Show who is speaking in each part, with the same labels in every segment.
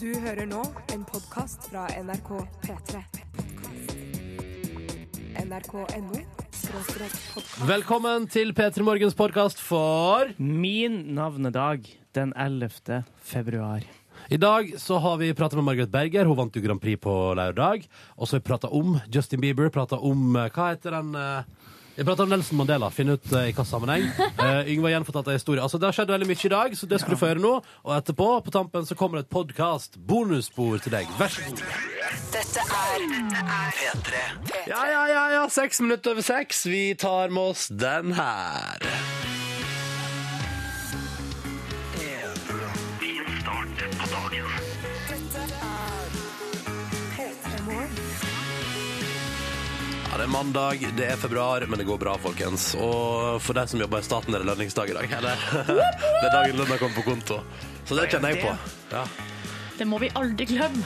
Speaker 1: Du hører nå en podkast fra NRK P3. NRK.no skråstrek podkast.
Speaker 2: Velkommen til P3 Morgens podkast for
Speaker 3: Min navnedag den 11. februar.
Speaker 2: I dag så har vi prata med Margaret Berger, hun vant jo Grand Prix på lørdag. Og så har vi prata om Justin Bieber, prata om eh, Hva heter den eh, Vi prata om Nelson Mandela, finne ut eh, i hva sammenheng. Uh, Yngve har gjenfortalt ei historie. Altså, det har skjedd veldig mye i dag, så det skal du få høre nå. Og etterpå, på tampen, så kommer det et podkast-bonusspor til deg. Vær så god. Dette er Ja, ja, ja, ja. Seks minutter over seks. Vi tar med oss den her. Ja, det er mandag, det er februar, men det går bra, folkens. Og for deg som jobber i staten, er det lønningsdag i dag. Eller? Det er dagen lønna kommer på konto. Så det kjenner jeg på. Ja,
Speaker 4: Det må vi aldri glemme.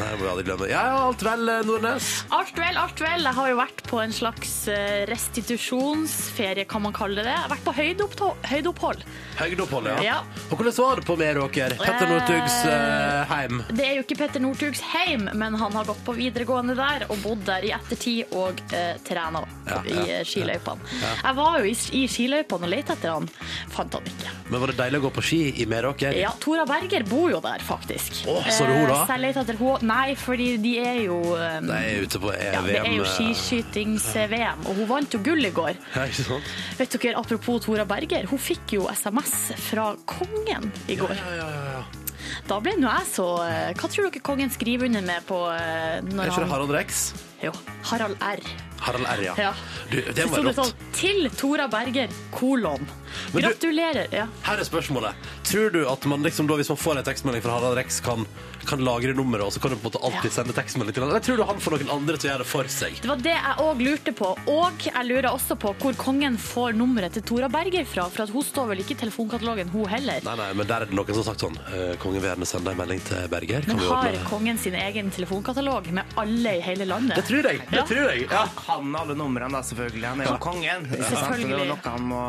Speaker 2: Nei, jeg må aldri glemme. det. Ja, ja, alt vel, eh, Nordnes?
Speaker 4: Alt vel, alt vel. Jeg har jo vært på en slags eh, restitusjonsferie, kan man kalle det. Jeg har vært på høydeoppto- høydeopphold.
Speaker 2: Høydeopphold, ja.
Speaker 4: Ja.
Speaker 2: Og hvordan var det på Meråker? Petter Northugs eh, heim.
Speaker 4: Det er jo ikke Petter Northugs heim, men han har gått på videregående der og bodd der i ettertid og eh, trena
Speaker 2: Ja,
Speaker 4: i
Speaker 2: ja,
Speaker 4: eh, skiløypene. Jeg var jo i, i skiløypene og lette etter han. Fant han ikke.
Speaker 2: Men var det deilig å gå på ski i Meråker?
Speaker 4: Ja, Tora Berger bor jo der, faktisk.
Speaker 2: Åh, så du hun da?
Speaker 4: Eh, Så jeg lette etter henne. Nei, fordi de er jo eh,
Speaker 2: Nei, jeg er ute på eh,
Speaker 4: ja, det er
Speaker 2: VM.
Speaker 4: jo skiskytings-VM, og hun vant jo gull i går.
Speaker 2: Ja, eh, ikke sant?
Speaker 4: Vet dere, Apropos Tora Berger, hun fikk jo SMS fra kongen i går.
Speaker 2: Ja, ja, ja. ja.
Speaker 4: Da ble nå jeg så eh, Hva tror dere kongen skriver under med på eh,
Speaker 2: Er
Speaker 4: når
Speaker 2: ikke det
Speaker 4: han
Speaker 2: Harald Rex?
Speaker 4: Jo, Harald R.
Speaker 2: Harald R, ja.
Speaker 4: Ja.
Speaker 2: Du, det
Speaker 4: Så
Speaker 2: var
Speaker 4: sto det
Speaker 2: rått.
Speaker 4: sånn Til Tora Berger, kolon.
Speaker 2: Men du-
Speaker 4: Gratulerer. Ja.
Speaker 2: Her er spørsmålet. Tror du at man liksom da, hvis man får en tekstmelding fra Harald Rex, kan, kan lagre nummeret, og så kan du på en måte alltid
Speaker 4: Ja.
Speaker 2: sende tekstmelding til han? Eller tror du han får noen andre til å gjøre det for seg?
Speaker 4: Det var det jeg òg lurte på. Og jeg lurer også på hvor kongen får nummeret til Tora Berger fra. For at hun står vel ikke i telefonkatalogen, hun heller.
Speaker 2: Nei, nei, men der er det noen som har sagt sånn eh, Kongen vil gjerne sende en melding til Berger. Kan
Speaker 4: Men
Speaker 2: vi
Speaker 4: har
Speaker 2: ordne det?
Speaker 4: kongen sin egen telefonkatalog med alle i hele landet?
Speaker 2: Det tror jeg. Det
Speaker 4: Ja.
Speaker 2: tror jeg. Ja.
Speaker 3: Han har alle numrene, da, selvfølgelig. Han er jo kongen. ikke sant?
Speaker 4: Selvfølgelig.
Speaker 3: Det er jo noe han må,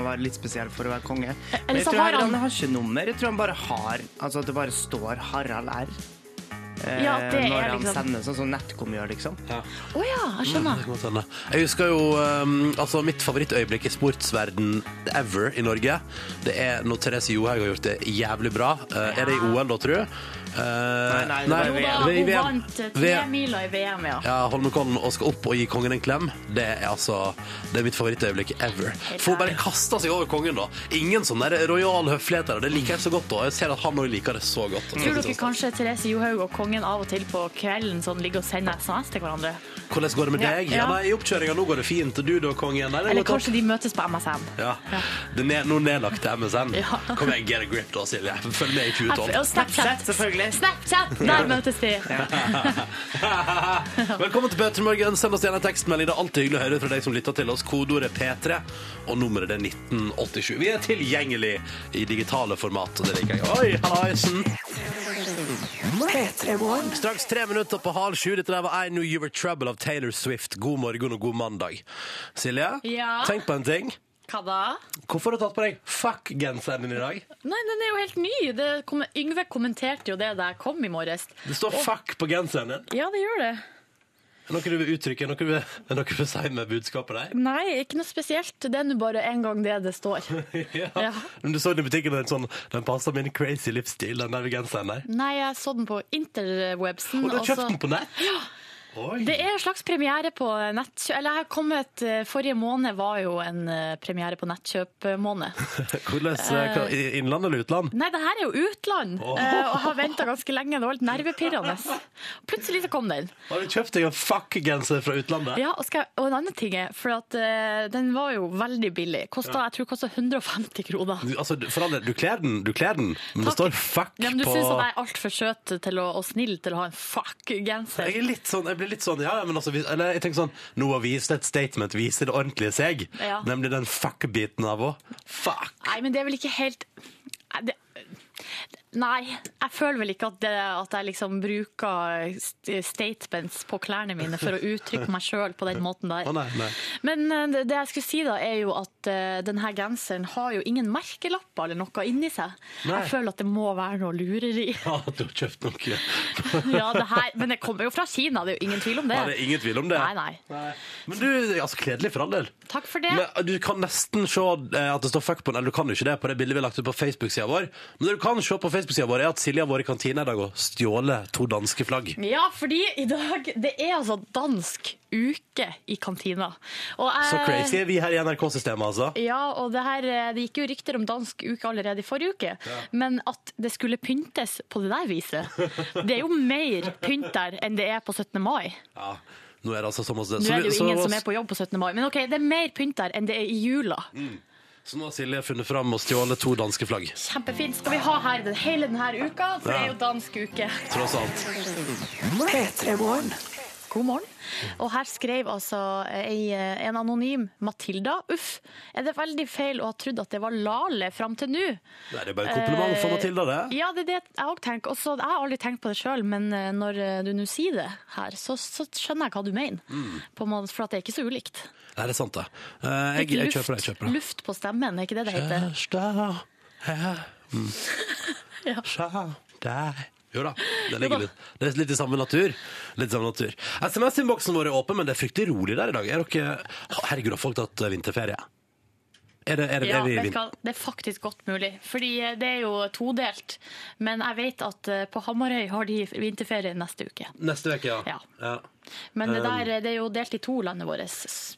Speaker 3: må være litt spesiell for å være konge. Men
Speaker 4: eller
Speaker 3: jeg
Speaker 4: så
Speaker 3: tror
Speaker 4: har
Speaker 3: Harald
Speaker 4: han-
Speaker 3: har ikke nummer. Jeg tror han bare har Altså at det bare står Harald R. eh,
Speaker 4: Ja, det er
Speaker 3: når han
Speaker 4: liksom-
Speaker 3: sender sånn som Netcom gjør, liksom.
Speaker 4: Å ja, jeg skjønner.
Speaker 2: Det kan godt hende. Jeg husker jo ehm, altså mitt favorittøyeblikk i sportsverden ever i Norge. Det er når Therese Johaug har gjort det jævlig bra. Eh, Er det i OL, da, Eh, tru?
Speaker 3: Nei, nei, det var i
Speaker 4: Jo da, hun vant eh, tremila i VM, ja.
Speaker 2: Ja, Holmenkollen og skal opp og gi kongen en klem. Det er altså Det er mitt favorittøyeblikk ever. For hun bare kaster seg over kongen, da. Ingen sånn der rojal høflighet der. og Det liker jeg så godt, da. Jeg ser at han òg liker det så godt.
Speaker 4: Tror dere kanskje Therese Johaug og kongen av og til på kvelden sånn ligger og sender SMS til hverandre?
Speaker 2: Hvordan går det med deg? Ja,
Speaker 4: Ja.
Speaker 2: nei, I oppkjøringa nå går det fint. Og du da, kongen? Nei, det
Speaker 4: Eller
Speaker 2: går topp.
Speaker 4: kanskje de møtes på MSN?
Speaker 2: Ja. Det er ned, nå nedlagt til MSN.
Speaker 4: Ja.
Speaker 2: Kom igjen, get a grip, da, Silje. Følg med i
Speaker 4: Jeg-
Speaker 2: 2012.
Speaker 4: Og Snapchat!
Speaker 3: selvfølgelig.
Speaker 4: Snapchat! Der møtes de.
Speaker 2: Velkommen til Peter Morgen. Send oss gjerne en tekstmelding. Det er alltid hyggelig å høre fra deg som lytter til oss. Kodeordet P3, og nummeret det er 1987. Vi er tilgjengelig i digitale format, og det liker jeg. Oi, hallaisen!
Speaker 1: P3 Morgen.
Speaker 2: Straks tre minutter på halv sju. Dette der var I Knew You Were Trouble av Taylor Swift. God morgen og god mandag. Silje,
Speaker 4: Ja?
Speaker 2: tenk på en ting.
Speaker 4: Hva da?
Speaker 2: Hvorfor har du tatt på deg fuck-genseren din i dag?
Speaker 4: Nei, den er jo helt ny. Det kom, Yngve kommenterte jo det da jeg kom i morges.
Speaker 2: Det står fuck på genseren din.
Speaker 4: Ja, det gjør det.
Speaker 2: Er det noe du vil uttrykke? Er det noe du vil, er det noe du vil si med budskapet der?
Speaker 4: Nei, ikke noe spesielt. Det er nå bare en gang det det står.
Speaker 2: ja.
Speaker 4: Ja.
Speaker 2: Men du så den i butikken, den, sånn, den passer min crazy livsstil, den der genseren der.
Speaker 4: Nei, jeg så den på interwebsen. altså-
Speaker 2: Og du har
Speaker 4: og
Speaker 2: kjøpt
Speaker 4: så-
Speaker 2: den på nett? Ja. Oi.
Speaker 4: Mm, Det er en slags premiere på nett... Eller jeg har kommet, eh, forrige måned var jo en eh, premiere på nettkjøp-måned.
Speaker 2: Hvordan, eh, hva- i- innland eller utland?
Speaker 4: Nei, det her er jo utland, eh, og
Speaker 2: Åh.
Speaker 4: jeg har venta ganske lenge. Det var litt nervepirrende. Plutselig så kom den.
Speaker 2: Har du kjøpt deg en fuck-genser fra utlandet?
Speaker 4: Ja, og, skal, jeg- og en annen ting er, for at eh, den var jo veldig billig. Kosta, Jeg tror det kosta 150 kroner.
Speaker 2: Du, altså, du- for all del, du kler den, du kler den, men det står
Speaker 4: Takk.
Speaker 2: fuck
Speaker 4: Ja, men du
Speaker 2: på
Speaker 4: syns at jeg er altfor søt til å, og snill til å ha en fuck-genser?
Speaker 2: jeg, er litt sånn, jeg blir litt sånn, ja, ja, men altså, hvis- eller jeg tenker sånn, nå har vist et statement, viser det ordentlige seg,
Speaker 4: Ja.
Speaker 2: nemlig den fuck-biten av å, fuck.
Speaker 4: Nei, men det er vel ikke helt Nei, det... Nei, jeg føler vel ikke at, det, at jeg liksom bruker st- statements på klærne mine for å uttrykke meg sjøl på den måten der.
Speaker 2: Å, nei, nei.
Speaker 4: Men eh, det det jeg skulle si da, er jo at at eh, denne genseren har jo ingen merkelapper eller noe inni seg.
Speaker 2: Nei.
Speaker 4: Jeg føler at det må være noe lureri.
Speaker 2: Ja, du har kjøpt noe.
Speaker 4: ja, det her, men det kommer jo fra Kina, det er jo ingen tvil om det.
Speaker 2: Ja, det er ingen tvil om det.
Speaker 4: Nei, nei.
Speaker 2: Men du, altså, kledelig for all del.
Speaker 4: Takk for det.
Speaker 2: Men eh, du kan nesten se eh, at det står fuck på den, eller du kan jo ikke det på det bildet vi har lagt ut på Facebook-sida vår. Men det du kan se på Facebook-sida vår, er at Silje har vært i kantina i dag og stjålet to danske flagg.
Speaker 4: Ja, fordi i dag Det er altså dansk uke i kantina. Og jeg-
Speaker 2: Så crazy er vi her i NRK-systemet, altså.
Speaker 4: Ja, og det, her, eh, det gikk jo rykter om dansk uke allerede i forrige uke. Men at det skulle pyntes på det der viset Det er jo mer pynt der enn det er på 17. mai.
Speaker 2: Ja. Nå er det altså som oss
Speaker 4: Nå er det jo ingen som er på jobb på 17. mai, men OK, det er mer pynt der enn det er i jula.
Speaker 2: Så nå har Silje funnet fram og stjålet to danske flagg,
Speaker 4: Kjempefint. Skal vi ha her den, hele denne uka, for det er jo dansk uke.
Speaker 2: tross alt.
Speaker 5: P3 Morgen.
Speaker 4: God morgen. Og her skrev altså ei, en anonym Matilda. Uff, er det veldig feil å ha trodd at det var Lale fram til nå? Eh,
Speaker 2: Det er bare en kompliment for Matilda, det.
Speaker 4: Ja, det er det jeg òg tenker. Også, jeg har aldri tenkt på det sjøl, men eh, når eh, du nå sier det her, så, så skjønner jeg hva du mener.
Speaker 2: Mm.
Speaker 4: På en måte, for at det er ikke så ulikt.
Speaker 2: Nei, det er sant, det. Eh, Jeg, jeg kjøper det. jeg kjøper det.
Speaker 4: luft på stemmen, er ikke det Mm. det heter?
Speaker 2: Kjæreste her
Speaker 4: Ja.
Speaker 2: Kjæreste Jo da, det
Speaker 4: Jo da.
Speaker 2: ligger litt Det er litt i samme natur. Litt i samme natur. SMS-innboksen vår er åpen, men det er fryktelig rolig der i dag. Er dere Herregud, har folk tatt eh, vinterferie? Er det, er det,
Speaker 4: Ja,
Speaker 2: er vi, i
Speaker 4: vet du
Speaker 2: vin-
Speaker 4: hva? det er faktisk godt mulig. Fordi eh, det er jo todelt. Men jeg vet at eh, på Hamarøy har de vinterferie neste uke.
Speaker 2: Neste uke, ja.
Speaker 4: Ja.
Speaker 2: ja.
Speaker 4: Men
Speaker 2: Eh,
Speaker 4: det, der, eh, det er jo delt i to landet vårt s-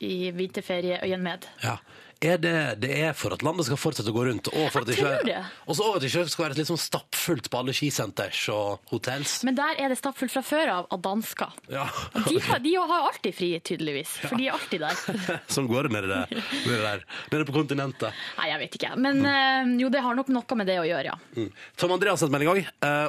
Speaker 4: i vinterferieøyen med.
Speaker 2: ja. Er det, det er for at landet skal fortsette å gå rundt, og for at det
Speaker 4: Jeg
Speaker 2: ikke,
Speaker 4: tror det.
Speaker 2: og så over at det ikke skal være litt sånn stappfullt på alle skisenters og hotels.
Speaker 4: Men der er det stappfullt fra før av av dansker.
Speaker 2: Ja.
Speaker 4: De har, de har alltid fri, tydeligvis. For de er alltid der.
Speaker 2: Sånn går det nede, der- nede der. Nede på kontinentet.
Speaker 4: Nei, jeg vet ikke. Men eh, jo, det har nok noe med det å gjøre, ja.
Speaker 2: Mm. Tom Andreas har sett melding òg,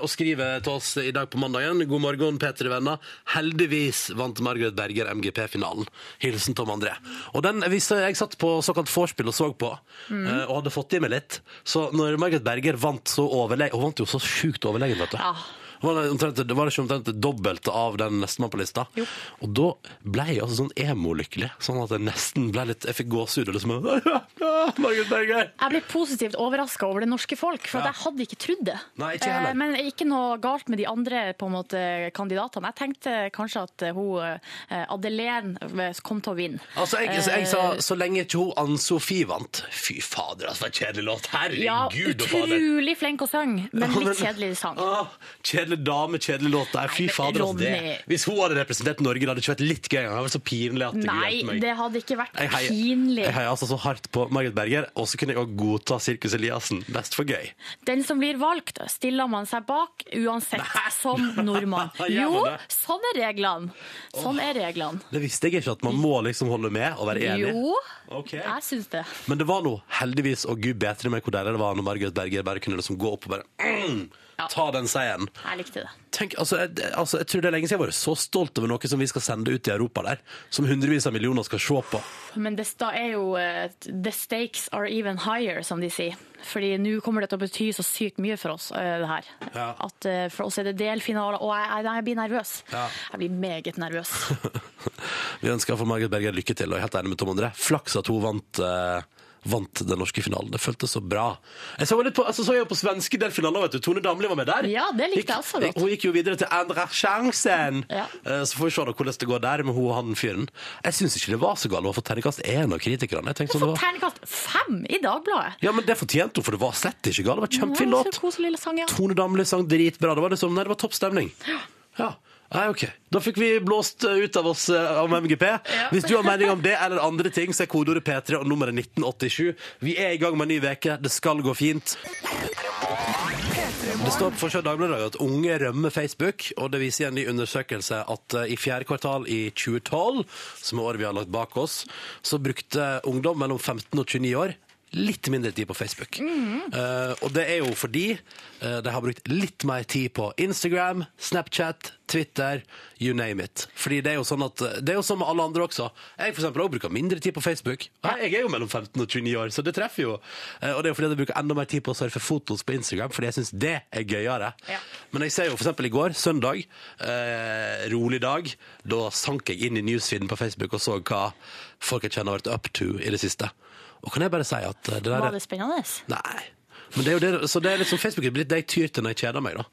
Speaker 2: og skriver til oss i dag på mandagen. God morgen, Peter venner. Heldigvis vant Margaret Berger MGP-finalen. Hilsen Tom André. Og den viste jeg satt på såkalt vorspiel og så på,
Speaker 4: Mm.
Speaker 2: eh, og hadde fått i meg litt. Så når Margaret Berger vant så overlegen Hun vant jo så sjukt overlegen, vet du.
Speaker 4: Ja.
Speaker 2: Det Var det, omtrent, det var ikke omtrent det dobbelte av den nestemann på lista.
Speaker 4: Jo.
Speaker 2: Og da ble jeg altså sånn emo-lykkelig. Sånn at jeg nesten ble litt Jeg fikk gåsehud og liksom Margaret Berger!
Speaker 4: Jeg ble positivt overraska over det norske folk, for at jeg hadde ikke trodd det.
Speaker 2: Nei, ikke heller.
Speaker 4: Eh, Men ikke noe galt med de andre på en måte, kandidatene. Jeg tenkte kanskje at eh, hun eh, Adelén kom til å vinne.
Speaker 2: Altså, jeg, så jeg sa
Speaker 4: Eh.
Speaker 2: så lenge ikke hun Ann-Sofie vant. Fy fader, altså, for en kjedelig låt.
Speaker 4: Eh, Ja,
Speaker 2: Herregud og fader.
Speaker 4: utrolig flink å synge, men litt kjedelig sang.
Speaker 2: Åh, kjedelig dame, kjedelig låt der. Fy
Speaker 4: Nei, men
Speaker 2: fader, altså, det.
Speaker 4: Ronny.
Speaker 2: Hvis hun hadde representert Norge, det hadde ikke vært litt gøy. Det hadde vært så pinlig at det
Speaker 4: Nei,
Speaker 2: hjelper meg.
Speaker 4: det hadde ikke vært
Speaker 2: Jeg heier,
Speaker 4: pinlig.
Speaker 2: jeg heier altså så hardt på Margaret Berger, og så kunne jeg også godta Sirkus Eliassen. Mest for gøy.
Speaker 4: Den som blir valgt, stiller man seg bak uansett, som nordmann.
Speaker 2: Gjør
Speaker 4: Jo,
Speaker 2: man det?
Speaker 4: sånn er reglene. Sånn er reglene.
Speaker 2: Det visste jeg ikke, at man må liksom holde med og være enig.
Speaker 4: Jo,
Speaker 2: Ok.
Speaker 4: jeg syns det.
Speaker 2: Men det var nå heldigvis, og gud bedre meg hvor deilig det var når Margaret Berger bare kunne liksom gå opp og bare mm,
Speaker 4: Ja.
Speaker 2: ta den seieren.
Speaker 4: Jeg likte det.
Speaker 2: Tenk, altså, jeg, altså, jeg tror det er lenge siden jeg har vært så stolt over noe som vi skal sende ut i Europa der, som hundrevis av millioner skal se på.
Speaker 4: Men det sta- er jo eh, The stakes are even higher, som de sier. Fordi nå kommer det til å bety så sykt mye for oss, eh, det her.
Speaker 2: Ja.
Speaker 4: At eh, for oss er det delfinaler. Og jeg, jeg, jeg blir nervøs.
Speaker 2: Ja.
Speaker 4: Jeg blir meget nervøs.
Speaker 2: Vi ønsker for Margaret Berger lykke til, og jeg er helt enig med Tom André. Flaks at hun vant, eh, vant den norske finalen. Det føltes så bra. Jeg så litt på, altså, så jeg jo på svenske delfinalen, også, vet du. Tone Damli var med der.
Speaker 4: Ja, det likte jeg også godt.
Speaker 2: Hun gikk jo videre til andre sjansen.
Speaker 4: Ja.
Speaker 2: Eh, så får vi se da hvordan det går der med hun og han fyren. Jeg syns ikke det var så galt. Hun har fått terningkast én av kritikerne. Jeg tenkte sånn,
Speaker 4: Få
Speaker 2: det var...
Speaker 4: terningkast fem i Dagbladet!
Speaker 2: Ja, men det fortjente hun, for det var slett ikke galt. Det var en kjempefin
Speaker 4: Ja,
Speaker 2: låt.
Speaker 4: Så koselig lille sang, ja.
Speaker 2: Tone Damli sang dritbra. Det var liksom, nei, det var topp stemning. Ja. Nei, ok. Da fikk vi blåst eh, ut av oss eh, om MGP. Hvis du har mening om det eller andre ting, så er kodeordet P3 og nummeret 1987. Vi er i gang med en ny veke. Det skal gå fint. Det står på Sjø Dagbladet i dag at unge rømmer Facebook, og det viser i en ny undersøkelse at eh, i fjerde kvartal i 2012, som er året vi har lagt bak oss, så brukte ungdom mellom 15 og 29 år litt mindre tid på Facebook. Eh, og det er jo fordi eh, de har brukt litt mer tid på Instagram, Snapchat, Twitter, you name it. Fordi det er jo sånn at eh, Det er jo sånn med alle andre også. Jeg for eksempel, også bruker mindre tid på Facebook. Nei, Jeg er jo mellom 15 og 29 år, så det treffer jo. Eh, og det er jo fordi jeg bruker enda mer tid på å surfe fotos på Instagram, fordi jeg syns det er gøyere.
Speaker 4: Ja.
Speaker 2: Men jeg ser jo for eksempel i går, søndag, eh, rolig dag, da sank jeg inn i newsfeeden på Facebook og så hva folk jeg kjenner har vært up to i det siste. Og kan jeg bare si at eh, det der
Speaker 4: Var det spennende?
Speaker 2: Nei. Men det er jo det, så det er liksom Facebook er blitt det jeg tyr til når jeg kjeder meg, da.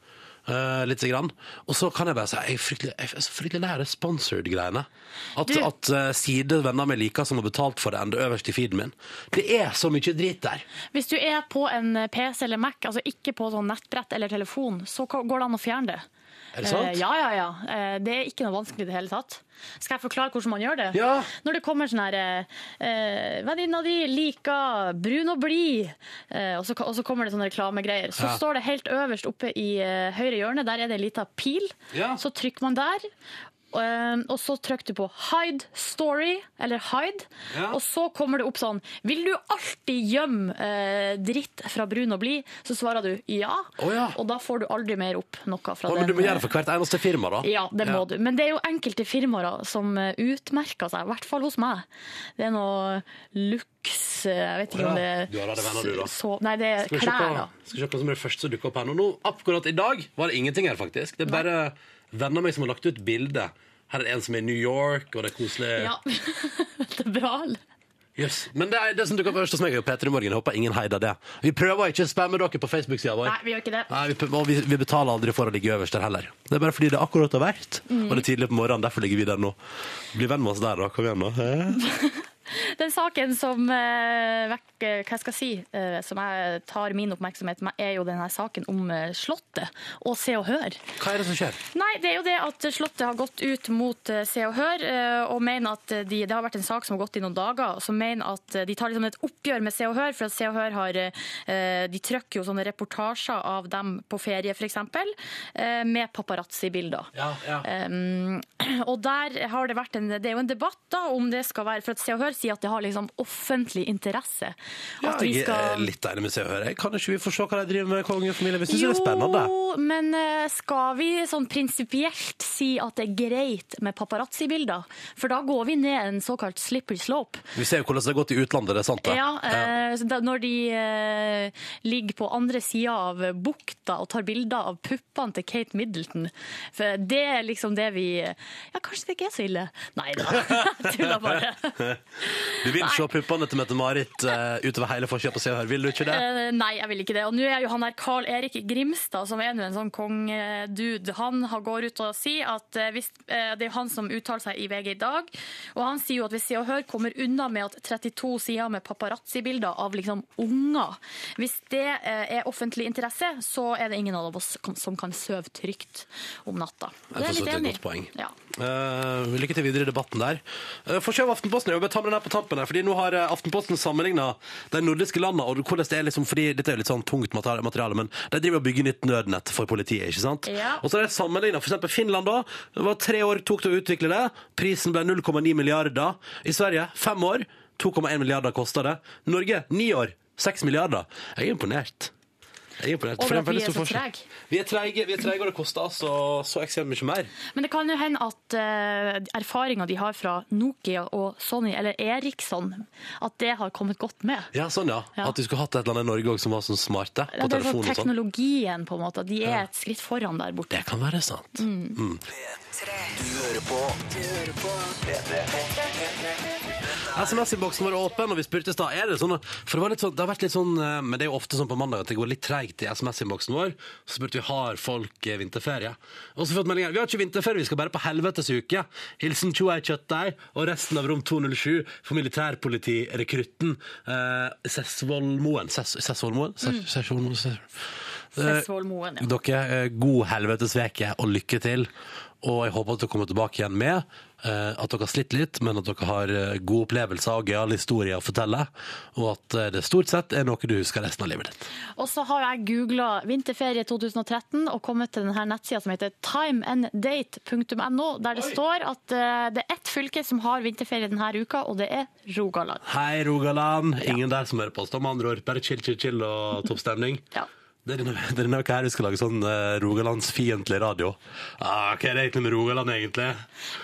Speaker 2: Eh, litt så grann. Og så kan jeg bare si jeg er fryktelig, jeg er så fryktelig lei av det sponsored-greiene. At,
Speaker 4: Du-
Speaker 2: at eh, sider venner meg liker som har betalt for det, enn det øverst i feeden min. Det er så mye drit der.
Speaker 4: Hvis du er på en PC eller Mac, altså ikke på sånn nettbrett eller telefon, så ka- går det an å fjerne det.
Speaker 2: Er det sant?
Speaker 4: Eh, ja, ja, ja. Eh, det er ikke noe vanskelig i det hele tatt. Skal jeg forklare hvordan man gjør det?
Speaker 2: Ja.
Speaker 4: Når det kommer sånn her eh, eh, Venninna di liker brun og blid, eh, og, så, og så kommer det sånne reklamegreier. Så
Speaker 2: Ja.
Speaker 4: står det helt øverst oppe i eh, høyre hjørne, der er det en liten pil.
Speaker 2: Ja.
Speaker 4: Så trykker man der. eh, Og så trykker du på 'hide story', eller 'hide',
Speaker 2: Ja.
Speaker 4: og så kommer det opp sånn Vil du alltid gjemme eh, dritt fra brun og blid? Så svarer du ja,
Speaker 2: Å ja.
Speaker 4: og da får du aldri mer opp noe fra
Speaker 2: Å, men
Speaker 4: den. eh,
Speaker 2: du må gjøre det for hvert eneste firma, da.
Speaker 4: Ja, det må du. Men det er jo enkelte firmaer som eh, utmerker seg, i hvert fall hos meg. Det er noe lux eh, Jeg vet ikke
Speaker 2: Å ja.
Speaker 4: om det er
Speaker 2: Du har da det venner, du, da.
Speaker 4: Så, nei, det er
Speaker 2: Skal vi se
Speaker 4: klær,
Speaker 2: hva-
Speaker 4: da.
Speaker 2: skal vi se hva som er det første som dukker opp her nå. nå. Akkurat i dag var det ingenting her, faktisk. Det er bare venner av meg som har lagt ut bilde. Her er det en som er i New York, og det er koselig.
Speaker 4: Ja. det er bra. eller?
Speaker 2: Jøss. Men det, er, det som dukker opp først hos meg, er jo Peter i morgen. Jeg håper ingen heider det. Vi prøver ikke å spamme dere på Facebook-sida vår.
Speaker 4: Nei, vi gjør ikke det.
Speaker 2: Nei, vi, prøver- og vi, vi betaler aldri for å ligge øverst der heller. Det er bare fordi det akkurat har vært,
Speaker 4: Mm.
Speaker 2: og det er tidlig på morgenen. Derfor ligger vi der nå. Bli venn med oss der, da. Kom igjen, nå. Hæ?
Speaker 4: Den saken som eh, vekker, hva skal jeg si, eh, som jeg tar min oppmerksomhet med, er jo denne saken om eh, Slottet og Se og Hør.
Speaker 2: Hva er det som skjer?
Speaker 4: Nei, det er jo det at Slottet har gått ut mot eh, Se og Hør, eh, og mener at eh, de, det har vært en sak som har gått i noen dager, som mener at eh, de tar liksom et oppgjør med Se og Hør, for at Se og Hør har eh, de trøkker jo sånne reportasjer av dem på ferie, for eksempel, eh, med paparazzi-bilder.
Speaker 2: Ja, ja.
Speaker 4: Um, og der har det vært en, det er jo en debatt da, om det skal være, for at Se og Hør sier at det har liksom offentlig interesse. At vi
Speaker 2: jeg er
Speaker 4: skal...
Speaker 2: litt enig med Se og Hør. Jeg Kan ikke vi få se hva de driver med, kongefamilien? Vi syns det er spennende.
Speaker 4: Jo, men eh, skal vi sånn prinsipielt si at det er greit med paparazzi-bilder? For da går vi ned en såkalt slippery slope.
Speaker 2: Vi ser jo hvordan det har gått i utlandet, det er sant, det.
Speaker 4: Ja, eh, så da, når de eh, ligger på andre sida av bukta og tar bilder av puppene til Kate Middleton. For det er liksom det vi Ja, kanskje det ikke er så ille? Nei da, tulla bare.
Speaker 2: Du vil se puppene til Mette-Marit eh, utover hele forsida på Se og Hør, vil du ikke det?
Speaker 4: Eh, nei, jeg vil ikke det. Og nå er jo han her Carl Erik Grimstad, som er nå en sånn kongedude, han har- går ut og sier at eh, hvis, eh, det er jo han som uttaler seg i VG i dag, og han sier jo at hvis Se og Hør kommer unna med at 32 sider med paparazzi-bilder av liksom unger, hvis det eh, er offentlig interesse, så er det ingen av oss kan- som kan søve trygt om natta. Det er
Speaker 2: Jeg
Speaker 4: jeg
Speaker 2: forstår
Speaker 4: litt
Speaker 2: at det er
Speaker 4: enig
Speaker 2: et godt
Speaker 4: i.
Speaker 2: poeng.
Speaker 4: Ja.
Speaker 2: Eh, lykke til videre i debatten der. Uh, for av Aftenposten, jeg vil bare ta med den her på tampen her, fordi nå har eh, Aftenposten sammenlignet de nordiske landene, og hvordan det er liksom, fordi dette er jo litt sånn tungt materi- materiale, men de driver og bygger nytt nødnett for politiet, ikke sant?
Speaker 4: Ja.
Speaker 2: Og så har de sammenlignet, for eksempel Finland da, det var tre år tok det å utvikle det, prisen ble 0,9 milliarder. I Sverige, fem år, 2,1 milliarder kostet det. Norge, ni år, 6 milliarder. Jeg er imponert. Jeg er imponert.
Speaker 4: Over
Speaker 2: for det
Speaker 4: at
Speaker 2: er
Speaker 4: vi
Speaker 2: veldig
Speaker 4: er
Speaker 2: stor
Speaker 4: så
Speaker 2: forskjell.
Speaker 4: treg.
Speaker 2: Vi er trege, vi er trege, og det koster altså så ekstremt mye mer.
Speaker 4: Men det kan jo hende at uh, erfaringa de har fra Nokia og Sony, eller Eriksson, at det har kommet godt med.
Speaker 2: Ja, sånn ja.
Speaker 4: Ja.
Speaker 2: At du skulle hatt et eller annet i Norge også som var sånn smarte på
Speaker 4: Ja, det er sånn
Speaker 2: telefonen og sånn.
Speaker 4: teknologien, på en måte. De er et skritt foran der borte.
Speaker 2: Det kan være sant. Mm. SMS-innboksen var åpen, og vi spurte i stad er det sånn For det, var litt sånn, det har vært litt sånn eh, Men det er jo ofte sånn på mandag at det går litt treigt i SMS-innboksen vår. Så spurte vi har folk eh, vinterferie. Og så fått melding her. Vi har ikke vinterferie, vi skal bare på helvetes uke. Hilsen Tjoei Kjøttdeig og resten av rom 207 for militærpolitirekrutten eh, Sessvollmoen. Sess- Sessvollmoen? Sess- Sessvollmoen? Sess-
Speaker 4: Sessvoll Moen, ja.
Speaker 2: Dere, eh, god helvetesveke og lykke til. Og jeg håper at dere kommer tilbake igjen med eh, at dere har slitt litt, men at dere har eh, gode opplevelser og gøyale historier å fortelle. Og at eh, det stort sett er noe du husker resten av livet ditt.
Speaker 4: Og så har jeg googla 'vinterferie 2013' og kommet til denne nettsida som heter timeanddate.no, der det står at eh, det er ett fylke som har vinterferie denne uka, og det er Rogaland.
Speaker 2: Hei, Rogaland! Ingen der som hører på oss, da, med andre ord. Bare chill, chill, chill og topp stemning.
Speaker 4: Ja.
Speaker 2: Det er denne, det er denne uka her vi skal lage sånn eh, rogalandsfiendtlig radio. Ah, hva er det egentlig med Rogaland, egentlig?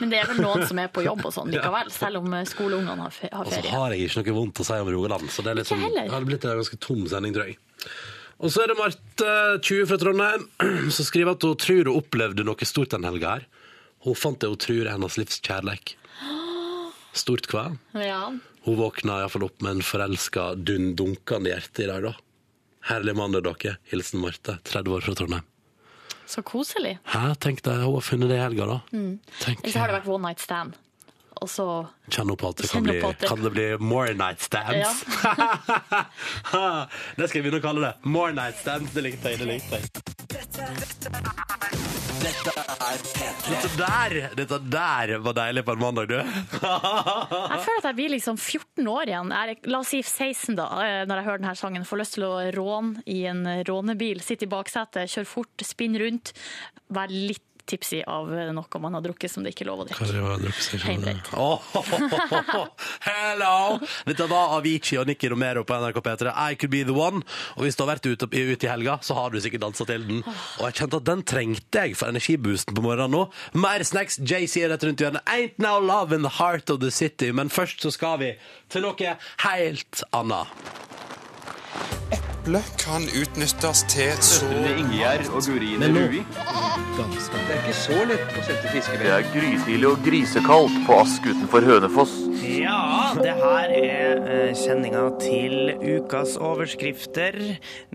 Speaker 4: Men det er vel noen som er på jobb og sånn likevel, selv om eh, skoleungene har fe- har
Speaker 2: Og så
Speaker 4: ferie.
Speaker 2: har jeg ikke noe vondt å si om Rogaland. Så det er liksom,
Speaker 4: heller.
Speaker 2: det hadde blitt en ganske tom sending, tror jeg. Og så er det Marte, 20 fra Trondheim, som skriver at hun tror hun opplevde noe stort den helga her. Hun fant det hun tror er hennes livs kjærleik. Stort hva?
Speaker 4: Ja.
Speaker 2: Hun våkna iallfall opp med en forelska, dundunkende hjerte i dag, da. Herlig mann det er dere. Hilsen Marte, 30 år fra Trondheim.
Speaker 4: Så koselig.
Speaker 2: Hæ, tenk deg, hun har funnet det i helga, da. Tenk,
Speaker 4: Eller så Mm. har det vært one night stand. Og så
Speaker 2: Kjenner på at det kan
Speaker 4: Kjenner
Speaker 2: bli,
Speaker 4: på at det-
Speaker 2: kan det bli more night stands. det skal vi begynne å kalle det. More night stands, det likte jeg. det likte jeg. Dette der, dette der var deilig på en mandag, du.
Speaker 4: Jeg føler at jeg blir liksom 14 år igjen. Jeg er, la oss si 16 da, eh, når jeg hører denne sangen. Får lyst til å råne i en rånebil. Sitte i baksetet, kjøre fort, spinne rundt. Være litt tipsy av noe man har drukket som det ikke er lov å drikke. Heimbrent.
Speaker 2: Åh, Hello! Dette var Avicii og Nikki Romero på NRK P3. I could be the one. Og hvis du har vært ute, ute i helga, så har du sikkert dansa til den. Og jeg kjente at den trengte jeg for energiboosten på morgenen nå. Mer snacks, JC er rett rundt hjørnet. Ain't now love in the heart of the city. Men først så skal vi til noe helt annet.
Speaker 6: eple kan utnyttes til så
Speaker 7: Ingjerd og Gurine Rui.
Speaker 1: Det er ikke så lett å sette fiskevær.
Speaker 7: Det er grytidlig og grisekaldt på Ask utenfor Hønefoss.
Speaker 3: Ja, det her er eh, kjenninga til ukas overskrifter.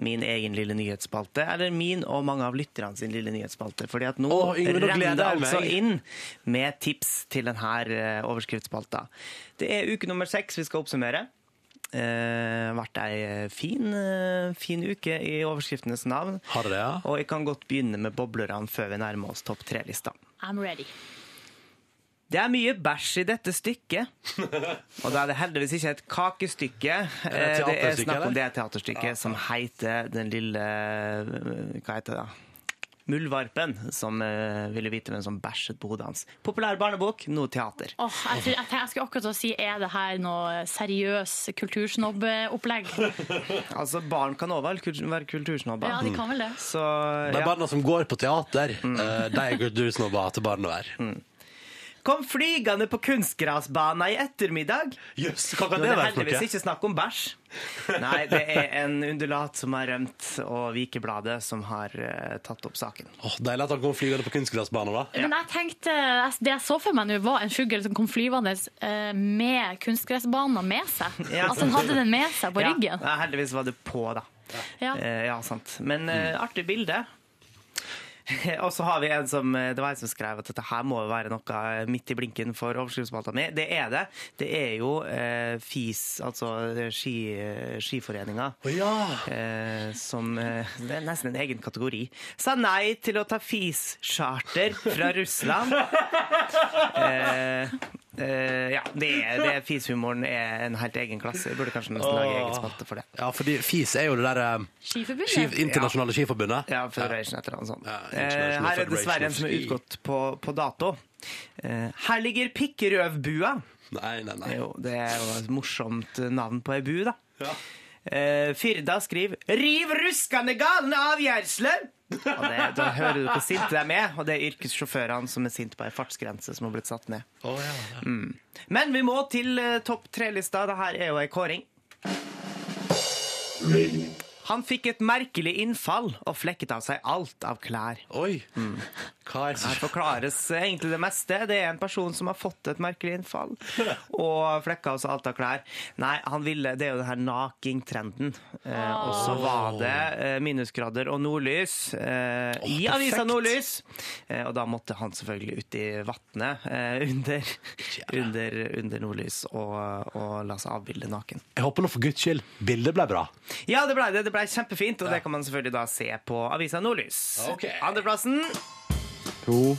Speaker 3: Min egen lille nyhetsspalte. Eller min og mange av lytterne sin lille nyhetsspalte. Fordi at nå
Speaker 2: Å, Yngve, nå gleder
Speaker 3: renner det
Speaker 2: jeg meg.
Speaker 3: altså inn med tips til denne overskriftspalta. Det er uke nummer seks vi skal oppsummere. Uh, vært ei fin, eh, fin uke i overskriftenes navn.
Speaker 2: Har det det, ja?
Speaker 3: Og jeg kan godt begynne med boblerne før vi nærmer oss topp tre-lista.
Speaker 4: I'm ready.
Speaker 3: Det er mye bæsj i dette stykket. Og da er det heldigvis ikke et kakestykke. Eh,
Speaker 2: et
Speaker 3: Det er
Speaker 2: teaterstykke,
Speaker 3: snakk
Speaker 2: eller?
Speaker 3: om det teaterstykket som heter Den lille eh, Hva heter det? da? Muldvarpen, som eh, ville vite hvem som bæsjet på hodet hans. Populær barnebok, nå teater.
Speaker 4: Åh, jeg, tror, jeg, tenker- jeg skulle akkurat til å si er det her noe seriøs kultursnobbeopplegg?
Speaker 3: Altså, barn kan òg være kultursnobber.
Speaker 4: Ja, de kan vel det.
Speaker 3: Så ja.
Speaker 2: De
Speaker 3: Mm.
Speaker 2: barna som går på teater, eh, de er kultursnobber til barn å være.
Speaker 3: Kom flygende på kunstgrasbanen i ettermiddag.
Speaker 2: Jøss, hva
Speaker 3: Nå
Speaker 2: kan
Speaker 3: er
Speaker 2: det
Speaker 3: det
Speaker 2: være for
Speaker 3: heldigvis
Speaker 2: noe?
Speaker 3: ikke snakk om bæsj. Nei, det er en undulat som har rømt, og Vikebladet som har eh, tatt opp saken.
Speaker 2: Åh, deilig at han kom flygende på kunstgressbanen, da.
Speaker 4: Men jeg tenkte, det jeg så for meg nå, var en fugl som kom flyvende eh, med kunstgressbanen med seg.
Speaker 3: Ja.
Speaker 4: Altså, han hadde den med seg på
Speaker 3: Ja,
Speaker 4: ryggen.
Speaker 3: nei, heldigvis var det på, da.
Speaker 4: Ja.
Speaker 3: Eh, ja, sant. Men eh, artig bilde. Og så har vi en som eh, Det var en som skrev at dette her må jo være noe eh, midt i blinken for overskriftsspalta mi. Det er det. Det er jo eh, FIS, altså eh, ski, eh, Skiforeninga.
Speaker 2: Å ja!
Speaker 3: Eh, som eh, Det er nesten en egen kategori. Sa nei til å ta FIS-charter fra Russland. Eh, eh, ja, det er, det er FIS-humoren er en helt egen klasse. Jeg burde kanskje nesten lage egen spalte for det.
Speaker 2: Ja, fordi FIS er jo det der eh, ski,
Speaker 4: Skiforbundet.
Speaker 2: internasjonale skiforbundet.
Speaker 3: Ja, Federation et eller annet sånt.
Speaker 2: Ja,
Speaker 3: Eh,
Speaker 2: International
Speaker 3: her er
Speaker 2: Federation
Speaker 3: dessverre
Speaker 2: of
Speaker 3: en som er
Speaker 2: Ski.
Speaker 3: utgått på, på dato. Eh, her ligger pikkerøvbua.
Speaker 2: Nei, nei,
Speaker 3: Det
Speaker 2: nei.
Speaker 3: er jo- Det er jo et morsomt navn på ei bu, da. Eh, Firda skriver 'Riv ruskende galne avgjørelse'! Og det, da hører du hvor sinte de er, og det er yrkessjåførene som er sinte på ei fartsgrense som har blitt satt ned.
Speaker 2: Å, ja, ja.
Speaker 3: Men vi må til eh, topp tre-lista. Det her er jo ei kåring.
Speaker 2: Mm.
Speaker 3: Han fikk et merkelig innfall og flekket av seg alt av klær.
Speaker 2: Oi!
Speaker 3: kar. Her forklares egentlig det meste. Det er en person som har fått et merkelig innfall. Og flekka og alt av klær. Nei, han ville, det er jo den her naking-trenden. Eh, og så var det eh, minusgrader og nordlys eh, i avisa Nordlys. Eh, og da måtte han selvfølgelig ut i vannet eh, under, under, under nordlys og, og la seg avbilde naken.
Speaker 2: Jeg håper nå for guds skyld bildet ble bra.
Speaker 3: Ja, det ble det. Det ble kjempefint, og det kan man selvfølgelig da se på avisa Nordlys.
Speaker 2: Ok.
Speaker 3: Andreplassen
Speaker 8: To.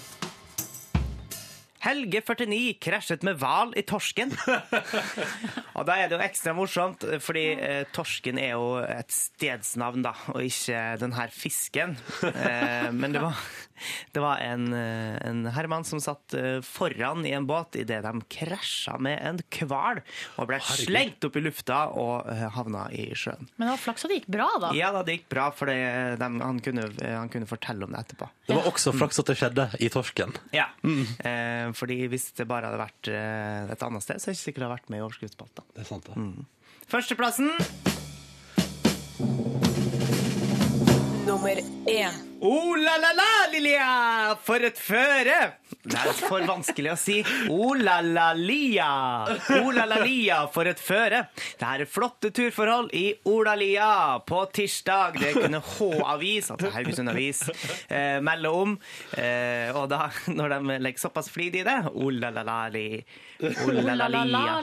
Speaker 3: Helge 49 krasjet med hval i torsken. og da er det jo ekstra morsomt, fordi eh, torsken er jo et stedsnavn, da, og ikke den her fisken. Eh, men det var, det var en, eh, en herremann som satt eh, foran i en båt idet de krasja med en hval, og ble slengt opp i lufta og eh, havna i sjøen.
Speaker 4: Men det var flaks at det gikk bra, da.
Speaker 3: Ja da, det gikk bra, for det- dem- han, kunne- han kunne fortelle om det etterpå.
Speaker 9: Det var også flaks at det skjedde i torsken.
Speaker 3: Ja. Eh, fordi hvis det bare hadde vært eh, et annet sted, så er det ikke sikkert det hadde vært med i overskuddsspalta.
Speaker 2: Det er sant, det.
Speaker 3: Førsteplassen
Speaker 10: Nummer én.
Speaker 3: Oh la la la, Lilia! For et føre! Det er for vanskelig å si. Oh la la lia! Oh la la lia, for et føre! Det her er flotte turforhold i Olalia på tirsdag. Det kunne H-avis, altså Haugesund Avis, eh, melde om. Eh, og da, når de legger såpass flid i det Oh la la la li. Oh la la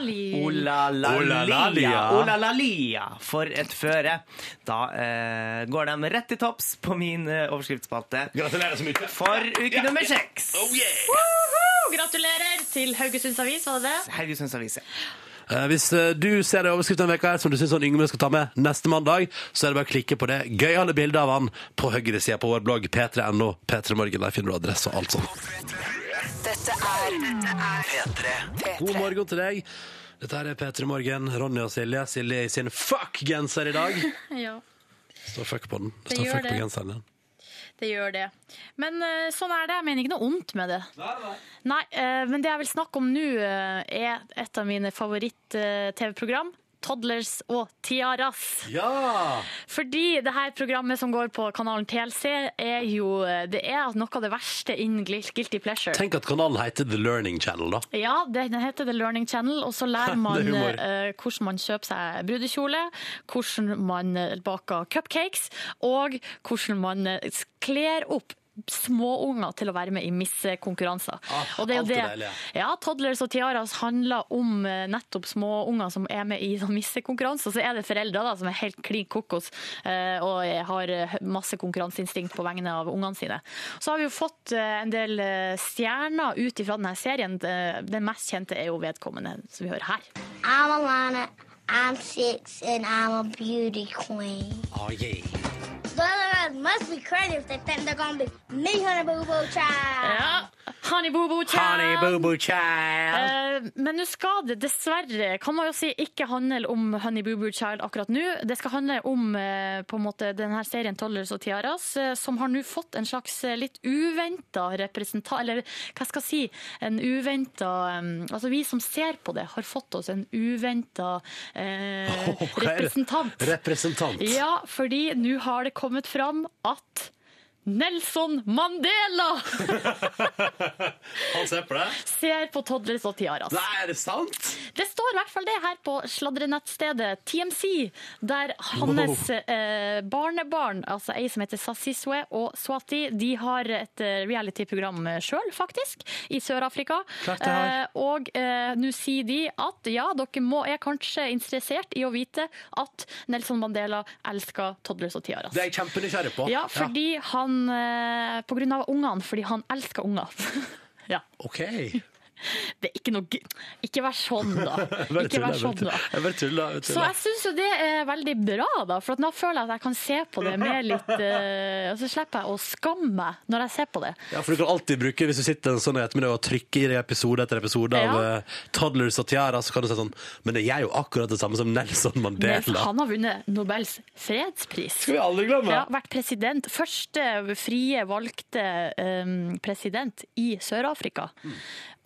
Speaker 3: lia. Oh la la lia. Oh la la lia, for et føre! Da eh, går de rett til topps på min eh, overskriftsspalte
Speaker 2: Gratulerer så mye. Oh,
Speaker 3: for uke nummer seks.
Speaker 4: Woohoo! Gratulerer til Haugesunds Avis, var det det?
Speaker 3: Haugesunds Avis.
Speaker 2: Eh, Hvis eh, du ser en overskrift denne veka her som du syns Yngve skal ta med neste mandag, så er det bare å klikke på det gøyale bildet av han på høyresida på vår blogg p3.no. P3morgen, Der finner du adresse og alt sånt.
Speaker 10: Dette er
Speaker 2: God morgen til deg. Dette her er P3 Morgen. Ronny og Silje. Silje i sin fuck-genser i dag.
Speaker 4: Ja,
Speaker 2: Står fuck på den.
Speaker 4: Det
Speaker 2: Står
Speaker 4: gjør
Speaker 2: fuck på
Speaker 4: det.
Speaker 2: genseren din.
Speaker 4: det gjør det. Men eh, sånn er det. Jeg mener ikke noe ondt med det. Nei, eh, men det jeg vil snakke om nå, eh, er et av mine favoritt-TV-program. Toddlers og Tiaras.
Speaker 2: Ja!
Speaker 4: Fordi det her programmet som går på kanalen TLC, er jo eh, det er noe av det verste innen gil- guilty pleasure.
Speaker 2: Tenk at kanalen heter The Learning Channel, da.
Speaker 4: Ja, det- den heter The Learning Channel, og så lærer man
Speaker 2: Det er humor.
Speaker 4: eh, hvordan man kjøper seg brudekjole, hvordan man eh, baker cupcakes, og hvordan man eh, s- kler opp småunger til å være med i missekonkurranser.
Speaker 2: Ah,
Speaker 4: og det er jo
Speaker 2: alt
Speaker 4: det.
Speaker 2: er deilig,
Speaker 4: Ja, Toddlers og Tiaras handler om eh, nettopp småunger som er med i sånn missekonkurranser. Så er det foreldre da, som er helt klin kokos eh, og har eh, masse konkurranseinstinkt på vegne av ungene sine. Så har vi jo fått eh, en del eh, stjerner ut ifra denne serien. Eh, Den mest kjente er jo vedkommende som vi hører her.
Speaker 7: I'm Alana. I'm six, and I'm a beauty queen.
Speaker 2: Ah,
Speaker 7: Those must be crazy if they think they're gonna be me, honey boo boo child.
Speaker 4: Ja. Honey Boo Boo Chan!
Speaker 3: Honey boo boo child.
Speaker 4: Eh, Men nå skal det dessverre kan man jo si, ikke handle om Honey Boo Boo Child akkurat nå. Det skal handle om eh, på en måte, denne serien Tollers og Tiaras, eh, som har nå fått en slags eh, litt uventa representant... Eller hva skal jeg si? En uventa Altså, vi som ser på det, har fått oss en uventa eh,
Speaker 2: Åh, hva er det?
Speaker 4: representant.
Speaker 2: Representant.
Speaker 4: Ja, fordi nå har det kommet fram at Nelson Mandela
Speaker 2: Han ser på det.
Speaker 4: ser på Toddlers og Tiaras.
Speaker 2: Nei, er det sant?
Speaker 4: Det står i hvert fall det her på sladrenettstedet TMC, der hans eh, barnebarn, altså ei som heter Sasiswe og Swati, de har et eh, reality-program sjøl, faktisk, i Sør-Afrika.
Speaker 2: Klart det har.
Speaker 4: Eh, og eh, nå sier de at ja, dere må, er kanskje interessert i å vite at Nelson Mandela elsker toddlers og tiaras.
Speaker 2: Det er jeg kjempenysgjerrig på.
Speaker 4: Ja, fordi han eh, På grunn av ungene, fordi han elsker unger. ja.
Speaker 2: OK.
Speaker 4: Det er ikke noe gøy. Ikke vær sånn, da.
Speaker 2: Bare
Speaker 4: Ikke vær
Speaker 2: tulla, jeg bare
Speaker 4: sånn,
Speaker 2: tulla.
Speaker 4: da.
Speaker 2: Jeg bare tulla. jeg
Speaker 4: Så
Speaker 2: tulla.
Speaker 4: jeg syns jo det er veldig bra, da. For at nå føler jeg at jeg kan se på det med litt eh, Og så slipper jeg å skamme meg når jeg ser på det.
Speaker 2: Ja, for du kan alltid bruke, hvis du sitter en sånn ettermiddag og trykker i deg episode etter episode av
Speaker 4: Ja.
Speaker 2: eh, Toddlers og Tiara, så kan du si sånn Men det er jo akkurat det samme som Nelson
Speaker 4: Men
Speaker 2: Mandela.
Speaker 4: han har vunnet Nobels fredspris.
Speaker 2: vi aldri glemme.
Speaker 4: Ja, vært president.
Speaker 2: Mm.
Speaker 4: Første frie valgte eh, president i ehm, Sør-Afrika.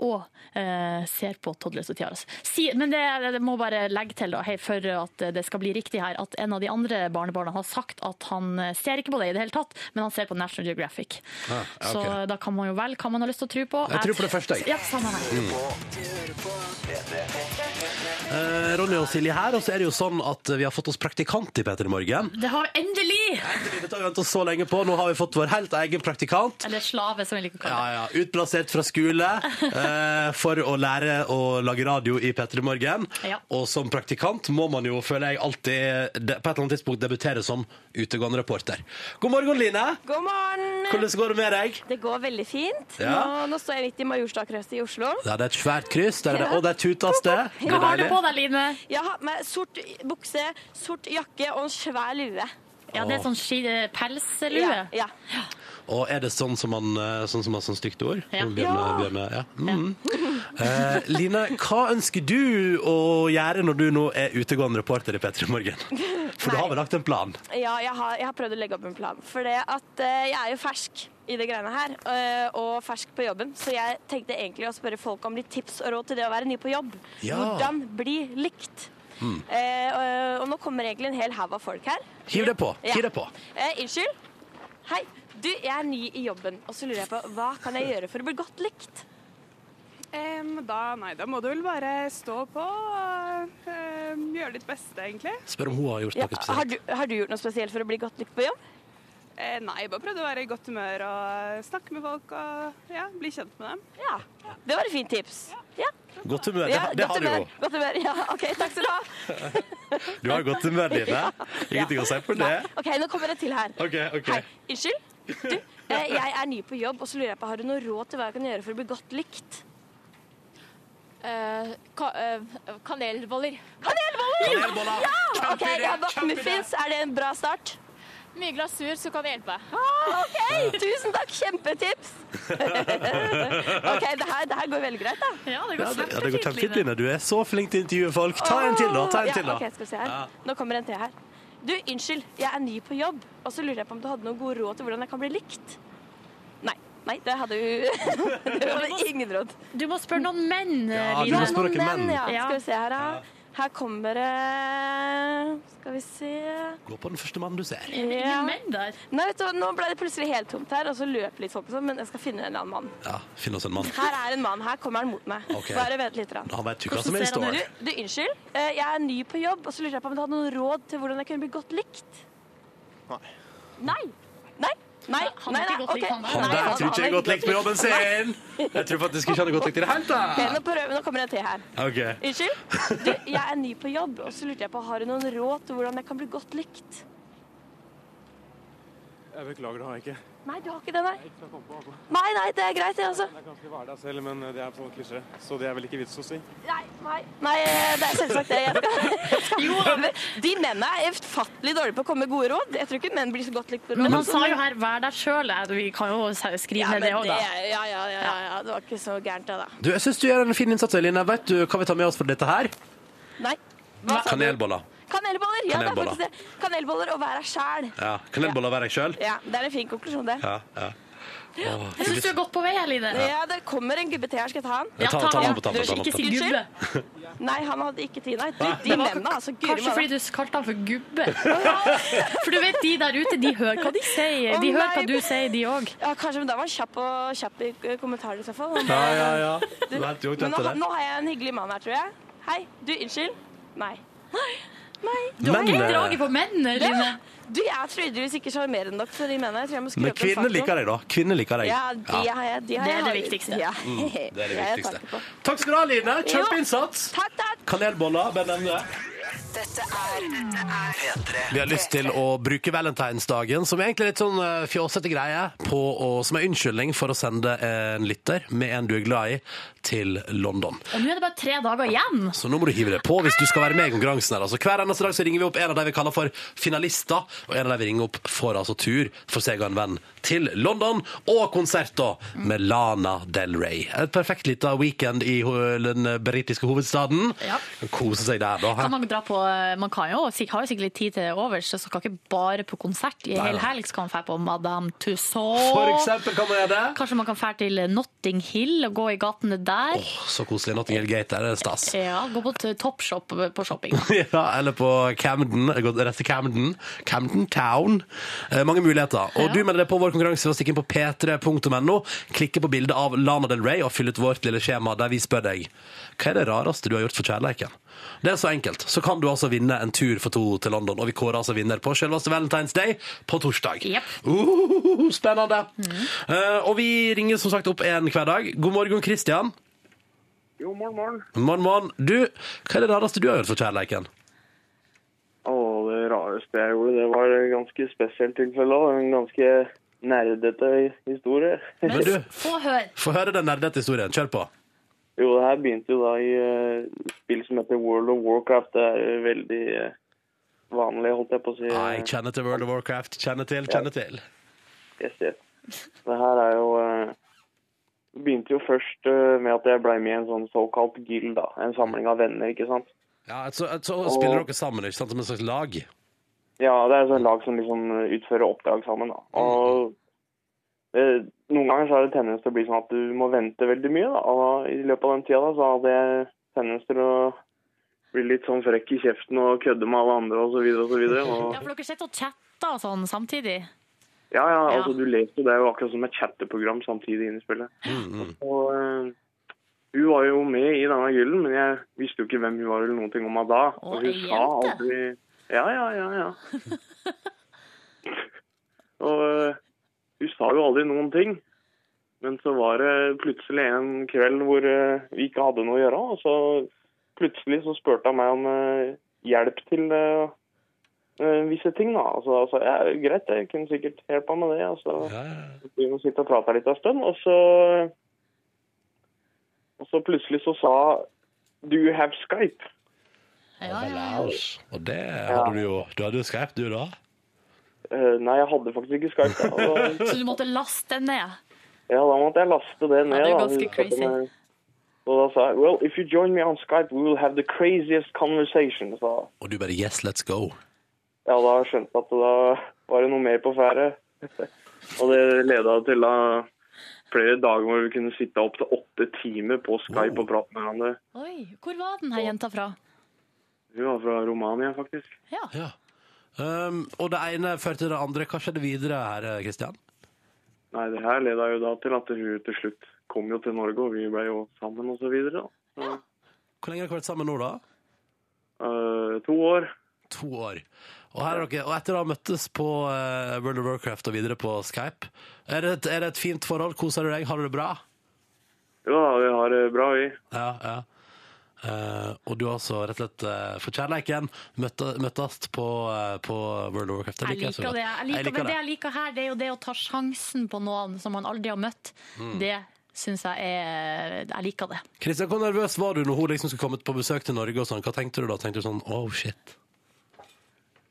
Speaker 4: og eh, ser på Toddlers og Tiaras. Si, men det, det må bare legge til, da, hei, for at det skal bli riktig her, at en av de andre barnebarna har sagt at han eh, ser ikke på det i det hele tatt, men han ser på National Geographic.
Speaker 2: Ah, ja, ok.
Speaker 4: Så da kan man jo velge hva man har lyst til å tro på.
Speaker 2: Jeg tror på det første, jeg. Mm.
Speaker 4: Ja, samme her.
Speaker 2: Eh, Ronny og Silje her, og så er det jo sånn at vi har fått oss praktikant i Peter i morgen.
Speaker 4: Det har vi endelig!
Speaker 2: Dette har vi ventet så lenge på. Nå har vi fått vår helt egen praktikant.
Speaker 4: Eller slave, som vi liker å kalle det.
Speaker 2: Ja, ja. Utplassert fra skole eh, for å lære å lage radio i P3 Morgen.
Speaker 4: Ja.
Speaker 2: Og som praktikant må man jo, føler jeg, alltid de, på et eller annet tidspunkt debutere som utegående reporter. God morgen, Line.
Speaker 11: God morgen!
Speaker 2: Hvordan går det med deg?
Speaker 11: Det går veldig fint.
Speaker 2: Ja.
Speaker 11: Nå, nå står jeg midt i Majorstadkrysset i Oslo.
Speaker 2: Ja, det er et svært kryss. Der er det, og det er tutas det. Det
Speaker 4: Hva
Speaker 2: er
Speaker 4: har du
Speaker 2: deilig.
Speaker 4: på deg, Line?
Speaker 11: Jeg har med sort bukse, sort jakke og en svær lue.
Speaker 4: Ja, det er sånn ski- eh, pelslue.
Speaker 11: Ja, ja.
Speaker 2: Og er det sånn som man eh, sånn som man sånn stygt ord?
Speaker 4: Ja.
Speaker 2: Som Bjørne, Bjørne, ja. Mm. Eh, Line, hva ønsker du å gjøre når du nå er utegående reporter i P3 Morgen? For du har vel lagt en plan?
Speaker 11: ja jeg, har, jeg har prøvd å legge opp en plan. For det at eh, jeg er jo fersk i det greiene her, eh, og fersk på jobben. Så jeg tenkte egentlig å spørre folk om litt tips og råd til det å være ny på jobb.
Speaker 2: Ja. Mm.
Speaker 11: Hvordan bli likt? Eh, og, og nå kommer egentlig en hel haug av folk her.
Speaker 2: Hiv det på!
Speaker 11: Ja.
Speaker 2: Hiv det på.
Speaker 11: Eh, unnskyld. Hei, du, jeg er ny i jobben, og så lurer jeg på hva kan jeg gjøre for å bli godt likt?
Speaker 8: da, nei, da må du vel bare stå på og gjøre ditt beste, egentlig.
Speaker 2: Spør om hun har gjort
Speaker 11: Ja,
Speaker 2: noe
Speaker 11: har,
Speaker 2: spesielt.
Speaker 11: du, har du gjort noe spesielt for å bli godt likt på jobb?
Speaker 8: Eh, nei, bare prøvde å være i godt humør og snakke med folk og ja, bli kjent med dem.
Speaker 11: Ja. Det var et fint tips. Ja,
Speaker 2: Godt humør. Det,
Speaker 11: ja,
Speaker 2: det har
Speaker 11: godt
Speaker 2: du jo.
Speaker 11: humør. Godt humør. Ja, OK, takk skal du ha.
Speaker 2: Du har godt humør, Line. Ingenting å si på det.
Speaker 11: Nei, OK, nå kommer det til her.
Speaker 2: OK, OK.
Speaker 11: Hei, unnskyld. Du, eh, jeg er ny på jobb, og så lurer jeg på har du noe råd til hva jeg kan gjøre for å bli godt likt?
Speaker 4: Eh,
Speaker 11: kanelboller. Kanelboller!
Speaker 2: Kanelboller!
Speaker 11: Ja! OK, ja, Muffins, er det en bra start?
Speaker 4: Mye glasur, så kan det hjelpe.
Speaker 11: OK, tusen takk. Kjempetips. OK, det her, det her går veldig greit, da.
Speaker 4: Ja, det går
Speaker 2: Ja, det, ja, det går
Speaker 4: kjempefint,
Speaker 2: kjempefint,
Speaker 4: Line.
Speaker 2: Line. Du er så flink til å intervjue folk. Ta en til, da. Ta en
Speaker 11: ja,
Speaker 2: til, da.
Speaker 11: ok, skal vi se her.
Speaker 2: Ja.
Speaker 11: Nå kommer en til her. Du, unnskyld, jeg er ny på jobb, og så lurer jeg på om du hadde noen gode råd til hvordan jeg kan bli likt? Nei. Nei, det hadde du Det var det ingen råd.
Speaker 4: Du må spørre noen menn, eh,
Speaker 2: Ja, du
Speaker 4: Line.
Speaker 2: må spørre- dere
Speaker 11: menn,
Speaker 2: menn.
Speaker 11: ja.
Speaker 4: Ja.
Speaker 11: Skal vi se her, da. Her kommer det Skal vi se
Speaker 2: Gå på den første mannen du ser.
Speaker 4: Er det
Speaker 11: Ja.
Speaker 4: Ingen menn der.
Speaker 11: Nei, vet du, hva, Nå ble det plutselig helt tomt her, og så løp litt folk og sånn, men jeg skal finne en eller annen mann.
Speaker 2: Ja, Finn oss en mann.
Speaker 11: Her er en mann. Her kommer han mot meg.
Speaker 2: Ok.
Speaker 11: Bare vent litt. grann.
Speaker 2: Han vet jo hva
Speaker 4: Hvordan
Speaker 2: som er i
Speaker 4: ser han
Speaker 2: står.
Speaker 11: Du, du, unnskyld. Eh, Jeg er ny på jobb, og så lurer jeg på om du hadde noen råd til hvordan jeg kunne bli godt likt? Nei. Nei? Nei?
Speaker 4: Han er ikke
Speaker 11: Nei, nei,
Speaker 4: godt likt,
Speaker 11: ok.
Speaker 4: han der.
Speaker 2: Han
Speaker 11: Nei,
Speaker 2: der tror ikke
Speaker 11: han
Speaker 2: jeg
Speaker 11: er
Speaker 2: er godt likt på jobben sin! Jeg tror faktisk ikke han er godt likt i det hele
Speaker 11: Ok,
Speaker 2: tatt.
Speaker 11: nå, prøver, nå kommer en til her.
Speaker 2: Ok.
Speaker 11: Unnskyld. Du, jeg er ny på jobb, og så lurte jeg på har du noen råd til hvordan jeg kan bli godt likt?
Speaker 8: Jeg beklager, det har jeg ikke.
Speaker 11: Nei, du har ikke det, nei? Nei, nei, det er greit, det, altså.
Speaker 8: Jeg kan ikke være deg selv, men det er sånn klisjé, så det er vel ikke vits å si.
Speaker 11: Nei, nei. Nei, eh, det er selvsagt det. Jeg skal. Men De mennene er ufattelig dårlige på å komme med gode råd. Jeg tror ikke menn blir så godt likt på råd.
Speaker 4: Men han sa jo her 'vær deg sjøl'. Vi kan jo skrive
Speaker 11: ja,
Speaker 4: ned
Speaker 11: men
Speaker 4: det òg, da.
Speaker 11: det- Ja, ja, ja, ja, ja. Det var ikke så gærent, det, da.
Speaker 2: Du, jeg syns du gjør en fin innsats, Eline. Vet du hva vi tar med oss for dette her?
Speaker 11: Nei. Hva sa du?
Speaker 2: Kanelboller.
Speaker 11: Kanelboller! Ja, det er
Speaker 2: Kanelboller.
Speaker 11: faktisk det. Kanelboller og vær deg sjæl.
Speaker 2: Ja, Kanelboller hver jeg sjøl.
Speaker 11: Ja, det er en fin konklusjon, det.
Speaker 2: Ja, ja. Åh,
Speaker 4: Jeg syns du er godt på vei, her, Line.
Speaker 11: Ja, det kommer en gubbe til her. Skal jeg ta han?
Speaker 2: Ja, ta- ta
Speaker 4: den.
Speaker 2: han opp, ta han opp, ta han
Speaker 4: Ikke
Speaker 2: opp.
Speaker 4: si
Speaker 11: Unnskyld?
Speaker 4: gubbe.
Speaker 11: Nei, han hadde ikke tid. Nei, de, de mennene, altså. Guri
Speaker 4: Kanskje fordi
Speaker 11: malla.
Speaker 4: du kalte han for gubbe. For du vet, de der ute, de hører hva de sier. De
Speaker 11: Å,
Speaker 4: hører hva
Speaker 11: nei.
Speaker 4: du sier, de òg.
Speaker 11: Ja, kanskje, men da var han kjapp, og, kjapp i eh, kommentarer i så fall.
Speaker 2: Ja, ja, ja. Du vet jo ikke
Speaker 11: Men nå,
Speaker 2: etter det.
Speaker 11: nå har jeg en hyggelig mann her, tror jeg. Hei. Du, unnskyld. Nei.
Speaker 4: Du har
Speaker 2: Men,
Speaker 4: helt
Speaker 2: eh,
Speaker 4: draget på menn, Line.
Speaker 11: Du, jeg er tydeligvis ikke sjarmerende nok for de mennene. Jeg tror jeg må skru
Speaker 2: men
Speaker 11: opp den
Speaker 2: kvinner
Speaker 11: farten.
Speaker 2: liker deg, da. Kvinner liker deg.
Speaker 11: Ja, de har jeg. De har
Speaker 4: Det er
Speaker 11: jeg-
Speaker 4: det viktigste.
Speaker 11: Ja.
Speaker 2: Mm, Det er det
Speaker 11: jeg takker
Speaker 2: viktigste.
Speaker 11: på.
Speaker 2: Takk skal du ha, Line.
Speaker 11: Jo.
Speaker 2: Kjempeinnsats.
Speaker 11: Takk, takk.
Speaker 2: Kanelboller, bare nevn det. Vi har lyst til å bruke valentinsdagen, som egentlig er litt sånn eh, fjåsete greie, på å, som en unnskyldning for å sende en lytter med en du er glad i, til London.
Speaker 4: Og nå er det bare tre dager igjen.
Speaker 2: Så nå må du hive deg på hvis du skal være med i konkurransen. her. Altså, hver eneste dag så ringer vi opp en av de vi kaller for finalister, og en av de vi ringer opp får altså tur for seg og en venn til London, og konsert da med Lana Del Rey. Et perfekt liten weekend i ho- den britiske hovedstaden.
Speaker 4: Ja.
Speaker 2: Kose seg der, da. hæ?
Speaker 4: Kan man dra på
Speaker 12: eh, man kan jo, sik- har jo sikkert litt tid til det overs, så skal ikke bare på konsert. I
Speaker 2: Nei,
Speaker 12: hele
Speaker 2: nei.
Speaker 12: helg skal man dra på Madame Tussauds.
Speaker 2: For eksempel kan man gjøre det.
Speaker 12: Kanskje man kan dra til Notting Hill og gå i gatene der.
Speaker 2: Så koselig. Notting Hill Gate, der er det stas.
Speaker 12: Ja, gå på t- Topshop eh, på shopping.
Speaker 2: Ja, eller på Camden. Jeg går Rett til Camden. Camden Town. Eh, mange muligheter. Og du melder deg på vår konkurranse ved å stikke inn på p3.no, klikke på bildet av Lana Del Rey og fylle ut vårt lille skjema der vi spør deg hva er det rareste du har gjort for kjærleiken. Det er så enkelt. Så kan du altså vinne en tur for to til London, og vi kårer altså vinner på selveste Valentine's Day på torsdag. Uh, spennende. Eh, og vi ringer som sagt opp en hver dag. God morgen, Christian.
Speaker 8: Jo, morgen, morgen.
Speaker 2: Morgen, morgen. Du, hva er det rareste du har gjort for kjærleiken?
Speaker 8: Og det rareste jeg gjorde, det var et ganske spesielt tilfelle òg. En ganske nerdete historie.
Speaker 2: Men du,
Speaker 12: Få høre.
Speaker 2: Få høre den nerdete historien. Kjør på.
Speaker 8: Jo, det her begynte jo da i eh, spill som heter World of Warcraft. Det er jo veldig eh, vanlig, holdt jeg på å si.
Speaker 2: Ah, Jeg kjenner til World of Warcraft. Kjenner til, kjenner til.
Speaker 8: Yes, yes. Det her er jo eh, Det begynte jo først eh, med at jeg ble med i en sånn såkalt guild, da. En samling av venner, ikke sant.
Speaker 2: Ja, så, så
Speaker 8: Og-
Speaker 2: spiller dere sammen, ikke sant? Som en slags lag.
Speaker 8: Ja, det er et sånt lag som liksom utfører oppdrag sammen. Da. Og eh, Noen ganger så er det tendens til å bli sånn at du må vente veldig mye. Da. Og I løpet av den tida da, så hadde jeg tendens til å bli litt sånn frekk i kjeften og kødde med alle andre osv. Og, så videre, og,
Speaker 12: Ja, for dere sitter og chatter og sånn samtidig.
Speaker 8: ja, ja, altså du leser jo, det er jo akkurat som et chatteprogram samtidig inne i spillet.
Speaker 2: Mm,
Speaker 8: Og eh, hun var jo med i denne gyllen, men jeg visste jo ikke hvem hun var eller noen ting om meg da. Og hun
Speaker 11: ei
Speaker 8: sa
Speaker 11: jente.
Speaker 8: aldri Ja, ja, ja, ja. og eh, hun sa jo aldri noen ting. Men så var det plutselig en kveld hvor eh, vi ikke hadde noe å gjøre, og så plutselig så spurte hun meg om eh, hjelp til eh, eh, visse ting, da. Altså, altså, ja, greit, jeg kunne sikkert hjelpe med det. Altså. Så vi må sitte og prate litt en stund, og så, og så plutselig så sa Do you have Skype?
Speaker 2: Og det hadde du jo. Du hadde jo Skype, du da?
Speaker 8: Eh, nei, jeg hadde faktisk ikke Skype. Da. Og,
Speaker 12: Så du måtte laste den ned.
Speaker 8: ja, da måtte jeg laste det ned.
Speaker 12: Ja, det er
Speaker 8: da.
Speaker 12: ganske crazy.
Speaker 8: Og da sa jeg Well, if you join me on Skype, we will have the craziest conversation. Sa. jeg.
Speaker 2: Og du bare yes, let's go.
Speaker 8: Ja, da skjønte jeg at da var det noe mer på ferde. og det leda til da flere dager hvor vi kunne sitte opptil åtte timer på Skype og prate med hverandre.
Speaker 12: Oi, hvor var den her jenta fra?
Speaker 8: Hun var fra Romania, faktisk.
Speaker 12: Ja.
Speaker 2: Um, og det ene førte til det andre. Hva skjedde videre her, eh, Kristian?
Speaker 8: Nei, det her leda jo da til at hun til slutt kom jo til Norge, og vi ble jo sammen og så videre. Da. Så,
Speaker 2: Hvor lenge har dere vært sammen nå, da?
Speaker 8: eh, to år.
Speaker 2: To år. Og, her er dere, og etter å ha møttes på eh, World of Warcraft og videre på Skype, er det et, er det et fint forhold? Koser du deg? Har du det bra?
Speaker 8: Jo da, vi har det bra, vi.
Speaker 2: Ja, ja. Eh, og du har altså rett og slett eh, for kjærleiken møtte- møttes på, eh, på World of Warcraft.
Speaker 12: Jeg
Speaker 2: så
Speaker 12: liker
Speaker 2: godt.
Speaker 12: det. Jeg liker,
Speaker 2: Jeg liker
Speaker 12: men det jeg liker her, det er jo det å ta sjansen på noen som man aldri har møtt.
Speaker 2: Mm.
Speaker 12: Det syns jeg er Jeg liker det.
Speaker 2: Kristian, hvor nervøs var du når hun liksom skulle komme på besøk til Norge? og sånn? Hva tenkte du da? Tenkte du sånn oh shit?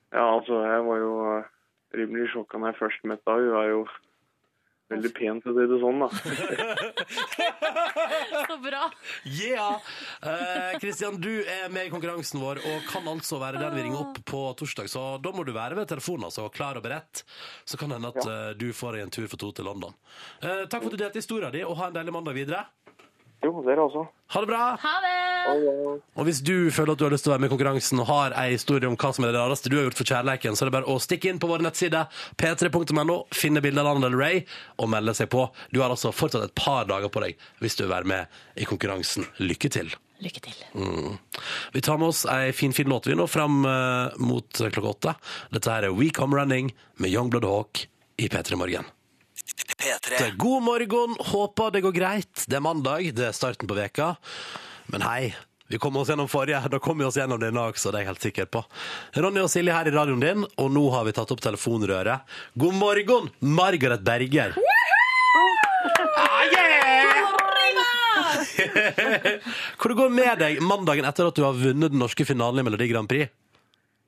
Speaker 8: Ja, altså, jeg var jo eh, rimelig sjokka når jeg først møtte henne. Hun var jo veldig pen, for å si det sånn, da.
Speaker 12: Så bra.
Speaker 2: Yeah! Eh, Kristian, du er med i konkurransen vår og kan altså være den vi ringer opp på torsdag. Så da må du være ved telefonen altså, og klar og beredt. Så kan det hende at eh, du får deg en tur for to til London. Eh, takk for at du delte historien din, og ha en deilig mandag videre.
Speaker 8: Jo, dere også.
Speaker 2: Ha det bra!
Speaker 12: Ha det!
Speaker 2: Og hvis du føler at du har lyst til å være med i konkurransen og har ei historie om hva som er det rareste du har gjort for kjærleiken, så er det bare å stikke inn på våre nettsider p3.no, finne bilde av Lana Del Rey og melde seg på. Du har altså fortsatt et par dager på deg hvis du vil være med i konkurransen. Lykke til.
Speaker 12: Lykke til.
Speaker 2: Mm. Vi tar med oss ei fin, fin låt vi nå fram eh, mot klokka åtte. Dette her er We Come Running med Youngblood Hawk i P3 Morgen. P3. God morgen, håper det går greit. Det er mandag, det er starten på veka. Men hei, vi kom oss gjennom forrige, da kom vi oss gjennom denne også, det er jeg helt sikker på. Ronny og Silje her i radioen din, og nå har vi tatt opp telefonrøret. God morgen, Margaret Berger. Hvor det går med deg mandagen etter at du har vunnet den norske finalen i Melodi Grand Prix?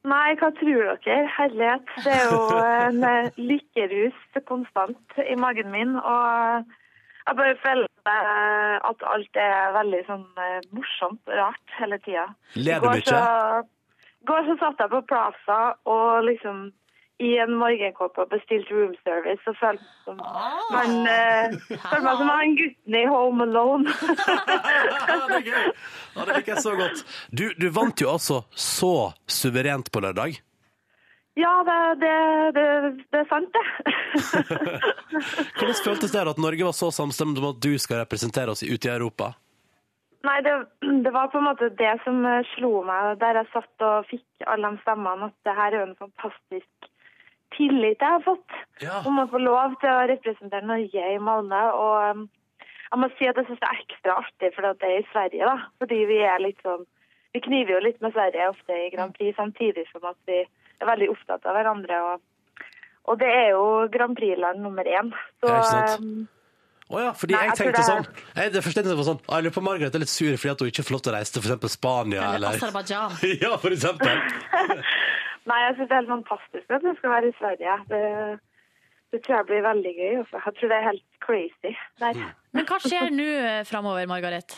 Speaker 13: Nei, hva tror dere? Herlighet. Det er jo en eh, lykkerus konstant i magen min. Og jeg bare føler eh, at alt er veldig sånn eh, morsomt og rart hele tida.
Speaker 2: Ler du mye?
Speaker 13: går så satt jeg på Plaza og liksom i en morgenkåpe og bestilte room service og følte meg som, man, eh, følte meg som han gutten i Home Alone.
Speaker 2: Ja, det liker jeg så godt. Du, du vant jo altså så suverent på lørdag.
Speaker 13: ja, det, det, det, det er sant, det.
Speaker 2: Hvordan føltes det da at Norge var så samstemt om at du skal representere oss ute i Europa?
Speaker 13: Nei, det, det var på en måte det som eh, slo meg der jeg satt og fikk alle de stemmene, at det her er jo en fantastisk tillit jeg har fått. Om å få lov til å representere Norge i Malmö. Og em, jeg må si at jeg syns det er ekstra artig fordi at det er i Sverige, da. Fordi vi er litt sånn Vi kniver jo litt med Sverige ofte i Grand Prix, samtidig som at vi er veldig opptatt av hverandre. Og, og det er jo Grand Prix-land nummer én. Så
Speaker 2: Ja, ikke sant?
Speaker 13: em,
Speaker 2: Å ja, fordi
Speaker 13: ehm, Nei,
Speaker 2: jeg
Speaker 13: jeg tror
Speaker 2: tenkte sånn
Speaker 13: det
Speaker 2: jeg, Det første jeg tenkte var sånn «Å, Jeg lurer på om Margaret er litt sur fordi at hun ikke får lov til å reise til for eksempel Spania
Speaker 12: Eller
Speaker 2: eller,
Speaker 12: Aserbajdsjan.
Speaker 2: Ja, for eksempel.
Speaker 13: Nei, jeg synes det er helt fantastisk at det skal være i Sverige. Det, det tror jeg blir veldig gøy. altså. Jeg tror det er helt crazy. Nei,
Speaker 12: Men hva skjer nå eh, framover, Margaret?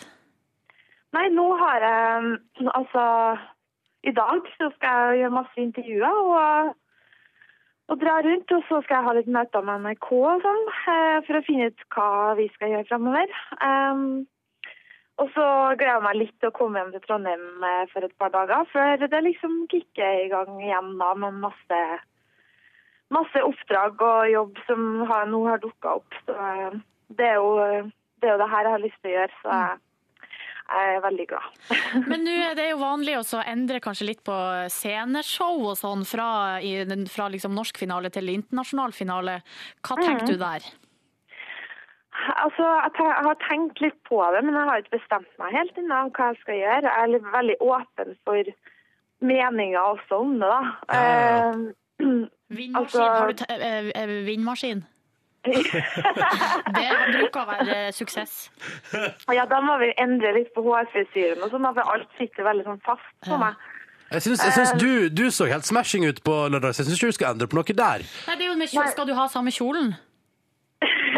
Speaker 13: Nei nå har jeg mm, Altså, i dag så skal jeg gjøre masse intervjuer og, og dra rundt. Og så skal jeg ha litt møter med NRK og sånn, eh, for å finne ut hva vi skal gjøre framover. og så gleder jeg meg litt til å komme hjem til Trondheim eh, for et par dager, før det liksom kicker i gang igjen da med masse masse oppdrag og jobb som har, nå har dukka opp. Så eh, det er, jo, eh, det er jo det her jeg har lyst til å gjøre, så jeg, jeg er veldig glad.
Speaker 12: Men nå er det jo vanlig å så endre kanskje litt på sceneshow og sånn, fra, i, den- fra liksom norsk finale til internasjonal finale. Hva tenker
Speaker 13: Mhm.
Speaker 12: du der?
Speaker 13: Altså, jeg, te- jeg har tenkt litt på det, men jeg har ikke bestemt meg helt ennå om hva jeg skal gjøre. Jeg er litt, veldig åpen for meninger også om det, da. Eh,
Speaker 12: Vindmaskin,
Speaker 13: altså-
Speaker 12: har du te- eh, eh, vindmaskin? det bruker å være eh, suksess.
Speaker 13: ja, da må vi endre litt på hårfrisyren og sånn, da, for alt sitter veldig sånn fast på meg.
Speaker 2: Jeg syns, jeg
Speaker 13: Ehm.
Speaker 2: syns du, du så helt smashing ut på lørdag, så jeg syns ikke du skal endre på noe der.
Speaker 12: Nei, det er jo med kjole. Skal du ha samme kjolen?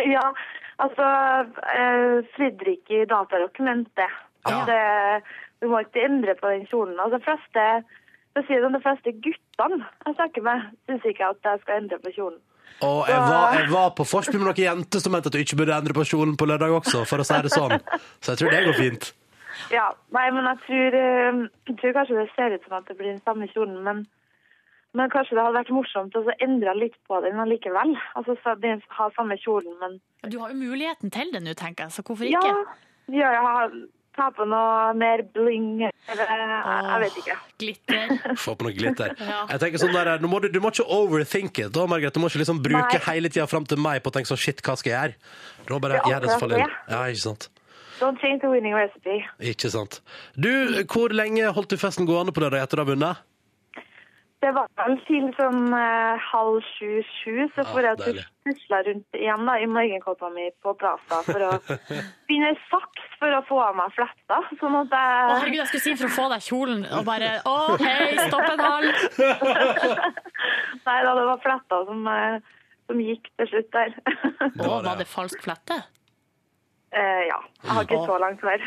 Speaker 13: ja, altså eh, Fredrik i datadokumentet. At, eh, du må ikke endre på den kjolen. Altså, de fleste, for å si det sånn, de fleste guttene jeg snakker med, syns ikke at jeg skal endre på kjolen.
Speaker 2: Og jeg var, jeg var på forspill med noen jenter som mente at du ikke burde endre på kjolen på lørdag også, for å si det sånn. Så jeg tror det går fint.
Speaker 13: Ja, nei, men jeg tror, eh, jeg tror kanskje det ser ut som at det blir den samme kjolen, men, men kanskje det hadde vært morsomt å så endre litt på den allikevel. Altså så de har samme kjolen, men
Speaker 12: Du har jo muligheten til det nå, tenker jeg, så hvorfor
Speaker 13: ja,
Speaker 12: ikke?
Speaker 13: ja, jeg har, ta på noe mer bling, eller jeg, jeg vet ikke.
Speaker 12: Glitter.
Speaker 2: Få på noe glitter.
Speaker 13: Ja.
Speaker 2: Jeg tenker sånn der, nå må du, du må ikke overthink it, da, Margaret. Du må ikke liksom bruke
Speaker 13: Nei.
Speaker 2: hele tida fram til meg på å tenke sånn shit, hva skal jeg gjøre? Da bare
Speaker 13: Det er
Speaker 2: gjør det
Speaker 13: akkurat
Speaker 2: selvfølgelig.
Speaker 13: det.
Speaker 2: Ja, ikke sant.
Speaker 13: Don't change the winning recipe.
Speaker 2: Ikke sant. Du, hvor lenge holdt du festen gående på lørdag etter å ha vunnet?
Speaker 13: Det var vel til sånn eh, halv sju-sju, så
Speaker 2: Ja,
Speaker 13: får jeg
Speaker 2: deilig.
Speaker 13: tusla rundt igjen da, i morgenkåpa mi på Plaza for å finne en saks for å få av meg fletta. Sånn at
Speaker 12: Å,
Speaker 13: jeg
Speaker 12: herregud, jeg skulle si for å få deg kjolen, og bare Å, hei, stopp en hal!
Speaker 13: Nei da, det var fletta som, eh, som gikk til slutt der.
Speaker 12: Å, var det falsk flette?
Speaker 13: Eh, ja. Jeg har ikke så langt vær.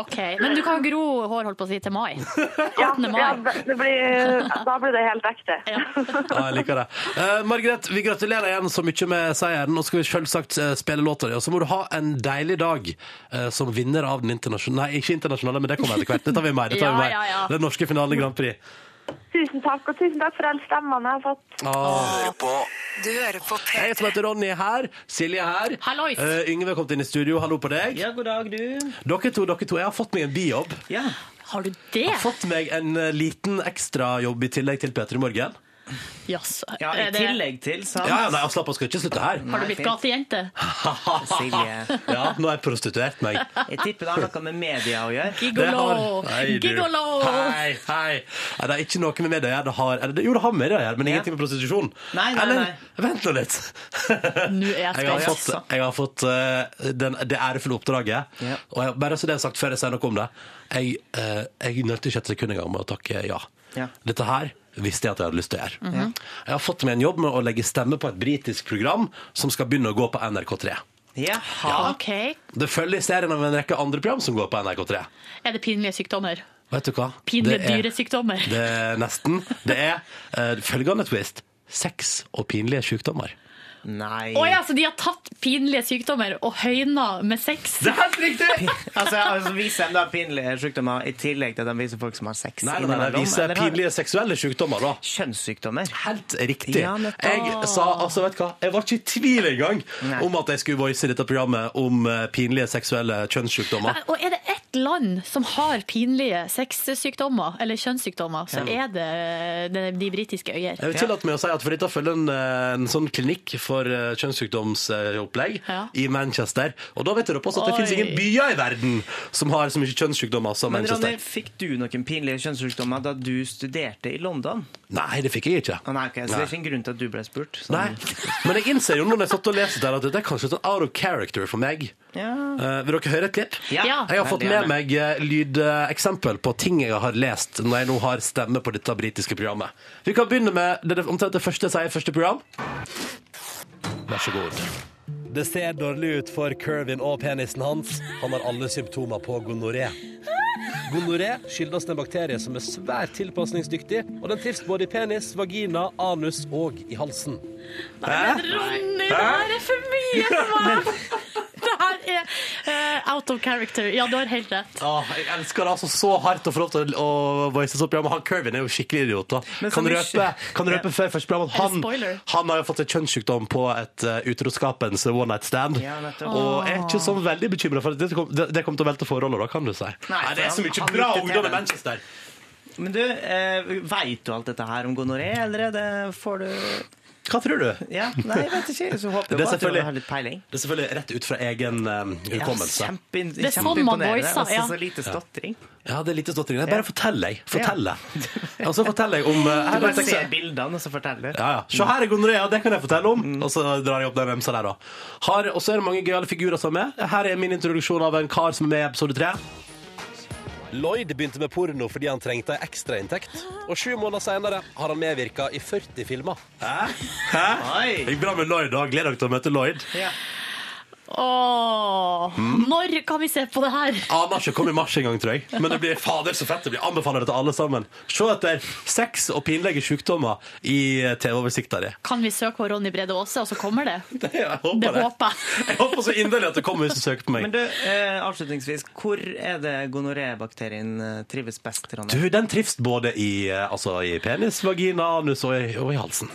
Speaker 12: OK. Men du kan gro hår, holdt på å si, til mai. 18. mai.
Speaker 13: Ja, det blir, da blir det helt ekte.
Speaker 2: Ja, jeg liker det. Eh, Margaret, vi gratulerer igjen så mye med seieren. Og skal vi selvsagt eh, spille låta di. Og så må du ha en deilig dag eh, som vinner av den internasjonale Nei, ikke internasjonale, men det kommer etter hvert. Det tar vi med. Det, tar
Speaker 13: Ja,
Speaker 2: vi med.
Speaker 13: ja, ja.
Speaker 2: den norske finalen i Grand Prix.
Speaker 13: Tusen takk, og tusen takk for alle stemmene jeg har fått.
Speaker 2: Åh.
Speaker 1: Du hører på P3.
Speaker 2: Jeg som heter Ronny er her. Silje er her.
Speaker 1: Hallois.
Speaker 2: Eh, Yngve er kommet inn i studio. Hallo på deg.
Speaker 3: Ja, god dag, du.
Speaker 2: Dere to, dere to, jeg har fått meg en bijobb.
Speaker 12: Har du
Speaker 2: Jeg
Speaker 12: det?
Speaker 2: har fått meg en eh, liten ekstrajobb i tillegg til P3 Morgen.
Speaker 3: Ja, I
Speaker 12: Er det-
Speaker 3: tillegg til, sant?
Speaker 2: Ja, ja, nei, slapp av, skal ikke slutte her.
Speaker 12: Har du blitt gatejente?
Speaker 3: Silje.
Speaker 2: Ja, nå har jeg prostituert meg.
Speaker 3: Jeg tipper det har noe med media å gjøre.
Speaker 2: Det har- Nei, du.
Speaker 12: Gigolo.
Speaker 2: Hei, hei. Nei, det er ikke noe med media å gjøre. Det har- eller det- Jo, det har med media å gjøre, men ingenting med prostitusjon.
Speaker 3: Nei, nei,
Speaker 2: Eller-
Speaker 3: nei.
Speaker 2: Vent nå litt.
Speaker 12: Nå er jeg
Speaker 2: Jeg har
Speaker 12: spent.
Speaker 2: fått, jeg har fått eh, den, det ærefulle oppdraget. Og jeg, bare så det er sagt før jeg sier noe om det, jeg, uh, jeg nølte ikke et sekund engang med å takke ja.
Speaker 3: Ja.
Speaker 2: Dette her visste jeg at jeg hadde lyst til å gjøre.
Speaker 3: Mhm.
Speaker 2: Jeg har fått meg en jobb med å legge stemme på et britisk program som skal begynne å gå på NRK3.
Speaker 3: Jaha.
Speaker 12: OK.
Speaker 2: Det følger serien av en rekke andre program som går på NRK3.
Speaker 12: Er det pinlige sykdommer?
Speaker 2: Vet du hva?
Speaker 4: Pinlige
Speaker 2: Det er-
Speaker 4: dyresykdommer.
Speaker 2: Det er nesten. Det er eh, følgende twist. Sex og pinlige sykdommer.
Speaker 3: Nei.
Speaker 4: Å ja, så de har tatt pinlige sykdommer og høyna med sex?
Speaker 3: Det er helt riktig! altså, altså, viser de da pinlige sykdommer i tillegg til at de viser folk som har sex?
Speaker 2: Nei, nei, nei, nei,
Speaker 3: innimellom,
Speaker 2: viser
Speaker 3: eller har-
Speaker 2: pinlige seksuelle sykdommer, da.
Speaker 3: Kjønnssykdommer.
Speaker 2: Helt riktig.
Speaker 3: Ja, nettopp.
Speaker 2: jeg sa, altså, vet du hva, jeg var ikke i tvil engang om at jeg skulle voice dette programmet om eh, pinlige seksuelle kjønnssykdommer.
Speaker 4: Eh, Og er det ett land som har pinlige sexsykdommer, eller kjønnssykdommer, så
Speaker 2: Ja.
Speaker 4: er det de, de britiske øyer.
Speaker 2: Jeg vil tillate meg å si at for dette følger en, eh, en sånn klinikk for eh, kjønnssykdomsopplegg
Speaker 4: Ja.
Speaker 2: i Manchester. Og da vet dere også at det
Speaker 3: Oi.
Speaker 2: finnes ingen byer i verden som har så mye kjønnssykdommer som
Speaker 3: Men Ronny,
Speaker 2: Manchester.
Speaker 3: fikk du noen pinlige kjønnssykdommer da du studerte i London?
Speaker 2: Nei, det fikk jeg ikke.
Speaker 3: Å, nei, ok, så
Speaker 2: Nei.
Speaker 3: det er ikke en grunn til at du ble spurt? sånn.
Speaker 2: Nei, men jeg innser jo når jeg satt og leste der at dette er kanskje sånn out of character for meg.
Speaker 3: Ja.
Speaker 2: Eh, vil dere høre et klipp?
Speaker 3: Ja. Ja.
Speaker 2: Jeg har fått
Speaker 3: Veldig
Speaker 2: med
Speaker 3: gjerne.
Speaker 2: meg eh, lydeksempel på ting jeg har lest når jeg nå har stemme på dette britiske programmet. Vi kan begynne med det, det- omtrent det første jeg sier i første program. Vær så god. Det ser dårlig ut for Kervin og penisen hans. Han har alle symptomer på gonoré. Gonoré skyldes en bakterie som er svært tilpasningsdyktig, og den trives både i penis, vagina, anus og i halsen.
Speaker 4: Ronny, det her er for mye for meg! Det her er eh, out of character. Ja, du har helt rett.
Speaker 2: Ja, jeg elsker det altså så hardt å få lov til å å voices opp. Ja, men han Kervin er jo skikkelig idiot. da
Speaker 14: Men
Speaker 2: Kan
Speaker 14: så mye-
Speaker 2: røpe, kan røpe før første program at
Speaker 14: Er det
Speaker 2: han,
Speaker 14: spoiler?
Speaker 2: han har jo fått en kjønnssykdom på et uh, utroskapens one night stand.
Speaker 3: Ja, nettopp.
Speaker 2: og er ikke sånn veldig bekymra for at det kom- det. Det kommer til å velte forholdet, da, kan du si. Nei,
Speaker 3: for
Speaker 2: det er så
Speaker 3: han-
Speaker 2: mye
Speaker 3: han
Speaker 2: bra
Speaker 3: likte
Speaker 2: ungdom i
Speaker 3: TV-en.
Speaker 2: Manchester.
Speaker 3: Men du, eh, veit du alt dette her om gonoré, eller er det får du
Speaker 2: Hva tror du?
Speaker 3: Ja, nei, jeg vet ikke. Så håper jeg
Speaker 2: Det er
Speaker 3: bare at du
Speaker 2: selvfølgelig-
Speaker 3: har litt peiling.
Speaker 2: Det er selvfølgelig rett ut fra egen um, hukommelse.
Speaker 3: kjempe-
Speaker 4: Det er sånn man
Speaker 3: kjempeimponerende,
Speaker 4: voicer,
Speaker 3: altså,
Speaker 4: ja.
Speaker 3: Så lite stottring.
Speaker 2: Ja, det er lite stottring. Nei, Bare fortell, jeg. Fortell. jeg. Og så forteller jeg om uh,
Speaker 3: Du
Speaker 2: her er et
Speaker 3: bare
Speaker 2: eksempel.
Speaker 3: ser bildene, og så forteller
Speaker 2: Ja, Mm. ja. Se her er gonoré, ja, det kan jeg fortelle om. Og så drar jeg opp den remsa der, da. Har, og så er det mange gøyale figurer som er med. Her er min introduksjon av en kar som er med i episode tre. Lloyd begynte med porno fordi han trengte ei ekstrainntekt. Og sju måneder seinere har han medvirka i 40 filmer. Hæ? Hæ? Det gikk bra med Lloyd òg. Gleder dere til å møte Lloyd.
Speaker 4: Åh,
Speaker 2: Mm.
Speaker 4: når kan vi se på det her?
Speaker 2: Aner ikke. Kom i mars en gang, tror jeg. Men det blir fader så fett. Det blir anbefaler det til alle sammen. Se etter sex og pinlige sykdommer i TV-oversikta di.
Speaker 4: Kan vi søke på Ronny Brede Aase, og så kommer det?
Speaker 2: Det, jeg håper
Speaker 4: det
Speaker 2: det.
Speaker 4: håper jeg.
Speaker 2: Jeg håper så inderlig at det kommer hvis du søker på meg.
Speaker 3: Men du, eh, avslutningsvis, hvor er det gonoré-bakterien eh, trives best? Ronny?
Speaker 2: Du, den trives både i, eh, altså, i penis, vagina, anus og i, og i halsen.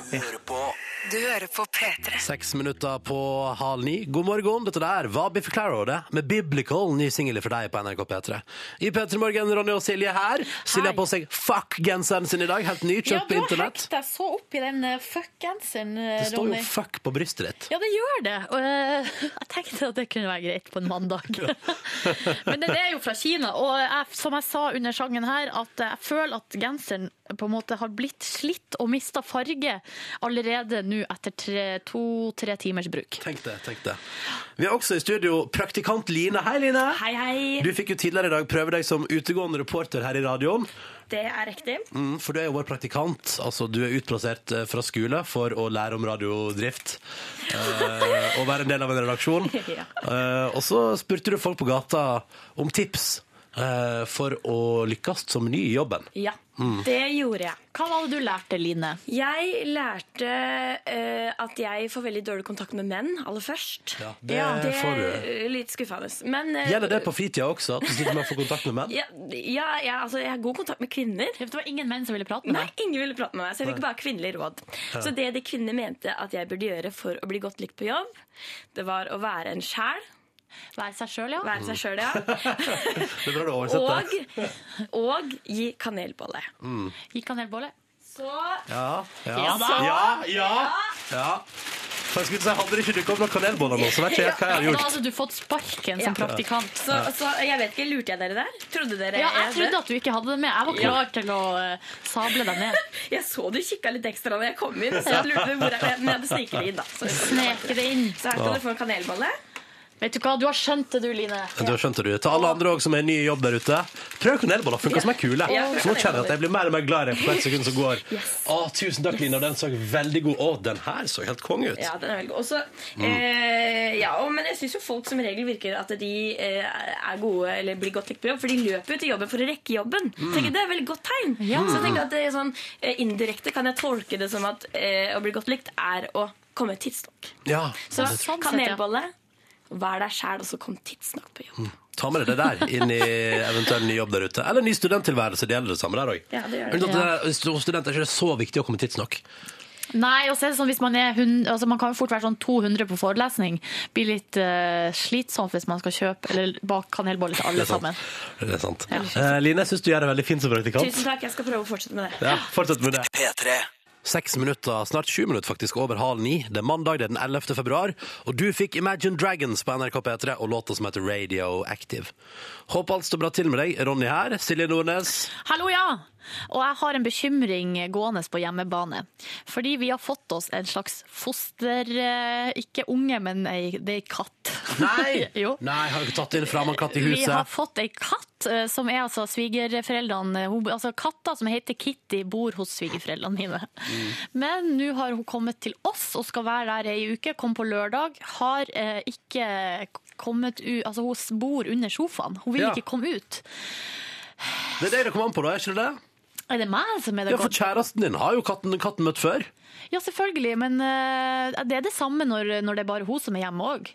Speaker 1: Du hører på P3.
Speaker 2: Seks minutter på halv ni. God morgen, dette der var Biffy Claro, det. Med Biblical, ny singel for deg på NRK P3. I P3 Morgen, Ronny og Silje her. Silje har på seg fuck-genseren sin i dag, helt ny,
Speaker 4: Ja,
Speaker 2: kjøpt
Speaker 4: du
Speaker 2: på
Speaker 4: har
Speaker 2: internett.
Speaker 4: hekt deg så opp i den eh, fuck-genseren, eh,
Speaker 2: Det står
Speaker 4: Ronny.
Speaker 2: jo fuck på brystet ditt.
Speaker 4: Ja, det gjør det. Og eh, jeg tenkte at det kunne være greit på en mandag. Men den er jo fra Kina, og jeg, som jeg sa under sangen her, at jeg føler at genseren på en måte har blitt slitt og mista farge allerede nå etter to-tre timers bruk.
Speaker 2: Tenk det, tenk det. Vi har også i studio praktikant Line. Hei, Line.
Speaker 11: Hei, hei.
Speaker 2: Du fikk jo tidligere i dag prøve deg som utegående reporter her i radioen.
Speaker 11: Det er riktig.
Speaker 2: Mm, for du er jo vår praktikant. Altså, du er utplassert eh, fra skole for å lære om radiodrift. eh, og være en del av en redaksjon.
Speaker 11: Ja.
Speaker 2: Eh, og så spurte du folk på gata om tips eh, for å lykkes som ny i jobben.
Speaker 11: Ja,
Speaker 2: Mm.
Speaker 11: det gjorde jeg.
Speaker 4: Hva var det du lærte, Line?
Speaker 11: Jeg lærte eh, at jeg får veldig dårlig kontakt med menn aller først.
Speaker 2: Ja, det får du.
Speaker 11: er litt skuffende. Men eh,
Speaker 2: Gjelder det på fritida også, at du sliter med å få kontakt med menn?
Speaker 11: Ja, ja, jeg- altså, jeg har god kontakt med kvinner.
Speaker 4: Det var ingen menn som ville prate
Speaker 11: med deg? Nei, ingen ville prate med meg, så jeg fikk
Speaker 2: Nei.
Speaker 11: bare kvinnelige råd.
Speaker 2: Ja.
Speaker 11: Så det de kvinnene mente at jeg burde gjøre for å bli godt likt på jobb, det var å være en sjæl.
Speaker 4: Være seg sjøl, ja.
Speaker 11: Være seg
Speaker 2: Mm.
Speaker 11: selv, ja.
Speaker 2: Det er bra du oversetter.
Speaker 11: Og, og gi kanelbolle.
Speaker 2: Mm.
Speaker 4: Gi kanelbolle.
Speaker 11: Så
Speaker 2: Ja, ja.
Speaker 11: Ja da.
Speaker 2: ja, ja, ja. For jeg skulle si, Hadde det ikke dukket opp noen kanelboller nå, så vet ikke jeg hva jeg hadde
Speaker 4: Ja,
Speaker 2: gjort.
Speaker 4: Da hadde du fått sparken
Speaker 11: Ja.
Speaker 4: som praktikant.
Speaker 11: Så, så jeg vet ikke, lurte jeg dere der? Trodde dere
Speaker 4: Ja, jeg
Speaker 11: hadde-
Speaker 4: trodde at du ikke hadde det med. Jeg var klar til å eh, sable deg ned.
Speaker 11: Jeg så du kikka litt ekstra da jeg kom inn, så jeg lurte på hvor jeg, men jeg hadde sniket det inn. da Så,
Speaker 4: Sneke det inn.
Speaker 11: så her skal dere få en kanelbolle.
Speaker 15: Vet du hva, du har skjønt det du, Line.
Speaker 2: Du har skjønt det, du. Til alle andre også som er nye i jobb der ute, prøv kanelboller. Funker som ei kule.
Speaker 15: Ja,
Speaker 2: Så nå kjenner jeg at jeg blir mer og mer glad i det for hvert sekund som går. Å, tusen takk, Lina. Den så veldig god Å, den her så helt konge ut.
Speaker 11: Ja, den er veldig god. Også,
Speaker 2: Mm.
Speaker 11: eh, ja, og, men jeg syns jo folk som regel virker at de eh, er gode eller blir godt likt på jobb, for de løper jo til jobben for å rekke jobben.
Speaker 15: Mm.
Speaker 11: Tenker, jeg, det er et veldig godt tegn.
Speaker 15: Ja.
Speaker 11: Så jeg tenker at det er sånn, eh, indirekte kan jeg tolke det som at eh, å bli godt likt er å komme tidsnok.
Speaker 2: Ja.
Speaker 11: Så
Speaker 2: Sånn sett, ja.
Speaker 11: kanelbolle, vær deg sjæl, og så kom tidsnok på jobb.
Speaker 2: Ta med deg det der inn i eventuell ny jobb der ute. Eller ny studenttilværelse. Det gjelder det samme der òg.
Speaker 15: Ja, det gjør det.
Speaker 2: eh, Som student er det ikke så viktig å komme tidsnok.
Speaker 4: Nei, og så er det sånn hvis man er hun- altså Man kan jo fort være sånn 200 på forelesning. Blir litt eh, slitsomt hvis man skal kjøpe eller bake kanelboller til alle
Speaker 2: Det er sant.
Speaker 4: sammen.
Speaker 2: Det er sant. Eh, Line, jeg syns du gjør det veldig fint som praktikant.
Speaker 11: Tusen takk, jeg skal prøve å fortsette med det.
Speaker 2: Ja, fortsett med det. Seks minutter, snart sju minutter faktisk, over halv ni. Det er mandag, det er den 11. februar, og du fikk Imagine Dragons på NRK P3 og låta som heter Radio Active. Håper alt står bra til med deg. Ronny her, Silje Nordnes.
Speaker 4: Hallo, ja! Og jeg har en bekymring gående på hjemmebane. Fordi vi har fått oss en slags foster... eh, Ikke unge, men ei, det er ei katt.
Speaker 2: Nei! Nei, har du ikke tatt inn framandkatt i
Speaker 4: Vi har
Speaker 2: huset?
Speaker 4: fått ei katt eh, som er altså svigerforeldrene hun- Altså katta som heter Kitty, bor hos svigerforeldrene mine.
Speaker 2: Mm.
Speaker 4: Men nå har hun kommet til oss og skal være der ei uke. Kom på lørdag. Har eh, ikke kommet ut Altså, hun s- bor under sofaen. Hun vil
Speaker 2: Ja.
Speaker 4: ikke komme ut.
Speaker 2: Det er deg det kom an på, da, er ikke det det?
Speaker 4: Er det meg som er det
Speaker 2: Ja, for kjæresten din har jo katten, katten møtt før.
Speaker 4: Ja, selvfølgelig, men eh, det er det samme når, når det er bare hun som er hjemme òg.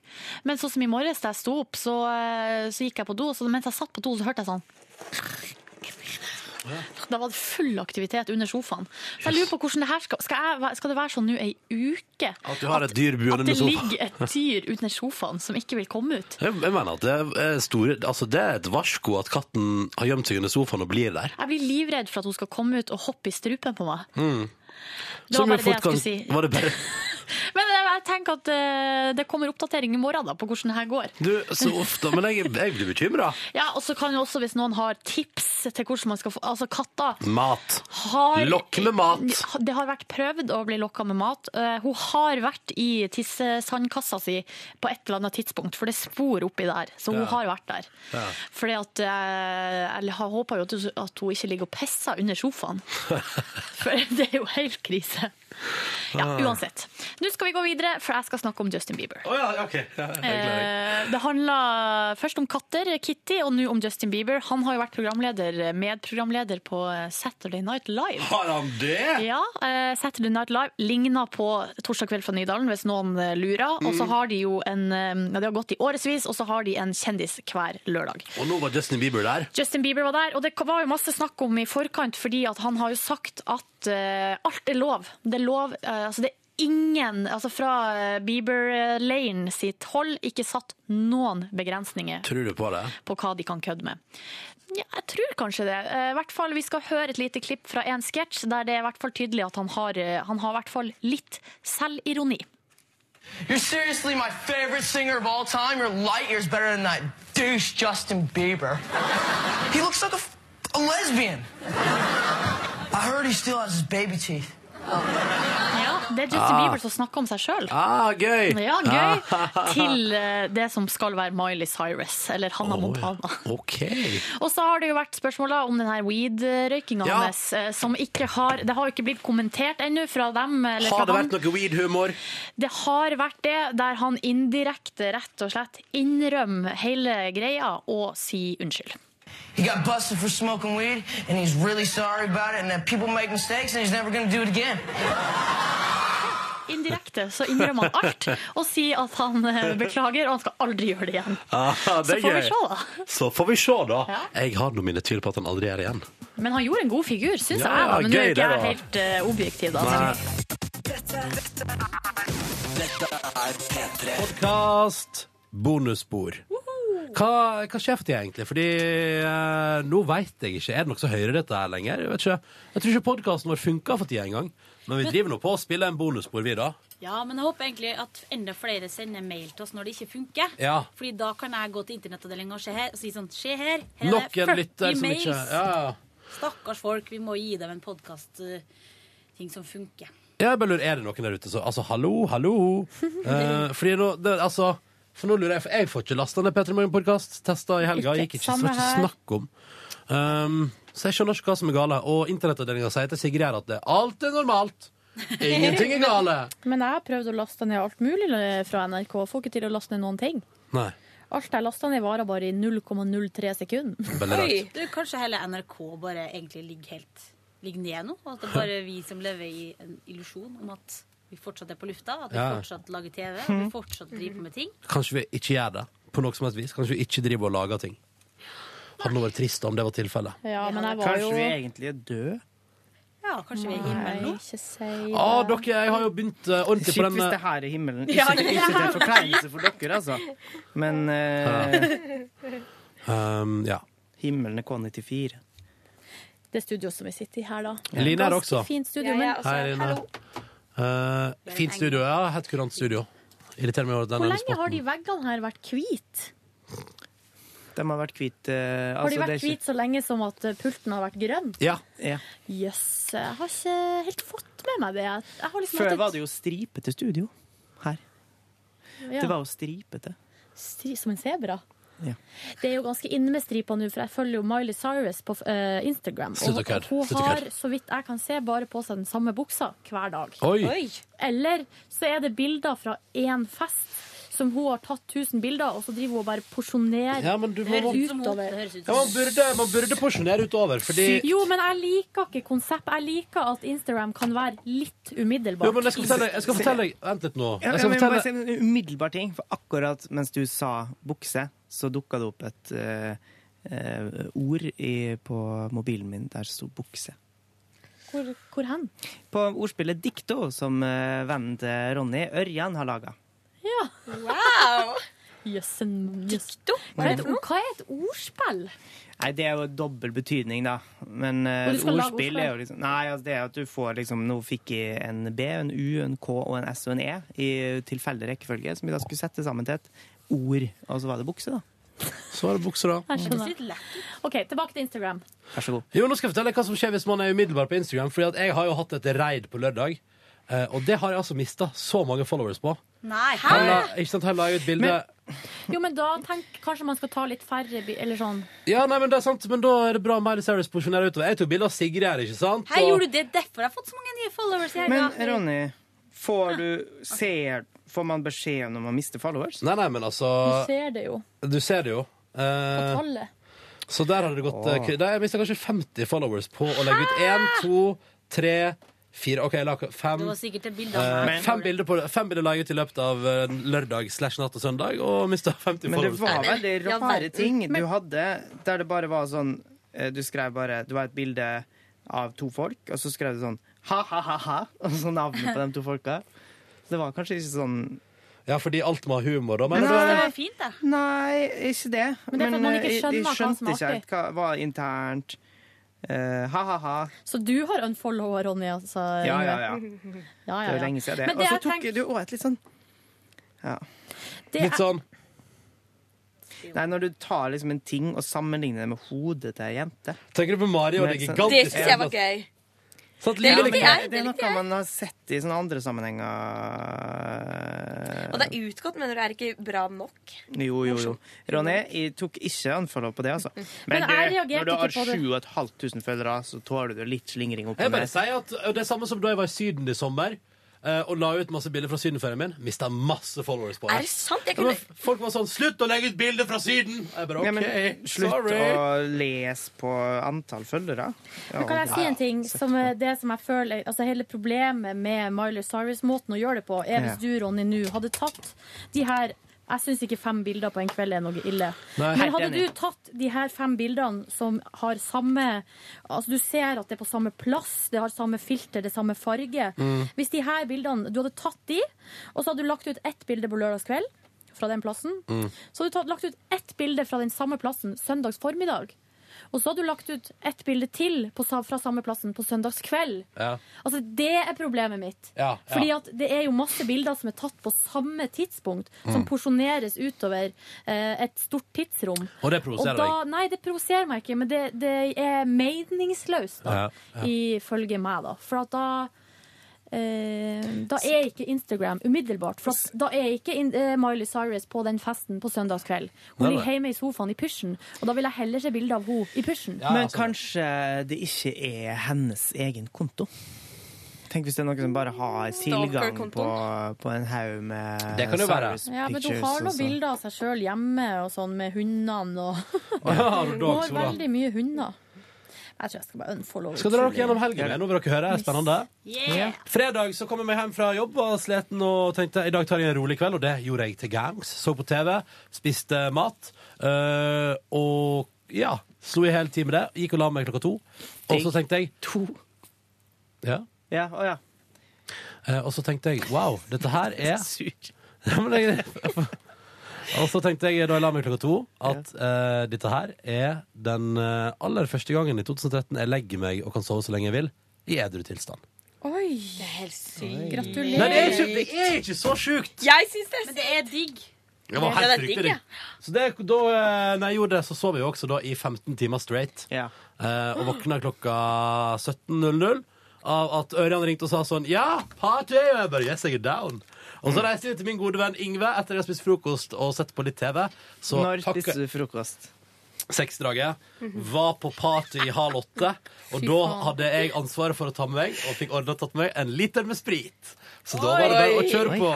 Speaker 4: Men sånn som i morges da jeg sto opp, så, eh, så gikk jeg på do, så mens jeg satt på do, så hørte jeg sånn Da var det full aktivitet under sofaen. Så jeg lurer på hvordan det her skal Skal, jeg, væ- skal det være sånn nå ei uke?
Speaker 2: At du har et dyr
Speaker 4: At
Speaker 2: buende
Speaker 4: det
Speaker 2: under
Speaker 4: ligger et
Speaker 2: sofaen.
Speaker 4: dyr under sofaen som ikke vil komme ut?
Speaker 2: Jeg jeg mener at det er, store, altså det er et varsko at katten har gjemt seg under sofaen og blir der.
Speaker 4: Jeg blir livredd for at hun skal komme ut og hoppe i strupen på meg.
Speaker 2: Mm.
Speaker 4: Det var
Speaker 2: Som jo
Speaker 4: bare det jeg
Speaker 2: fort kan-
Speaker 4: skulle si.
Speaker 2: Var det bare...
Speaker 4: Men jeg jeg tenker at eh, det kommer oppdatering i morgen da, på hvordan det her går.
Speaker 2: Du, så ofte, men jeg, jeg blir bekymra.
Speaker 4: Ja, og så kan jo også, hvis noen har tips til hvordan man skal få Altså, katter
Speaker 2: Mat.
Speaker 4: har
Speaker 2: Lokk med mat.
Speaker 4: Det har vært prøvd å bli lokka med mat. Eh, hun har vært i tissesandkassa si på et eller annet tidspunkt, for det er spor oppi der. Så hun
Speaker 11: Ja.
Speaker 4: har vært der. Fordi at eh, Jeg har- håper jo at hun, at hun ikke ligger og pisser under sofaen. For det er jo helt krise.
Speaker 2: Ah.
Speaker 4: Ja, uansett. Nå skal vi gå videre, for jeg skal snakke om Justin Bieber.
Speaker 2: Å ja, ok. Ja, jeg gleder meg.
Speaker 4: Eh, Det handla først om katter, Kitty, og nå om Justin Bieber. Han har jo vært programleder, medprogramleder på eh, Saturday Night Live.
Speaker 2: Har han det?
Speaker 4: Ja, eh, Saturday Night Live ligner på Torsdag kveld fra Nydalen, hvis noen eh, lurer. Og så
Speaker 2: Mm.
Speaker 4: har de jo en eh, ja, Det har gått i årevis, og så har de en kjendis hver lørdag.
Speaker 2: Og nå var Justin Bieber der.
Speaker 4: Justin Bieber var der, og det var jo masse snakk om i forkant, fordi at han har jo sagt at eh, alt er lov. Det er lov, eh, altså det er ingen, altså fra eh, Bieber Lane sitt hold, ikke satt noen begrensninger
Speaker 2: Tror du på det?
Speaker 4: på hva de kan kødde med. Ja, jeg tror kanskje det. Eh, I hvert fall, Vi skal høre et lite klipp fra en sketsj der det er i hvert fall tydelig at han har, eh, han har i hvert fall litt selvironi.
Speaker 7: You're seriously my favorite singer of all time. You're light years better than that douche Justin Bieber. He looks like a, f- a lesbian. I heard he still has his baby teeth.
Speaker 4: Ja, det er Justin
Speaker 7: Ah.
Speaker 4: Bieber som snakker om seg sjøl.
Speaker 2: Ah, gøy!
Speaker 4: Ja, gøy.
Speaker 2: Ah.
Speaker 4: Til eh, det som skal være Miley Cyrus, eller Hannah Montana.
Speaker 2: OK.
Speaker 4: Og så har det jo vært spørsmål da om den her weed-røykinga
Speaker 2: Ja.
Speaker 4: hans, eh, som ikke har Det har jo ikke blitt kommentert ennå fra dem. eh, Eller
Speaker 2: Har
Speaker 4: fra
Speaker 2: det
Speaker 4: han.
Speaker 2: vært noe weed-humor?
Speaker 4: Det har vært det, der han indirekte rett og slett innrømmer hele greia og sier unnskyld.
Speaker 7: He got busted for smoking weed, and he's really sorry about it, and that people make mistakes, and he's never gonna do it again.
Speaker 4: Indirekte så innrømmer han alt og sier at han eh, beklager, og han skal aldri gjøre det igjen.
Speaker 2: Ah,
Speaker 4: Så
Speaker 2: det er
Speaker 4: får vi
Speaker 2: gøy.
Speaker 4: se, da.
Speaker 2: Så får vi se, da.
Speaker 4: Ja.
Speaker 2: Jeg har nå mine tvil på at han aldri er igjen.
Speaker 4: Men han gjorde en god figur, syns
Speaker 2: Ja,
Speaker 4: jeg. da. Men nå
Speaker 2: gøy
Speaker 4: er ikke
Speaker 2: det,
Speaker 4: jeg
Speaker 2: da.
Speaker 4: helt eh, objektiv, da.
Speaker 2: Nei. Podkast bonusspor. Hva, hva skjer det egentlig? Fordi eh, nå veit jeg ikke. Er det noe som hører dette her lenger? Jeg, vet ikke. jeg tror ikke podkasten vår funka for tida engang. Men vi
Speaker 16: Men-
Speaker 2: driver nå på å spille en bonusspor, vi, da.
Speaker 16: Ja, men jeg håper egentlig at enda flere sender mail til oss når det ikke funker.
Speaker 2: Ja.
Speaker 16: Fordi da kan jeg gå til internettavdelinga og se her, og si sånn Se her, her er
Speaker 2: Nok
Speaker 16: det
Speaker 2: en lytter
Speaker 16: 40
Speaker 2: som
Speaker 16: mails.
Speaker 2: ikke ja, ja.
Speaker 16: Stakkars folk, vi må gi dem en podkast-ting som funker.
Speaker 2: Jeg bare lurer, er det noen der ute som Altså, hallo, hallo? Eh, fordi nå det, Altså, For nå lurer jeg, for jeg får ikke lasta ned P3 Morgen-podkast. Testa i helga,
Speaker 17: Ikke
Speaker 2: gikk ikke, så
Speaker 17: samme
Speaker 2: var ikke
Speaker 17: her.
Speaker 2: snakk om. Um, så jeg skjønner ikke hva som er gale. Og internettavdelinga sier til Sigrid her at det, alt er normalt. Ingenting er gale.
Speaker 4: Men jeg har prøvd å laste ned alt mulig fra NRK. Får ikke til å laste ned noen ting.
Speaker 2: Nei.
Speaker 4: Alt jeg lasta ned, varer bare i 0,03 sekunder.
Speaker 2: Veldig rart.
Speaker 4: Oi.
Speaker 16: Du, kanskje hele NRK bare egentlig ligger helt ligger nede nå? Og at det er bare vi som lever i en illusjon om at vi fortsatt er på lufta, at vi
Speaker 2: Ja.
Speaker 16: fortsatt lager TV, at vi fortsatt driver med ting.
Speaker 2: Kanskje vi ikke gjør det på noe som helst vis. Kanskje vi ikke driver og lager ting. Hadde nå vært trist om det var tilfellet.
Speaker 4: Ja, men jeg var
Speaker 3: Kanskje
Speaker 4: jo
Speaker 3: vi egentlig er døde?
Speaker 16: Ja, kanskje vi er i himmelen nå?
Speaker 4: Ikke si det.
Speaker 2: Ah, dere, jeg har jo begynt eh, ordentlig
Speaker 3: Shit,
Speaker 2: på den
Speaker 3: hvis det her er himmelen.
Speaker 4: Ja,
Speaker 3: Ikke, ikke
Speaker 4: ja.
Speaker 3: til forkleinelse for dere, altså. Men eh,
Speaker 2: ehm, ja.
Speaker 3: Himmelen er K94.
Speaker 4: Det studioet som vi sitter i her, da.
Speaker 2: Ja. Line er det
Speaker 4: Ganske
Speaker 2: også.
Speaker 4: Fint studio,
Speaker 2: Ja,
Speaker 4: men
Speaker 2: jeg
Speaker 16: altså,
Speaker 2: er også. Hei, Line. Hallo. Eh, fint studio, ja. Helt kurant studio. Irriterer meg over at den
Speaker 4: Hvor
Speaker 2: ene
Speaker 4: lenge
Speaker 2: spotten
Speaker 4: har de veggene her vært hvite?
Speaker 3: De har vært hvite eh,
Speaker 4: Har de
Speaker 3: altså,
Speaker 4: vært
Speaker 3: det er ikke-
Speaker 4: hvite så lenge som at eh, pulten har vært grønn?
Speaker 2: Ja.
Speaker 4: Jøss. jeg har ikke helt fått med meg det. Jeg har liksom
Speaker 3: Før
Speaker 4: hatt et-
Speaker 3: var det jo stripete studio her.
Speaker 4: Ja.
Speaker 3: Det var jo stripete.
Speaker 4: Stri som en sebra.
Speaker 3: Ja.
Speaker 4: Det er jo ganske inne med stripa nå, for jeg følger jo Miley Cyrus på eh, Instagram.
Speaker 2: Slutt å kødde.
Speaker 4: hun
Speaker 2: Slutt å
Speaker 4: har,
Speaker 2: kødde.
Speaker 4: så vidt jeg kan se, bare på seg den samme buksa hver dag.
Speaker 2: Oi. Oi.
Speaker 4: Eller så er det bilder fra én fest. Som hun har tatt 1000 bilder, og så driver hun og bare porsjonerer
Speaker 2: Ja, men du må- Høres ut som hun-
Speaker 4: utover.
Speaker 2: ja, man, burde, man burde porsjonere utover, fordi
Speaker 4: Jo, men jeg liker ikke konsept. Jeg liker at Instagram kan være litt umiddelbart.
Speaker 2: Jo, men jeg skal fortelle, jeg skal fortelle Vent litt nå.
Speaker 3: Ja,
Speaker 2: Jeg
Speaker 3: ja,
Speaker 2: skal
Speaker 3: men jeg må bare si
Speaker 2: fortelle
Speaker 3: en umiddelbar ting. For akkurat mens du sa bukse, så dukka det opp et eh, eh, ord i, på mobilen min der det sto bukse.
Speaker 4: Hvor, hvor hen?
Speaker 3: På ordspillet Dikto, som eh, vennen til Ronny, Ørjan, har laga.
Speaker 4: Ja. Wow! Jøssen Dikto? Hva er, et, ord- hva er et ordspill?
Speaker 3: Nei, det er jo dobbel betydning, da. Men eh,
Speaker 4: Og du skal lage
Speaker 3: ordspill er jo
Speaker 4: ordspill?
Speaker 3: liksom Nei, altså, det er at du får liksom Nå fikk jeg en B, en U, en K og en S og en E i tilfeldig rekkefølge, som vi da skulle sette sammen til et ord. Og så var det bukse, da.
Speaker 2: Så var det bukse, da.
Speaker 4: Jeg skjønner. OK, tilbake til Instagram.
Speaker 3: Vær så god.
Speaker 2: Jo, nå skal jeg fortelle hva som skjer hvis man er umiddelbar på Instagram. Fordi at jeg har jo hatt et raid på lørdag, eh, og det har jeg altså mista så mange followers på.
Speaker 4: Nei,
Speaker 2: Han la, ikke sant, han la ut bilde
Speaker 4: Jo, men da tenk kanskje man skal ta litt færre bi- Eller sånn.
Speaker 2: Ja, nei, men det er sant, men da er det bra Miley Cyrus porsjonerer utover. Jeg tok bilde av Sigrid her, ikke sant?
Speaker 16: Hei,
Speaker 2: Og-
Speaker 16: gjorde du det derfor jeg har fått så mange nye followers? i helga?
Speaker 3: Men Ronny, får du ser, Får man beskjed når man mister followers?
Speaker 2: Nei, nei, men altså
Speaker 4: Du ser det jo
Speaker 2: Du ser det jo.
Speaker 4: på
Speaker 2: Eh,
Speaker 4: tallet.
Speaker 2: så der har det gått
Speaker 17: Åh.
Speaker 2: eh, k- der, Jeg mista kanskje 50 followers på å legge ut én, to, tre, fire OK, jeg la ak- fem.
Speaker 16: Det var sikkert et bilde av
Speaker 2: Eh,
Speaker 16: meg.
Speaker 2: fem bilder på Fem bilder la jeg ut i løpet av eh, lørdag slash natt og søndag, og mista 50
Speaker 3: Men det
Speaker 2: followers.
Speaker 3: var veldig
Speaker 16: Ja,
Speaker 3: rare
Speaker 16: verden.
Speaker 3: ting du hadde, der det bare var sånn eh, Du skrev bare Du har et bilde av to folk, og så skrev du sånn ha-ha-ha-ha, og så navnet på de to folka. Så det var kanskje ikke sånn
Speaker 2: Ja, fordi alt må ha humor, da.
Speaker 16: Men jeg
Speaker 2: mener du?
Speaker 16: synes det var fint, da.
Speaker 3: Nei, ikke det.
Speaker 16: Men det er for at man
Speaker 3: eh,
Speaker 16: ikke
Speaker 3: jeg- jeg
Speaker 16: skjønner hva som
Speaker 3: skjønte
Speaker 16: er
Speaker 3: ikke helt hva var internt. Eh, ha-ha-ha.
Speaker 4: Så du har unfollowa Ronny, altså?
Speaker 3: Ja, ja, ja.
Speaker 4: Yngve? ja, ja,
Speaker 3: Det er
Speaker 4: ja.
Speaker 3: lenge siden det.
Speaker 4: Men
Speaker 3: Og så
Speaker 4: jeg
Speaker 3: tok
Speaker 4: tenker-
Speaker 3: du òg et litt sånn Ja.
Speaker 4: Det Litt er- sånn.
Speaker 3: Nei, når du tar liksom en ting og sammenligner det med hodet til ei jente.
Speaker 2: Tenker du på Mario og det gigantiske
Speaker 11: Det synes jeg var gøy.
Speaker 2: Sånn at
Speaker 11: Det
Speaker 2: livet
Speaker 11: likte
Speaker 2: liksom-
Speaker 11: jeg,
Speaker 3: Det
Speaker 11: det
Speaker 3: er
Speaker 11: likte
Speaker 3: noe
Speaker 11: jeg.
Speaker 3: man har sett i sånne andre sammenhenger.
Speaker 11: Og det er utgått, mener du er ikke bra nok?
Speaker 3: Jo, jo, jo. Ronny, jeg tok ikke unfollow på det, altså. Men,
Speaker 11: Men
Speaker 3: du,
Speaker 11: jeg reagerte
Speaker 3: når du har
Speaker 11: ikke på det.
Speaker 3: 7500 følgere, så tåler du litt slingring opp
Speaker 2: Jeg
Speaker 3: og
Speaker 2: bare
Speaker 3: ned.
Speaker 2: sier at eh, Det er samme som da jeg var i Syden i sommer eh, og la ut masse bilder fra sydenferien min. Mista masse followers på det.
Speaker 11: Er det sant? Jeg
Speaker 2: Ja,
Speaker 11: kunne...
Speaker 2: men Folk var sånn 'Slutt å legge ut bilder fra Syden!' Jeg bare OK,
Speaker 3: Ja, men slutt
Speaker 2: sorry.
Speaker 3: å lese på antall følgere. Ja,
Speaker 4: Men kan jeg si
Speaker 3: ja,
Speaker 4: en ting som er det som jeg føler altså Hele problemet med Miley Cyrus-måten å gjøre det på, er hvis du, Ronny, nå hadde tatt de her jeg syns ikke fem bilder på en kveld er noe ille.
Speaker 11: Nei.
Speaker 4: Men
Speaker 11: Helt
Speaker 4: hadde du
Speaker 11: enig.
Speaker 4: tatt de her fem bildene som har samme Altså du ser at det er på samme plass, det har samme filter, det er samme farge.
Speaker 11: Mm.
Speaker 4: Hvis de her bildene Du hadde tatt de, og så hadde du lagt ut ett bilde på lørdagskveld fra den plassen.
Speaker 11: Mm.
Speaker 4: Så hadde du tatt, lagt ut ett bilde fra den samme plassen søndags formiddag. Og så hadde du lagt ut ett bilde til på, sa- fra samme plassen på søndagskveld.
Speaker 2: Ja.
Speaker 4: Altså, det er problemet mitt.
Speaker 2: Ja, ja.
Speaker 4: Fordi at det er jo masse bilder som er tatt på samme tidspunkt, som
Speaker 2: Mm.
Speaker 4: porsjoneres utover eh, et stort tidsrom.
Speaker 2: Og det
Speaker 4: Og
Speaker 2: provoserer
Speaker 4: da- Nei, det provoserer meg ikke, men det, det er meningsløst, da,
Speaker 2: Ja, ja.
Speaker 4: ifølge meg, da. For at da eh, da er ikke Instagram umiddelbart. For at, da er ikke in- eh, Miley Cyrus på den festen på søndagskveld. Hun
Speaker 3: Nei,
Speaker 4: ligger
Speaker 3: nei.
Speaker 4: hjemme i sofaen i pysjen, og da vil jeg heller se bilde av henne i pysjen.
Speaker 3: Men kanskje det ikke er hennes egen konto? Tenk hvis det er noen som bare har tilgang
Speaker 4: Stalker-kontoen.
Speaker 3: på, på en haug med
Speaker 17: Det kan jo være.
Speaker 3: Cyrus
Speaker 4: Ja, men hun
Speaker 3: pictures
Speaker 4: har
Speaker 3: og
Speaker 4: noen
Speaker 3: sånn.
Speaker 4: bilder av seg sjøl hjemme og sånn med hundene og
Speaker 2: Har du
Speaker 4: Hun
Speaker 2: dog,
Speaker 4: har
Speaker 2: Sola?
Speaker 4: veldig mye hunder. Jeg tror jeg skal bare unfollow
Speaker 2: Skal dere gjennom helgen? Nå vil dere høre. er Spennende.
Speaker 4: Yeah.
Speaker 2: Fredag så kom jeg meg hjem fra jobb, var sliten og tenkte i dag tar jeg en rolig kveld. Og det gjorde jeg til gangs. Så på TV, spiste mat øh, og ja, slo i hel tid med det. Gikk og la meg klokka to. Og så tenkte jeg To? Ja.
Speaker 3: Ja, å ja.
Speaker 2: Eh, Og så tenkte jeg wow, dette her er
Speaker 3: Syk.
Speaker 2: Ja, men jeg... Og så tenkte jeg da jeg la meg klokka to, at eh, dette her er den eh, aller første gangen i 2013 jeg legger meg og kan sove så lenge jeg vil, i edru tilstand.
Speaker 4: Oi!
Speaker 16: Det er helt sykt.
Speaker 4: Gratulerer.
Speaker 2: Nei, det er ikke, det er ikke så sjukt!
Speaker 16: Jeg syns det er Men det er digg.
Speaker 2: Det var
Speaker 16: Ja,
Speaker 2: helt
Speaker 16: det er
Speaker 2: riktig.
Speaker 16: digg, ja.
Speaker 2: Så det, da eh, når jeg gjorde det, så sov jeg jo også da i 15 timer straight. Eh, og våkna klokka 17.00 av at Ørjan ringte og sa sånn Ja, party! Og jeg bare Yes, jeg er down. Og
Speaker 3: Mm.
Speaker 2: så reiste jeg til min gode venn Ingve etter jeg har spist frokost og sett på litt TV. Så
Speaker 3: Når
Speaker 2: takk-
Speaker 3: spiste du frokost?
Speaker 2: Seksdraget. Var på party i halv åtte.
Speaker 3: Fy
Speaker 2: Og da
Speaker 3: faen.
Speaker 2: hadde jeg ansvaret for å ta med meg, og fikk ordna tatt med meg, en liter med sprit. Så da var det bare å kjøre på.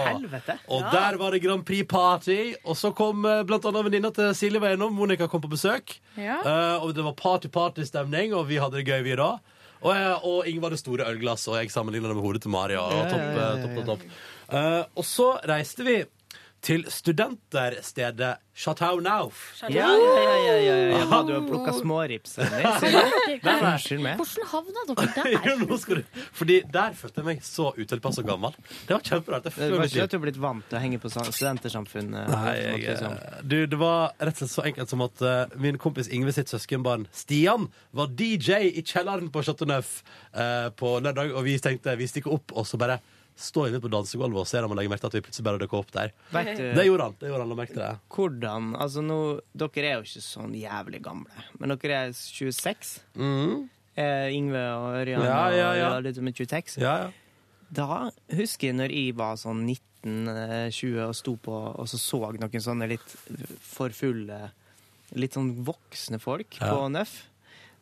Speaker 2: Og der var det Grand Prix-party. Og så kom eh, blant annet venninna til Silje var innom. Monica kom på besøk. Eh, og det var party-party-stemning, og vi hadde det gøy, vi da. Og, jeg, og Inge var det store ølglass, og jeg sammenligna det med hodet til Maria. Og,
Speaker 17: Ja, ja,
Speaker 2: topp,
Speaker 17: ja, ja,
Speaker 2: eh, topp, topp, topp. Eh, og så reiste vi til studenterstedet Chateau Nauf.
Speaker 3: Ja, ja, ja, ja, ja, ja. Hadde du plukka smårips? eller?
Speaker 2: Nei, nei.
Speaker 3: Unnskyld meg.
Speaker 4: Hvordan havna dere der?
Speaker 2: Jo, nå skal du. Fordi der følte jeg meg så utilpass og gammel. Det var kjemperart. Jeg
Speaker 3: Det
Speaker 2: føler
Speaker 3: var
Speaker 2: meg
Speaker 3: ikke at
Speaker 2: litt-
Speaker 3: du er blitt vant til å henge på sånn- studentersamfunnet?
Speaker 2: Nei, jeg,
Speaker 3: liksom.
Speaker 2: eh, du, det var rett og slett så enkelt som at eh, min kompis Ingve sitt søskenbarn Stian var DJ i kjelleren på Chateau Neuf eh, på lørdag, og vi tenkte vi stikker opp, og så bare står inne på dansegulvet og ser om han legger merke til at vi plutselig bare dukket opp der.
Speaker 3: Vet du-
Speaker 2: Det gjorde han. det gjorde han, la merke til det.
Speaker 3: Hvordan Altså, nå, dere er jo ikke sånn jævlig gamle, men dere er 26. Eh, Yngve og Ørjan
Speaker 2: Mm. Ja, ja, ja.
Speaker 3: og litt med 26.
Speaker 2: Ja,
Speaker 3: Da husker jeg når jeg var sånn 19-20 og sto på, og så så noen sånne litt for fulle, litt sånn voksne folk
Speaker 2: Ja.
Speaker 3: på NØF.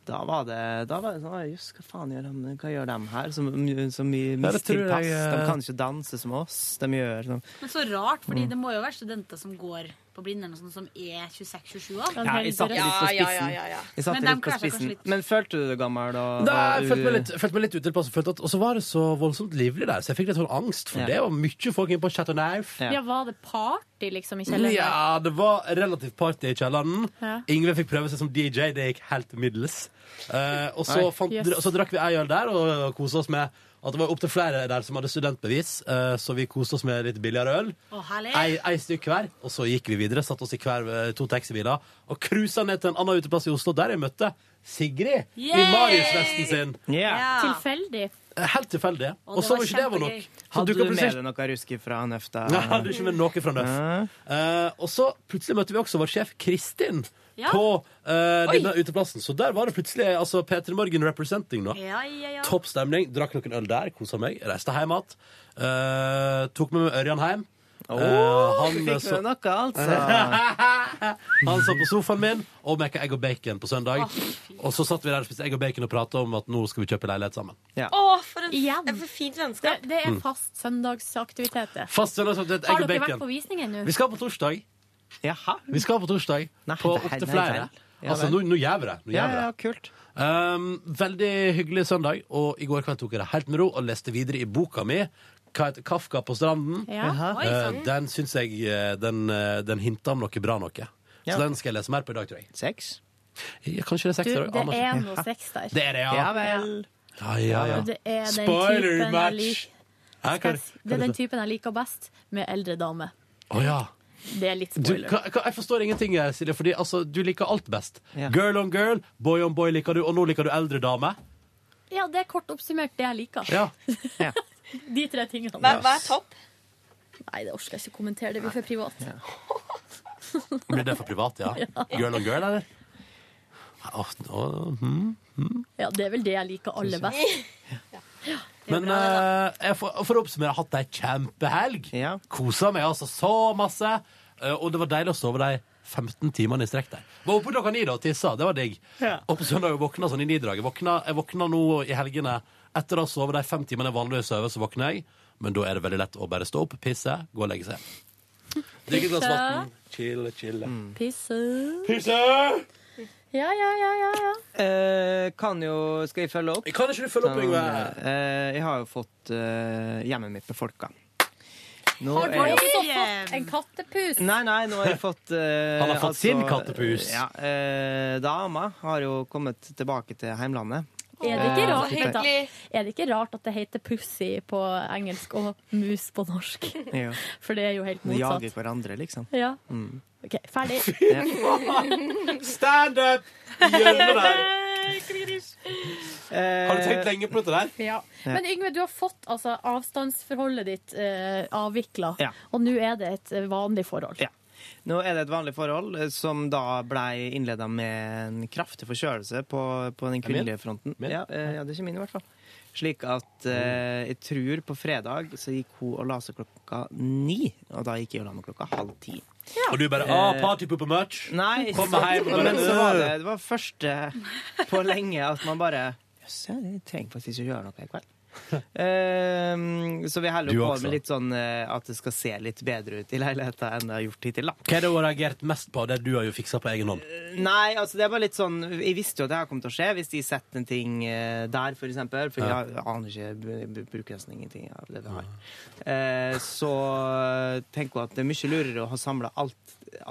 Speaker 3: Da var det da var det sånn «Å, Jøss, hva faen gjør de, hva gjør de her? Som, som i
Speaker 2: Ja, det tror jeg,
Speaker 3: mistilpass. De
Speaker 2: eh,
Speaker 3: kan ikke danse som oss. De gjør sånn
Speaker 16: Men så rart, fordi
Speaker 3: Mm.
Speaker 16: det må jo være studenter som går på blind eller noe sånt, som er 26-27 år.
Speaker 3: Ja, jeg satte litt på spissen. Jeg satte
Speaker 16: Men de
Speaker 3: litt
Speaker 16: klarer seg
Speaker 3: på
Speaker 16: kanskje
Speaker 3: spissen.
Speaker 16: litt.
Speaker 3: Men følte du deg gammel da?
Speaker 2: Nei, jeg følte meg litt, følte meg litt utilpass. og følte at- Og så var det så voldsomt livlig der, så jeg fikk litt sånn angst, for
Speaker 3: Ja.
Speaker 2: det var mye folk inne på Chateau Neuf.
Speaker 4: Ja, var det party liksom i kjelleren?
Speaker 2: Ja, det var relativt party i kjelleren.
Speaker 4: Ja.
Speaker 2: Ingve fikk prøve seg som DJ, det gikk helt middels. Eh, og, så
Speaker 17: Nei.
Speaker 2: fant,
Speaker 17: Yes.
Speaker 2: og så drakk vi ei øl der og kosa oss med at det var opptil flere der som hadde studentbevis, eh, så vi koste oss med litt billigere øl.
Speaker 16: Å, herlig.
Speaker 2: Ei, ei stykk hver, og så gikk vi videre, satt oss i hver eh, to taxibiler og cruisa ned til en annen uteplass i Oslo, der jeg møtte Sigrid i
Speaker 4: Yay!
Speaker 2: Marius-vesten sin. Eh,
Speaker 4: Tilfeldig.
Speaker 2: Helt tilfeldig.
Speaker 4: Og
Speaker 2: Og
Speaker 4: det
Speaker 2: så
Speaker 4: var
Speaker 2: var ikke det var
Speaker 4: kjempegøy.
Speaker 2: nok. Så
Speaker 3: Hadde du
Speaker 2: dukket
Speaker 3: med
Speaker 2: plutselig-
Speaker 3: deg noe ruske fra NØF da?
Speaker 2: Nei, hadde ikke med noe fra NØF. Eh, og så plutselig møtte vi også vår sjef Kristin
Speaker 16: Ja.
Speaker 2: på
Speaker 16: Oi.
Speaker 2: eh, denne uteplassen. Så der var det plutselig altså, P3 Morgen representing nå.
Speaker 16: Ja, ja, ja.
Speaker 2: Topp stemning. Drakk noen øl der, kosa meg. Reiste hjem igjen. Eh, tok med meg Ørjan hjem.
Speaker 3: Åh,
Speaker 2: Eh,
Speaker 3: du fikk med
Speaker 2: så-
Speaker 3: noe, altså.
Speaker 2: han satt på sofaen min og mekka egg og bacon på søndag. Og så satt vi der og spiste egg og bacon og prata om at nå skal vi kjøpe leilighet sammen.
Speaker 11: Å, for, en, for fint vennskap.
Speaker 4: Det er
Speaker 2: Mm.
Speaker 4: fast søndagsaktivitet. det.
Speaker 2: Fast søndagsaktivitet, egg
Speaker 4: Har
Speaker 2: og
Speaker 4: dere vært
Speaker 2: bacon.
Speaker 4: på visning ennå?
Speaker 2: Vi skal på torsdag. Vi skal på torsdag. på
Speaker 17: det er
Speaker 2: opptil
Speaker 17: helt
Speaker 2: flere.
Speaker 17: feil. Ja,
Speaker 2: altså, nå,
Speaker 17: vel.
Speaker 2: nå gjør vi det. Nå
Speaker 17: Ja,
Speaker 2: gjør vi det.
Speaker 17: ja,
Speaker 3: kult.
Speaker 2: Um, veldig hyggelig søndag, og i går kveld tok jeg det helt med ro og leste videre i boka mi. Hva heter Kafka på stranden?
Speaker 17: Ja. Jaha. Oi,
Speaker 2: Eh,
Speaker 17: sant.
Speaker 2: den syns jeg eh, den, eh, den hinta om noe bra noe.
Speaker 17: Ja.
Speaker 2: Så den skal jeg lese mer på i dag, tror jeg.
Speaker 3: Seks?
Speaker 2: Ja, kanskje det er seks.
Speaker 4: Du,
Speaker 2: tror jeg.
Speaker 4: det
Speaker 2: Aner
Speaker 4: er
Speaker 2: ikke.
Speaker 4: noe sex der.
Speaker 2: Det er det, ja. Ja
Speaker 3: vel.
Speaker 2: Ja, ja, ja.
Speaker 4: Og Det er den
Speaker 2: Spoiler
Speaker 4: typen jeg
Speaker 2: match.
Speaker 4: lik-
Speaker 2: Hæ,
Speaker 4: Skal
Speaker 2: hva er
Speaker 4: jeg
Speaker 2: det-
Speaker 4: si-
Speaker 2: hva er
Speaker 4: Det er
Speaker 2: det
Speaker 4: den
Speaker 2: så-
Speaker 4: typen jeg liker best, med eldre dame.
Speaker 2: Å ja.
Speaker 4: Det er litt
Speaker 2: Du,
Speaker 4: spoiler.
Speaker 2: hva, hva, jeg forstår ingenting, eh, Silje, fordi altså, du liker alt best. Girl on girl, boy on boy liker du, og nå liker du eldre dame.
Speaker 4: Ja, det er kort oppsummert det jeg liker.
Speaker 2: Ja.
Speaker 4: De tre tingene.
Speaker 11: Hva- hva er topp?
Speaker 4: Nei, det orker jeg ikke å kommentere. Det blir for privat.
Speaker 2: Blir det for privat, ja?
Speaker 4: Ja.
Speaker 2: Girl on girl, eller? Å, å, hm, hm.
Speaker 4: Ja, det er vel det jeg liker aller best.
Speaker 2: Men eh, jeg får, for å oppsummere, jeg har hatt ei kjempehelg. Kosa meg altså så masse. Eh, og det var deilig å sove de 15 timene i strekk der. Var oppe klokka ni da og tissa. Det var digg.
Speaker 17: Ja.
Speaker 2: Og på søndag våkna sånn i nidraget. Våkna, jeg våkna nå i helgene etter å ha sovet de fem timene jeg vanligvis sover, så våkner jeg. Men da er det veldig lett å bare stå opp, pisse, gå og legge seg. Drikke et glass vann. Chille, chille.
Speaker 4: Mm. Pisse.
Speaker 2: Pisse!
Speaker 4: Ja, ja, ja, ja. ja.
Speaker 3: Eh, kan jo Skal jeg følge opp?
Speaker 2: Kan ikke du følge opp,
Speaker 3: Sånn,
Speaker 2: Yngve?
Speaker 3: eh, jeg har jo fått eh, hjemmet mitt befolka. Nå
Speaker 4: Har du
Speaker 3: er-
Speaker 4: også fått en kattepus?
Speaker 3: Nei, nei, nå har jeg fått eh,
Speaker 2: Han har fått sin kattepus.
Speaker 3: Ja, eh, dama har jo kommet tilbake til heimlandet.
Speaker 4: Er det, ikke
Speaker 3: Eh,
Speaker 4: rart, at det- er det ikke rart at det heter pussy på engelsk og mus på norsk?
Speaker 3: Ja.
Speaker 4: For det er jo helt
Speaker 3: De jager
Speaker 4: motsatt.
Speaker 3: hverandre, liksom.
Speaker 4: Ja,
Speaker 3: Mm.
Speaker 4: ok, Ferdig.
Speaker 2: Stand up! Gjemme deg!
Speaker 3: Eh,
Speaker 2: Har du tenkt lenge på dette der?
Speaker 4: Ja. Men Yngve, du har fått altså, avstandsforholdet ditt eh, avvikla,
Speaker 3: Ja.
Speaker 4: og nå er det et eh, vanlig forhold.
Speaker 3: Ja. Nå er det et vanlig forhold eh, som da blei innleda med en kraftig forkjølelse på, på
Speaker 17: Er det
Speaker 3: den
Speaker 17: min?
Speaker 3: kvinnelige fronten. Ja, eh, ja, det er ikke min i hvert fall. Slik at eh, jeg tror på fredag så gikk hun og la seg klokka ni, og da gikk jeg og la meg klokka halv ti.
Speaker 2: Og du bare
Speaker 3: Eh,
Speaker 2: ah, party pooper much?
Speaker 3: Nei,
Speaker 2: Kom
Speaker 3: sant,
Speaker 2: hjem og bare,
Speaker 3: men så var det, det var første på lenge at man bare Jøss, ja, jeg trenger faktisk ikke gjøre noe i kveld. Ehm, så vi holder
Speaker 2: Du
Speaker 3: jo på
Speaker 2: også.
Speaker 3: med litt sånn eh, at det skal se litt bedre ut i leiligheta enn det har gjort hittil. da.
Speaker 2: Hva er det hun har reagert mest på, det du har jo fiksa på egen hånd?
Speaker 3: Nei, altså det er bare litt sånn Jeg visste jo at det her kom til å skje hvis de setter en ting eh, der, for eksempel. For
Speaker 2: Ja.
Speaker 3: jeg, aner ikke b- b- bruker nesten ingenting av det vi har. Eh, så tenker hun at det er mye lurere å ha samla alt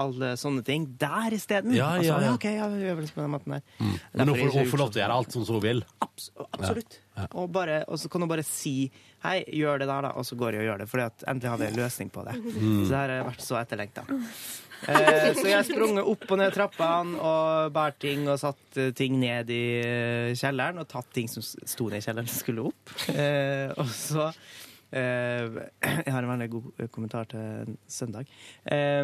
Speaker 3: alle sånne ting der isteden.
Speaker 2: Ja,
Speaker 3: Altså,
Speaker 2: ja, ja.
Speaker 3: ok, ja, vi gjør vel på den måten her.
Speaker 2: Men nå
Speaker 3: Derfor
Speaker 2: får
Speaker 3: er
Speaker 2: hun
Speaker 3: det
Speaker 2: få lov til å gjøre alt sånn som hun vil.
Speaker 3: Absolutt. Og, bare, og så kan hun bare si 'hei, gjør det der', da, og så går jeg og gjør det. For endelig har vi en løsning på det.
Speaker 17: Mm.
Speaker 3: Så det her har vært så etterlengta. Eh, så jeg har sprunget opp og ned trappene og båret ting og satt eh, ting ned i eh, kjelleren. Og tatt ting som s- sto ned i kjelleren, skulle opp. Eh, og så eh, Jeg har en veldig god eh, kommentar til søndag. Eh,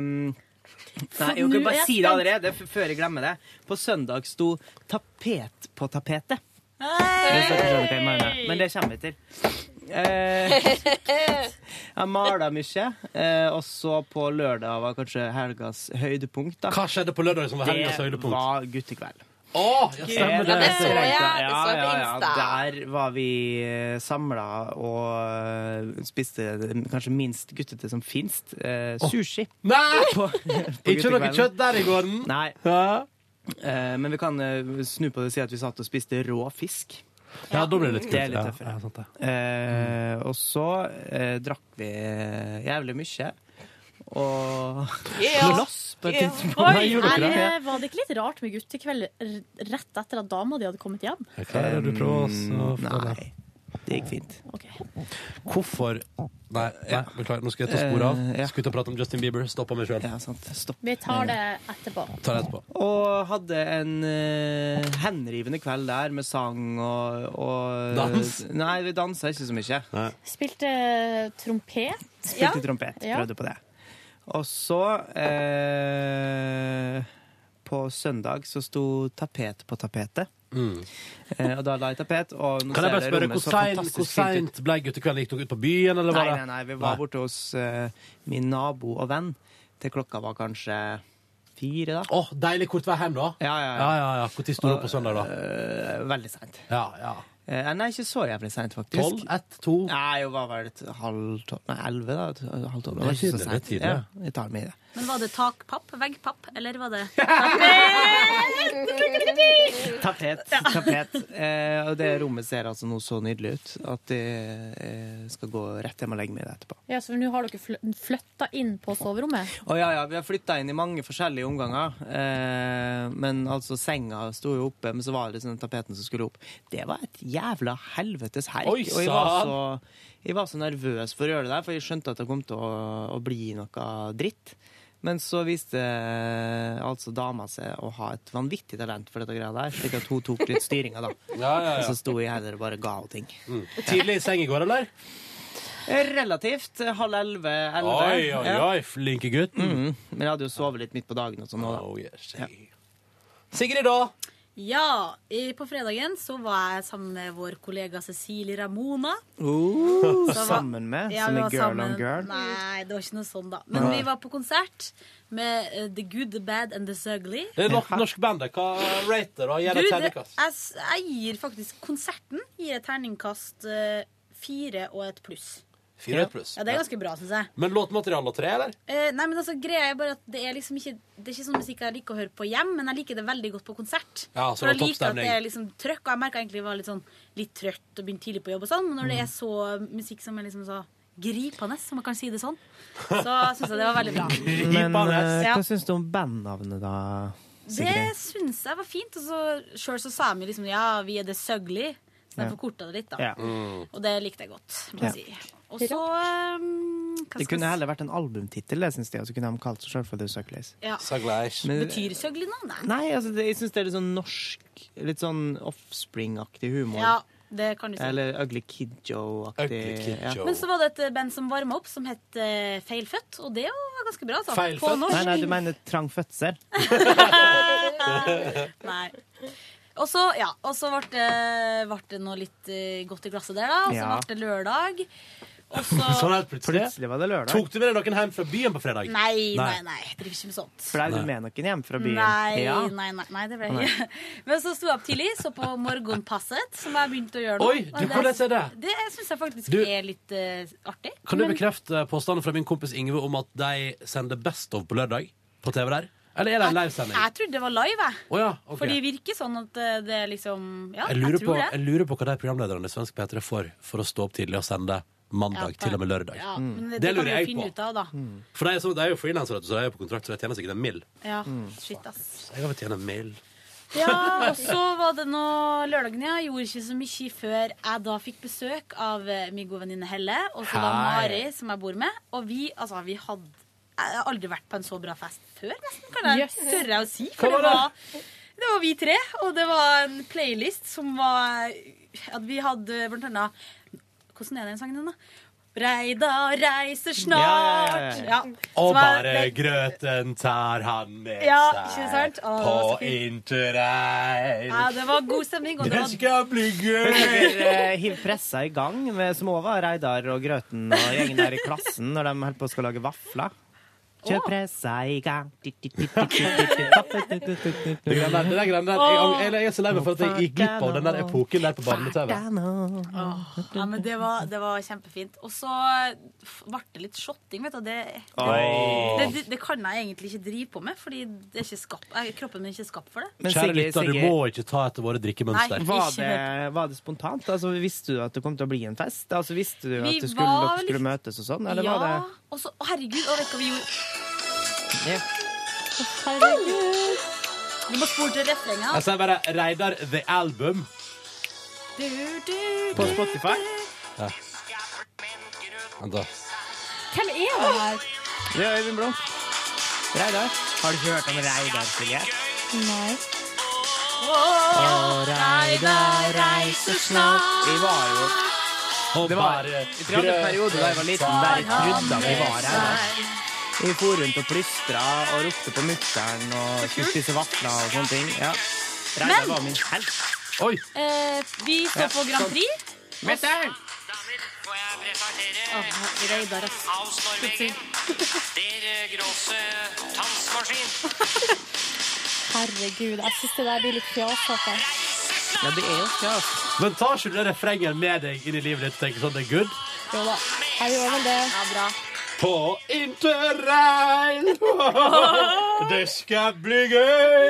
Speaker 3: Nei, jeg
Speaker 17: Nå er
Speaker 3: kan
Speaker 17: jeg
Speaker 3: bare si
Speaker 17: spent.
Speaker 3: det allerede f- før jeg glemmer det. På søndag sto tapet på tapetet. Hvis dere skjønner hva jeg mener. Men det kommer vi til. Eh, jeg mala mye, eh, og så på lørdag var kanskje helgas høydepunkt. Da.
Speaker 2: Hva skjedde på lørdag som var helgas høydepunkt?
Speaker 3: Det var guttekveld. Eh,
Speaker 2: Åh, ja, stemmer det.
Speaker 3: Helt
Speaker 2: Ja, det så jeg.
Speaker 3: strengt, da.
Speaker 2: Det så jeg på
Speaker 3: ja, Der var vi samla og eh, spiste det kanskje minst guttete som fins. Eh, sushi.
Speaker 2: Nei!
Speaker 3: På,
Speaker 2: Ikke noe
Speaker 3: guttekvelden.
Speaker 2: kjøtt der i gården.
Speaker 3: Nei. Eh, men vi kan eh, snu på det og si at vi satt og spiste rå fisk.
Speaker 2: Ja, da blir det litt
Speaker 3: Det er litt
Speaker 2: kult,
Speaker 3: tøffere.
Speaker 2: ja. Ja, sant det.
Speaker 3: Eh, og så eh, drakk vi eh, jævlig mye. Og
Speaker 4: Ja.
Speaker 3: sloss på et
Speaker 4: Ja.
Speaker 3: tidspunkt.
Speaker 4: Oi,
Speaker 3: Nei, gjorde
Speaker 4: er
Speaker 3: dere
Speaker 4: det,
Speaker 3: det?
Speaker 4: var det ikke litt rart med guttekveld r- rett etter at dama di hadde kommet hjem?
Speaker 2: Klarer du prøve å Um, Nei.
Speaker 3: Mm, Det gikk fint.
Speaker 2: Hvorfor Nei, nei Eh, beklager, nå skal jeg ta sporet av. Skal ut og prate om Justin Bieber. Stoppa meg sjøl.
Speaker 4: Vi
Speaker 3: Mm.
Speaker 4: tar det etterpå.
Speaker 2: Ta det etterpå.
Speaker 3: Og hadde en eh, henrivende kveld der med sang og, og
Speaker 2: Dans?
Speaker 3: Nei, vi dansa ikke så mye.
Speaker 4: Spilte eh, trompet.
Speaker 3: Spilte trompet.
Speaker 4: Ja.
Speaker 3: Prøvde på det. Og så eh, På søndag så sto tapet på tapetet. Eh, og da la jeg tapet. Og nå
Speaker 2: Mm. Kan jeg
Speaker 3: ser
Speaker 2: bare spørre,
Speaker 3: rommet så
Speaker 2: hvor sein-
Speaker 3: fantastisk
Speaker 2: hvor
Speaker 3: fint ut.
Speaker 2: seint ble guttekvelden? Gikk dere ut på byen, eller var
Speaker 3: Nei,
Speaker 2: det
Speaker 3: nei, nei, vi var borte hos eh, min nabo og venn til klokka var kanskje fire, da.
Speaker 2: Åh, Deilig kort vei hjem, da.
Speaker 3: Ja, ja,
Speaker 2: Ja, Eh, ja, ja. Når sto du opp på søndag, da?
Speaker 3: Eh, veldig seint.
Speaker 2: Ja, ja.
Speaker 3: Eh, nei, ikke så jævlig seint, faktisk.
Speaker 2: Tolv, ett, to?
Speaker 3: Nei, hun var vel et halv tolv Nei, elleve, da. Et- et Halv tolv.
Speaker 2: Det er
Speaker 3: ikke så
Speaker 2: tidlig, det er
Speaker 3: sent.
Speaker 2: tidlig.
Speaker 3: Ja, jeg tar med det.
Speaker 16: Men var det takpapp? Veggpapp? Eller var det
Speaker 3: Tapet. tapet. Eh, og det rommet ser altså nå så nydelig ut at jeg eh, skal gå rett hjem og legge meg i det etterpå.
Speaker 4: Ja, så nå har dere fl- flytta inn på soverommet.
Speaker 3: Å ja, ja, vi har flytta inn i mange forskjellige omganger. Eh, men altså, senga sto jo oppe, men så var det liksom den tapeten som skulle opp. Det var et jævla helvetes herk.
Speaker 17: Oi,
Speaker 3: og jeg var,
Speaker 17: sann!
Speaker 3: så, jeg var så nervøs for å gjøre det der, for jeg skjønte at det kom til å, å bli noe dritt. Men så viste eh, altså dama seg å ha et vanvittig talent for dette greia der, slik at hun tok litt styringa, da.
Speaker 2: Ja, ja, ja.
Speaker 3: Og så sto jeg heller og bare ga henne ting.
Speaker 2: Tidlig i seng i går, eller?
Speaker 3: Relativt. eh, Halv elleve. elleve.
Speaker 2: Oi, oi,
Speaker 3: Ja.
Speaker 2: oi, flinke gutt.
Speaker 3: Men jeg hadde jo sovet litt midt på dagen og sånn. også, da.
Speaker 2: Ja. Oh, Sigrid, da?
Speaker 16: Ja, i- på fredagen så var jeg sammen med vår kollega Cecilie Ramona.
Speaker 3: Oh,
Speaker 16: Så var-
Speaker 3: sammen med?
Speaker 16: Ja,
Speaker 3: som
Speaker 16: vi
Speaker 3: i
Speaker 16: var
Speaker 3: Girl on
Speaker 16: sammen.
Speaker 3: Girl?
Speaker 16: Nei, det var ikke noe sånn, da. Men
Speaker 3: Nei.
Speaker 16: vi var på konsert med eh, The Good, The Bad and The Sugly.
Speaker 2: Det er norsk, norsk band. det. Hva rater da? Gi
Speaker 16: Du,
Speaker 2: det
Speaker 16: det-
Speaker 2: terningkast.
Speaker 16: jeg, s- jeg gir faktisk konserten gir et terningkast eh, fire og et pluss.
Speaker 2: Fire og et pluss.
Speaker 16: Ja, det er ganske bra, syns jeg.
Speaker 2: Men låtmaterialet tre, eller?
Speaker 16: Eh, nei, men altså, greia er bare at det er liksom ikke Det er ikke sånn musikk jeg liker å høre på hjem, men jeg liker det veldig godt på konsert.
Speaker 2: Ja, så
Speaker 16: For jeg liker
Speaker 2: det var
Speaker 16: at
Speaker 2: toppstemning.
Speaker 16: det er liksom trøkk, og jeg merka egentlig jeg var litt sånn litt trøtt og begynte tidlig på jobb og sånn, men når det er så musikk som er liksom så gripende, om man kan si det sånn, så syns jeg det var veldig bra.
Speaker 3: Men eh,
Speaker 16: Ja.
Speaker 3: hva syns du om bandnavnet, da?
Speaker 16: Det
Speaker 3: Sigrid?
Speaker 16: syns jeg var fint. Og så sjøl så sa vi liksom ja, vi er det søgli, så
Speaker 3: Ja.
Speaker 16: jeg forkorta det litt, da.
Speaker 3: Ja. Mm.
Speaker 16: Og det likte jeg godt, må jeg
Speaker 3: Ja.
Speaker 16: si. Og så um, hva
Speaker 3: Det
Speaker 16: skal
Speaker 3: kunne
Speaker 16: jeg
Speaker 3: heller vært en albumtittel, det syns de. Og så kunne de kalt seg selv for The Suckleys.
Speaker 16: Ja.
Speaker 2: Suckleys.
Speaker 16: si? Betyr søgli noe? Nei.
Speaker 3: Nei, altså, det, jeg syns det er litt sånn norsk, litt sånn offspring-aktig humor.
Speaker 16: Ja, det kan du si.
Speaker 3: Eller Ugly Kid Joe-aktig.
Speaker 2: Ugly Kid Joe.
Speaker 16: Men så var det et eh, band som varma opp, som het eh, Feilfødt, og det var ganske bra. altså. På norsk.
Speaker 3: Nei, nei, du mener trang fødsel.
Speaker 16: Nei. Og så, ja, og så ble det, ble det noe litt eh, godt i glasset der, da. Og så
Speaker 2: Ja.
Speaker 16: ble det lørdag. Og så
Speaker 2: Sånn helt plutselig.
Speaker 3: var det lørdag.
Speaker 2: Tok du med deg noen hjem fra byen på fredag?
Speaker 16: Nei, nei, nei. Jeg driver ikke med sånt.
Speaker 3: Flei du med noen hjem fra byen?
Speaker 16: Nei,
Speaker 3: Ja.
Speaker 16: nei, nei, nei, det ble
Speaker 3: Nei.
Speaker 16: jeg Men så sto jeg opp tidlig, så på Morgenpasset, som jeg begynte å gjøre nå.
Speaker 2: Oi, du,
Speaker 16: Og det-
Speaker 2: hvordan er det?
Speaker 16: Det syns jeg faktisk
Speaker 2: Du-
Speaker 16: er litt eh, artig.
Speaker 2: Kan du
Speaker 16: Men-
Speaker 2: bekrefte påstanden fra min kompis Ingve om at de sender Best of på lørdag på TV der? Eller er det en livesending?
Speaker 16: Jeg trodde det var live, jeg.
Speaker 2: Å ja, ok.
Speaker 16: For det virker sånn at eh, det er liksom Ja, jeg,
Speaker 2: jeg, lurer på,
Speaker 16: tror
Speaker 2: jeg
Speaker 16: det.
Speaker 2: lurer på hva de programlederne i svensk P3 får for å stå opp tidlig og sende mandag til og med lørdag.
Speaker 16: Ja,
Speaker 2: Mm.
Speaker 16: men
Speaker 2: det,
Speaker 16: det, det kan vi
Speaker 2: lurer
Speaker 16: jo
Speaker 2: jeg
Speaker 16: finne
Speaker 2: på.
Speaker 16: ut av, da.
Speaker 2: For de er, sånn- de er jo frilansere, så de er jo på kontrakt, så de tjener sikkert en mill.
Speaker 16: Ja,
Speaker 2: Mm.
Speaker 16: shit, ass.
Speaker 2: Så jeg vil tjene en mill.
Speaker 16: Ja, og så var det nå lørdagen, ja. Jeg gjorde ikke så mye før jeg da fikk besøk av eh, min gode venninne Helle, og så da
Speaker 11: Hei.
Speaker 16: Mari, som jeg bor med. Og vi, altså, vi hadde Jeg har aldri vært på en så bra fest før, nesten, kan jeg
Speaker 11: Yes.
Speaker 16: tørre jeg å si.
Speaker 11: Hva
Speaker 16: For det
Speaker 11: var
Speaker 16: var, det var vi tre, og det var en playlist som var At vi hadde blant annet Hvordan er den sangen din, da? Reida reiser snart.
Speaker 2: Ja, ja, ja, ja.
Speaker 16: Ja,
Speaker 2: Og
Speaker 16: Som er-
Speaker 2: bare grøten tar han med seg
Speaker 16: Ja, ikke sant? Å, det var så
Speaker 2: på interrail.
Speaker 16: Ja, det var god stemning. Og det
Speaker 2: Det
Speaker 16: var
Speaker 2: skal bli
Speaker 3: Dere, eh,
Speaker 2: gøy!
Speaker 3: Hiv pressa i gang med Smova, Reidar og Grøten og gjengen der i klassen når de holder på å skal lage vafler. Kjør pressa i gang.
Speaker 2: Det er grann der, det er grann der. Jeg, jeg, jeg er så lei meg for at jeg gikk glipp av den der epoken der på barne-TV.
Speaker 16: Åh, ja, men det var, det var kjempefint. Og så f- ble det litt shotting, vet du. og Det,
Speaker 2: Oi.
Speaker 16: det, det, det kan jeg egentlig ikke drive på med, Fordi det er ikke skapt, eh, kroppen min er ikke skapt for det.
Speaker 2: Kjære lytter, du må ikke ta etter våre drikkemønster.
Speaker 16: Nei,
Speaker 3: Var
Speaker 16: ikke
Speaker 3: det, var det spontant? Altså, visste du at det kom til å bli en fest? Altså, visste du
Speaker 16: Vi
Speaker 3: at du skulle,
Speaker 16: var
Speaker 3: dere skulle
Speaker 16: litt-
Speaker 3: møtes og sånn? Eller
Speaker 16: ja,
Speaker 3: var det
Speaker 16: og så, å, herregud, og vet du hva vi gjorde?
Speaker 3: Ja.
Speaker 16: Herregud. Vi må spole til
Speaker 2: Jeg
Speaker 16: refrenget.
Speaker 2: sier bare Reidar The Album.
Speaker 16: Du, du,
Speaker 2: På Spotify? Ja. Vent, da.
Speaker 16: Hvem er det her?
Speaker 3: Det er Øyvind Blom. Reidar. Har du ikke hørt om Reidar, Silje?
Speaker 16: Nei.
Speaker 3: Å, Reidar reiser snart Vi var jo det var, Jeg tror jeg hadde en periode da jeg var liten der jeg trodde at vi var her. Vi for rundt og plystra og ropte på mutter'n og skulle spise vafler og sånne ting. Ja. Reidar
Speaker 16: Men-
Speaker 3: var min helt.
Speaker 2: Oi!
Speaker 16: Eh, vi
Speaker 3: Ja,
Speaker 16: står på Grand
Speaker 3: sånn.
Speaker 16: Prix.
Speaker 3: Mutter'n!
Speaker 16: Åh, Reidar, ass. Plutselig.
Speaker 4: Herregud, jeg syns det der blir litt fjasete.
Speaker 3: Ja, det er jo fjert.
Speaker 2: Men tar ikke du det refrenget med deg inn i livet ditt og tenker sånn, det er good?
Speaker 4: Jo da. Jeg gjør vel det.
Speaker 16: Ja, bra.
Speaker 2: På interrail! Det skal bli gøy!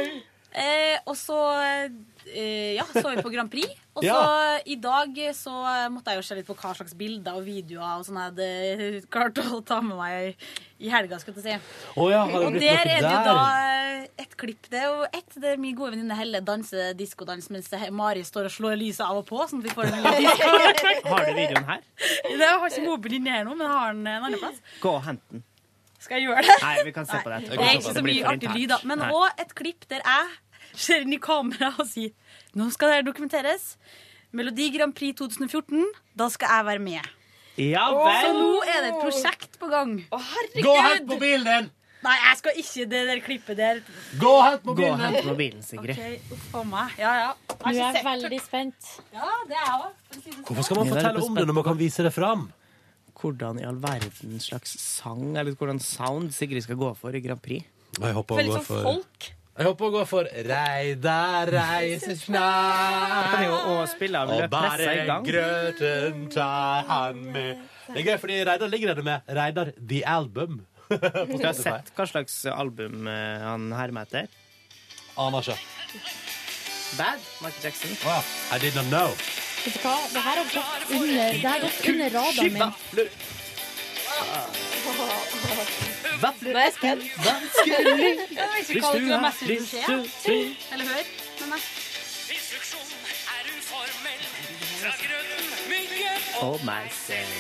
Speaker 16: Eh, og så eh, ja, så vi på Grand Prix. Og så
Speaker 2: Ja.
Speaker 16: i dag så eh, måtte jeg jo se litt på hva slags bilder og videoer og sånn jeg hadde klart å ta med meg i helga. skal jeg si.
Speaker 2: Å ja, har
Speaker 16: og
Speaker 2: det blitt
Speaker 16: der er
Speaker 2: noe
Speaker 16: det jo
Speaker 2: der?
Speaker 16: da eh, et klipp. Det er jo ett der min gode venninne Helle danser diskodans mens det- Mari står og slår lyset av og på. sånn at vi får en liten disco.
Speaker 3: Har du videoen her?
Speaker 16: Det har ikke mobilen inne her nå, men jeg har den en annen plass.
Speaker 3: Gå og hent den.
Speaker 16: Skal jeg gjøre det?
Speaker 3: Nei, vi kan se på det etterpå.
Speaker 16: Det er ikke så
Speaker 3: blir
Speaker 16: mye
Speaker 3: for
Speaker 16: artig
Speaker 3: internt.
Speaker 16: lyd, da. Men
Speaker 3: Nei.
Speaker 16: òg et klipp der jeg ser inn i kamera og sier Nå skal det dokumenteres. Melodi Grand Prix 2014. Da skal jeg være med.
Speaker 3: Ja
Speaker 16: Så
Speaker 3: vel!
Speaker 16: nå er det et prosjekt på gang.
Speaker 2: Gå og hent mobilen din!
Speaker 16: Nei, jeg skal ikke det der klippet der.
Speaker 2: Gå og hent
Speaker 16: mobilen.
Speaker 2: Gå og hent mobilen, Sigrid.
Speaker 16: Ok, uff a meg. Ja, ja.
Speaker 4: Nå er
Speaker 16: ikke
Speaker 4: jeg
Speaker 16: sett-
Speaker 4: veldig spent.
Speaker 16: Ja, det er jeg òg.
Speaker 2: Hvorfor skal man fortelle om det når man kan vise det fram?
Speaker 3: Hvordan i all verden slags sang eller hvordan sound Sigrid skal gå for i Grand Prix?
Speaker 2: Jeg håper hun Veldig går sånn for- folk. Jeg håper hun går for Reida reiser
Speaker 3: Da kan jeg jo også spille av
Speaker 2: Og
Speaker 3: løppressa i
Speaker 2: bare
Speaker 3: gang.
Speaker 2: grøten tar han med Det er gøy, fordi Reidar ligger der med Reidar The Album.
Speaker 3: Du
Speaker 2: På
Speaker 3: har
Speaker 2: Spotify.
Speaker 3: sett hva slags album eh, han hermer etter?
Speaker 2: Aner ikke.
Speaker 3: Bad, Michael Jackson.
Speaker 2: I did not know.
Speaker 4: Vet du hva? Det her har gått under, det her har gått under radaren min.
Speaker 16: Nå er jeg spent. Jeg vet ikke hva
Speaker 4: Hvis du
Speaker 16: det
Speaker 4: har
Speaker 16: mest vil
Speaker 4: lyst
Speaker 16: skje.
Speaker 4: til-
Speaker 16: Eller hør. med meg.
Speaker 3: Og meg selv.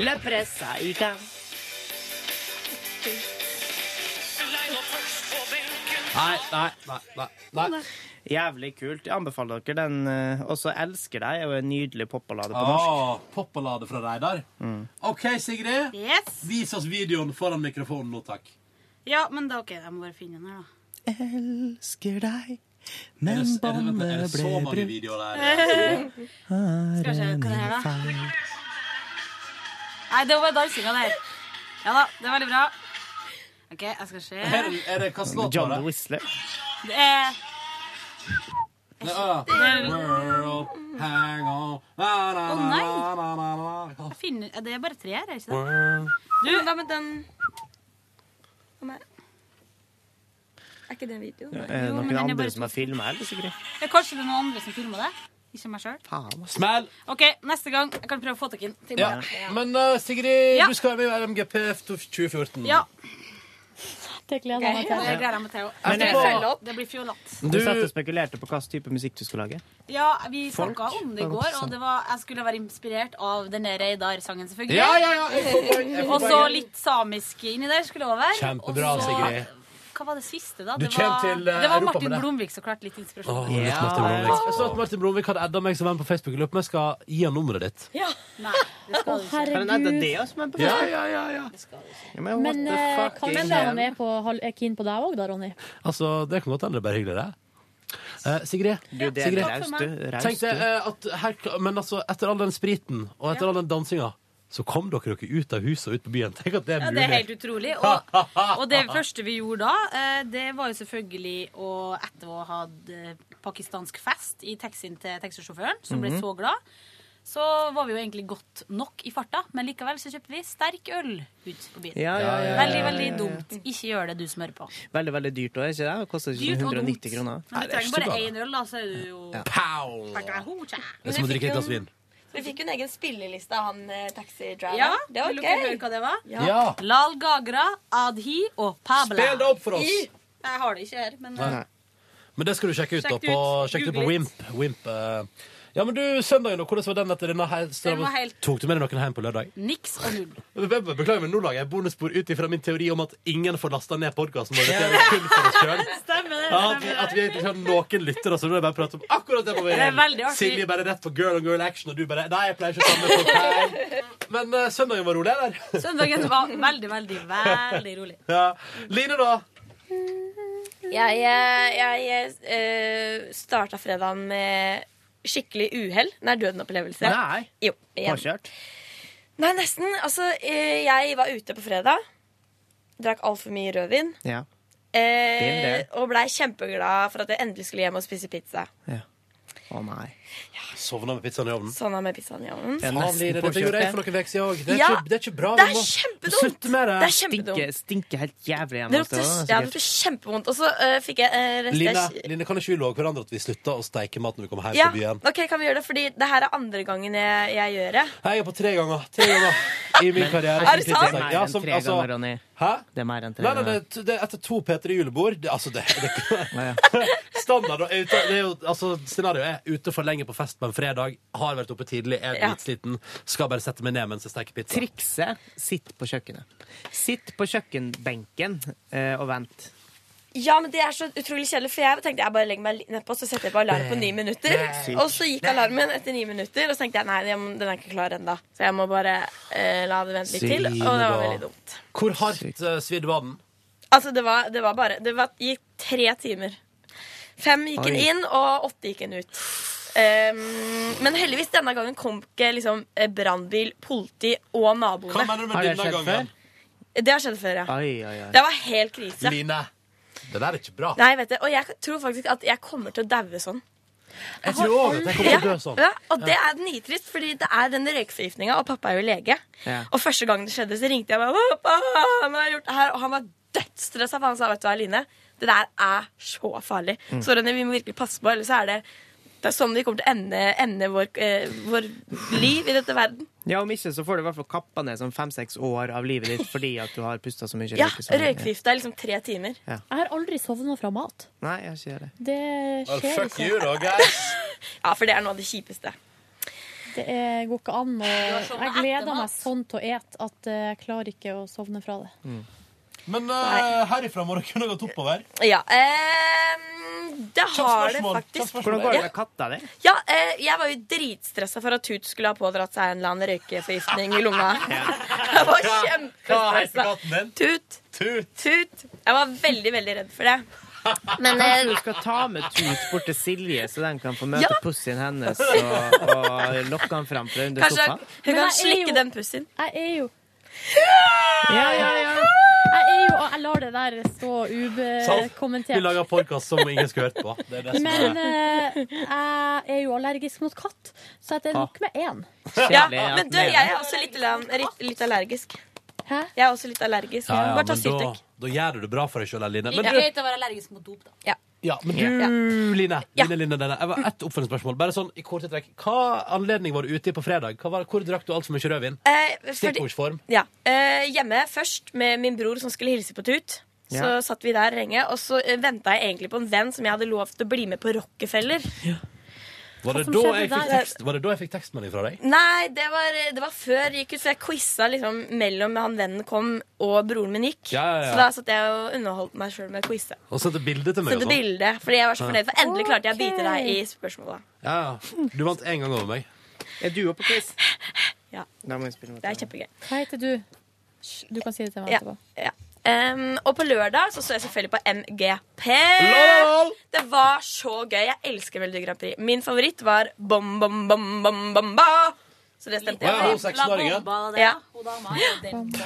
Speaker 3: Løppressa i gang.
Speaker 2: Nei, nei, nei.
Speaker 16: Sånn
Speaker 2: nei,
Speaker 3: nei. Jævlig kult. Jeg anbefaler dere den. eh, Også elsker deg er jo en nydelig popballade på
Speaker 2: Åh,
Speaker 3: norsk.
Speaker 2: Poppelade fra Reidar.
Speaker 3: Mm.
Speaker 2: OK, Sigrid. Vis oss videoen foran mikrofonen nå, takk.
Speaker 16: Ja, men da, ok, jeg må bare finne den her, da.
Speaker 3: Elsker deg,
Speaker 2: Er det, er det, vent, er det så mange videoer der?
Speaker 16: Skal vi se hva det er, da. Nei, det var bare dansinga der. Ja da, det er veldig bra. OK, jeg skal se.
Speaker 2: Er det, er det hva slags låt
Speaker 3: John
Speaker 2: var det?
Speaker 3: Whistler.
Speaker 16: Det er
Speaker 2: Nei, ah.
Speaker 16: Det er-
Speaker 2: World, hang on na, na,
Speaker 16: Å,
Speaker 2: na,
Speaker 16: nei.
Speaker 2: na, na, na, na.
Speaker 16: jeg finner, Det er bare tre her, er det ikke det?
Speaker 2: World.
Speaker 16: Du, hva med den Hva med Er ikke det en video?
Speaker 3: Er
Speaker 16: Jo,
Speaker 3: det
Speaker 16: men
Speaker 3: Eh, noen
Speaker 16: den er
Speaker 3: andre
Speaker 16: bare
Speaker 3: som har filma, eller, Sigrid?
Speaker 16: Ja, kanskje det er noen andre som filmer det? Ikke meg sjøl.
Speaker 3: Faen.
Speaker 2: Smell!
Speaker 16: OK, neste gang. Jeg kan prøve å få tak i den. til i
Speaker 2: Ja.
Speaker 16: morgen.
Speaker 2: Men eh, Sigrid,
Speaker 16: Ja.
Speaker 2: du skal være med i RMGP 2014.
Speaker 16: Ja.
Speaker 4: Det gleder
Speaker 16: Ok,
Speaker 4: jeg meg til.
Speaker 16: Det gleder jeg meg til òg.
Speaker 3: Men jeg-
Speaker 16: følge opp. Det blir fjollatt.
Speaker 3: Du satt og spekulerte på hva slags type musikk du skulle lage.
Speaker 16: Ja, vi
Speaker 3: Folk.
Speaker 16: snakka om det i går, og det var, jeg skulle være inspirert av den der Reidar-sangen, selvfølgelig.
Speaker 3: Ja, ja, ja, jeg får poeng, jeg får
Speaker 16: og så
Speaker 3: poeng.
Speaker 16: litt samisk inni der skulle også være.
Speaker 2: Kjempebra,
Speaker 16: Og så-
Speaker 2: Sigrid.
Speaker 16: Hva var det siste, da?
Speaker 2: Du
Speaker 16: det var,
Speaker 2: kommer til, eh,
Speaker 16: det var
Speaker 2: Europa
Speaker 16: Martin
Speaker 2: med det.
Speaker 16: Blomvik som klarte litt inspirasjon.
Speaker 2: Åh, litt Martin Blomvik. Jeg så at Martin Blomvik hadde adda meg som venn på Facebook. Jeg lurer på om jeg skal gi han nummeret ditt.
Speaker 16: Ja. Nei, det skal du ikke.
Speaker 3: Herregud. Kan det det også, men på
Speaker 2: Ja,
Speaker 3: Facebook?
Speaker 2: ja, ja, ja.
Speaker 3: Ja, men what
Speaker 4: Men
Speaker 3: the
Speaker 4: eh,
Speaker 3: fuck
Speaker 4: kanskje
Speaker 3: is
Speaker 4: han er, på, er keen på deg òg, da, Ronny?
Speaker 2: Altså, det kan godt hende det er bare hyggelig, det. Eh, Sigrid,
Speaker 3: Du, det er
Speaker 2: Sigrid.
Speaker 3: raust, du. Raust,
Speaker 2: Tenk det,
Speaker 3: du.
Speaker 2: eh, at her, men altså, etter all den spriten og etter all den dansinga, så kom dere dere ut av huset og ut på byen. Tenk at det er
Speaker 16: Ja,
Speaker 2: mulig.
Speaker 16: det er helt utrolig. Og, og det første vi gjorde da, eh, det var jo selvfølgelig å etter å ha hatt eh, pakistansk fest i taxien til taxisjåføren, som ble
Speaker 4: Mhm.
Speaker 16: så glad, så var vi jo egentlig godt nok i farta, men likevel så kjøpte vi sterk øl ut på byen.
Speaker 3: Ja, ja, ja, ja,
Speaker 16: Veldig,
Speaker 3: ja, ja,
Speaker 16: veldig
Speaker 3: ja.
Speaker 16: dumt. Ikke gjør det, du som hører på.
Speaker 3: Veldig, veldig dyrt òg, ikke det? Det koster ikke
Speaker 16: Dyrt
Speaker 3: sånn
Speaker 16: og dumt.
Speaker 3: 190 kroner.
Speaker 16: Men du trenger bare én øl, da, så er du jo
Speaker 2: Pow!
Speaker 3: Det er som å drikke et glass vin.
Speaker 11: Vi fikk jo en egen spilleliste av han eh, taxidriveren.
Speaker 16: Ja,
Speaker 11: det var
Speaker 16: vil dere høre
Speaker 11: gøy.
Speaker 16: hva det var?
Speaker 2: Ja.
Speaker 16: Lal Gagra, Adhi og Pabla.
Speaker 2: Spill det opp for oss.
Speaker 16: I- Jeg har det ikke her, men
Speaker 2: Nei. Men det skal du sjekke ut, da.
Speaker 16: Sjekk det
Speaker 2: På,
Speaker 16: ut.
Speaker 2: sjekk det ut på
Speaker 16: Google litt.
Speaker 2: Wimp. Wimp eh. Ja, men du, søndagen, og hvordan var den etter denne hei-
Speaker 16: Den var helt-
Speaker 2: Tok du med deg noen hjem på lørdag?
Speaker 16: niks og null.
Speaker 2: Be- be- Beklager, men nå lager jeg bonusspor ut ifra min teori om at ingen får lasta ned podkasten vår. Det er kun for oss selv.
Speaker 16: Stemmer det.
Speaker 2: Ja, at, vi, at vi egentlig ikke har noen lyttere, så nå er det bare å prate om akkurat det. på veien.
Speaker 16: Det er veldig artig.
Speaker 2: Silje bare rett på girl on girl action, og du bare Nei, jeg pleier ikke å samle folk her. Men eh, søndagen var rolig, eller?
Speaker 16: Søndagen var veldig, veldig, veldig rolig.
Speaker 2: Ja. Line, da?
Speaker 11: Jeg, eh, jeg eh, starta fredagen med skikkelig uhell. Nei, døden-opplevelse.
Speaker 3: Nei.
Speaker 11: Jo, igjen.
Speaker 3: Påkjørt.
Speaker 11: Nei, nesten. Altså, eh, jeg var ute på fredag. Drakk altfor mye rødvin.
Speaker 3: Ja. Been
Speaker 11: Eh,
Speaker 3: there.
Speaker 11: og blei kjempeglad for at jeg endelig skulle hjem og spise pizza.
Speaker 3: Å nei.
Speaker 2: Sovna med pizzaen i ovnen.
Speaker 11: Sånn er med pizzaen i ovnen.
Speaker 2: Faen, Line, dette gjorde jeg for noen uker siden òg. Det, er
Speaker 11: Ja,
Speaker 2: ikke- det er ikke bra.
Speaker 11: det
Speaker 2: vi
Speaker 11: er
Speaker 2: må
Speaker 11: kjempedumt.
Speaker 2: Slutte med det.
Speaker 11: Det er kjempedumt.
Speaker 3: Stinker, stinker helt jævlig
Speaker 11: Det
Speaker 3: hjemme hos
Speaker 11: lukter,
Speaker 3: deg. da,
Speaker 11: ja, det
Speaker 3: sikkert.
Speaker 11: lukter kjempevondt. Og så eh, fikk jeg eh, rest
Speaker 2: Line,
Speaker 11: jeg-
Speaker 2: Line, kan ikke vi love hverandre at vi slutter å steike mat når vi kommer hjem
Speaker 11: ja,
Speaker 2: fra byen?
Speaker 11: OK, kan vi gjøre det? Fordi det her er andre gangen jeg, jeg gjør det.
Speaker 2: Nei, Jeg er på tre ganger. Tre ganger i min karriere.
Speaker 11: Er det
Speaker 2: som
Speaker 11: sant?
Speaker 2: pizzasteik.
Speaker 3: Det er mer enn
Speaker 2: som- altså-
Speaker 3: tre ganger, Ronny.
Speaker 2: Hæ?
Speaker 3: Det er mer enn tre
Speaker 2: Nei, nei,
Speaker 3: ganger.
Speaker 2: det, det er etter to P3 julebord det, Altså, det, det Standard og ute, det er jo, altså, Scenarioet er ute for lenge på fest på en fredag Har vært oppe tidlig, er
Speaker 3: Ja.
Speaker 2: dritsliten Skal bare sette meg ned mens jeg steker pizza
Speaker 3: Trikset sitt på kjøkkenet. Sitt på kjøkkenbenken eh, og vent.
Speaker 11: Ja, men det er så utrolig kjedelig, for jeg tenkte jeg bare legger meg litt nedpå, så setter jeg på alarm på ni minutter.
Speaker 18: Nei.
Speaker 11: Og så gikk alarmen etter ni minutter, og så tenkte jeg nei, jeg må- den er ikke klar ennå. Så jeg må bare eh, la det vente litt til. Og det var veldig dumt.
Speaker 2: Hvor hardt uh, svidde var den?
Speaker 11: Altså, det var, det var bare Det var, gikk tre timer. Fem gikk den
Speaker 2: Oi.
Speaker 11: inn, og åtte gikk den ut. Ehm, men heldigvis denne gangen kom ikke liksom, eh, brannbil, politi og naboene.
Speaker 2: Hva mener du med Har det denne skjedd gangen?
Speaker 11: Det har skjedd før, ja.
Speaker 2: Ai, ai, ai.
Speaker 11: Det var helt krise.
Speaker 2: Line, det der er ikke bra.
Speaker 11: Nei, vet du, Og jeg tror faktisk at jeg kommer til å daue sånn.
Speaker 2: Jeg tror også at jeg kommer til å dø sånn.
Speaker 11: Ja, og det er nitrist, fordi det er den røykforgiftninga, og pappa er jo lege.
Speaker 2: Ja.
Speaker 11: Og første gang det skjedde, så ringte jeg bare pappa, hva har jeg gjort her? Og han var dødsstressa, for han sa vet du hva, Line, det der er så farlig.
Speaker 18: Mm.
Speaker 11: Så René, vi må virkelig passe på, ellers er det det er sånn vi kommer til å ende, ende vår, eh, vår liv i dette verden.
Speaker 18: Ja, om ikke så får du i hvert fall kappa ned sånn fem-seks år av livet ditt fordi at du har pusta så mye
Speaker 11: Ja,
Speaker 18: røyk som-
Speaker 11: Røykforgifta i liksom tre timer.
Speaker 18: Ja.
Speaker 4: Jeg har aldri sovna fra mat.
Speaker 18: Nei, jeg sier det.
Speaker 4: Det
Speaker 18: Well,
Speaker 4: skjer
Speaker 18: fuck
Speaker 4: ikke.
Speaker 18: you da,
Speaker 11: ja, for det er noe av det kjipeste.
Speaker 4: Det er, går ikke an å
Speaker 11: har sovnet
Speaker 4: Jeg gleder meg sånn til å ete at eh, jeg klarer ikke å sovne fra det.
Speaker 2: Men
Speaker 11: Nei.
Speaker 2: uh, herifra må dere kunne gått oppover.
Speaker 11: Ja, ehm, det har det faktisk.
Speaker 18: Hvordan går det
Speaker 11: Ja.
Speaker 18: med katta di?
Speaker 11: Ja, eh, jeg var jo dritstressa for at Tut skulle ha pådratt seg en eller annen røykeforgiftning i lunga. Jeg var kjempestressa. Tut.
Speaker 2: Tut.
Speaker 11: Jeg var veldig, veldig redd for det. Men eh,
Speaker 18: Kanskje du skal ta med Tut bort til Silje, så den kan få møte
Speaker 11: Ja.
Speaker 18: pussien hennes og, og lokke han fram fra under
Speaker 11: kanskje
Speaker 18: sofaen?
Speaker 11: hun kan slikke den pussien.
Speaker 4: Jeg er jo
Speaker 18: Ja, ja, ja.
Speaker 4: Jeg er jo, og jeg lar det der stå
Speaker 2: Sant. Vi
Speaker 4: ubekommentert.
Speaker 2: lager podkast som ingen skulle hørt på. Det er det som
Speaker 4: Men
Speaker 2: er.
Speaker 4: eh, jeg er jo allergisk mot katt, så at det er nok med én.
Speaker 11: Ja, men du, jeg er også litt, lan- litt, litt allergisk. Jeg er også litt allergisk.
Speaker 2: Ja, ja,
Speaker 11: Bare ta
Speaker 2: men da,
Speaker 11: Syltek.
Speaker 2: da gjør du det bra for deg sjøl, Line. Men
Speaker 16: Like
Speaker 2: du,
Speaker 16: greit å være allergisk mot dop, da.
Speaker 2: ja, men du
Speaker 16: Ja.
Speaker 2: Line. Line, Line, Line. Jeg var ett oppfølgingsspørsmål. Bare sånn i korte trekk. Hva anledning var du ute i på fredag? Hva var, hvor drakk du altfor mye rødvin?
Speaker 11: Eh, fordi-
Speaker 2: Stikkordsform.
Speaker 11: Ja. Eh, hjemme først med min bror som skulle hilse på Tut. Så
Speaker 2: Ja.
Speaker 11: satt vi der lenge, og så venta jeg egentlig på en venn som jeg hadde lovt å bli med på Rockefeller.
Speaker 2: Var
Speaker 11: Hva
Speaker 2: det,
Speaker 11: som
Speaker 2: da
Speaker 11: skjedde
Speaker 2: jeg fikk
Speaker 11: der?
Speaker 2: tekst, var det da jeg fikk tekstmelding fra deg?
Speaker 11: Nei, det var, det var før jeg gikk ut, for jeg quiza liksom mellom han vennen kom og broren min gikk.
Speaker 2: Ja, ja,
Speaker 11: Så
Speaker 2: ja.
Speaker 11: da satt jeg og underholdt meg sjøl med å quize.
Speaker 2: Og sendte bilde til meg?
Speaker 11: Sendte
Speaker 2: og sånn.
Speaker 11: bilde, fordi jeg var så
Speaker 2: Ja.
Speaker 11: fornøyd, for endelig klarte jeg å bite deg i
Speaker 18: Ok.
Speaker 11: spørsmåla.
Speaker 2: Ja, ja. Du vant én gang over meg.
Speaker 18: Er du òg på quiz?
Speaker 11: Ja.
Speaker 18: Da må vi spille mot
Speaker 11: Det er kjempegøy.
Speaker 4: Hva heter du? Hysj, Du kan si det til meg
Speaker 11: Ja,
Speaker 4: etterpå.
Speaker 11: ja. Em, og på lørdag så så jeg selvfølgelig på MGP.
Speaker 4: Lol!
Speaker 11: Det var så gøy. Jeg elsker Melodi Grand Prix. Min favoritt var Bom Bom Bom Bom Bomba. Så det stemte.
Speaker 2: Å ja,
Speaker 11: jeg
Speaker 2: hun seksåringen. La bomba
Speaker 11: Ja.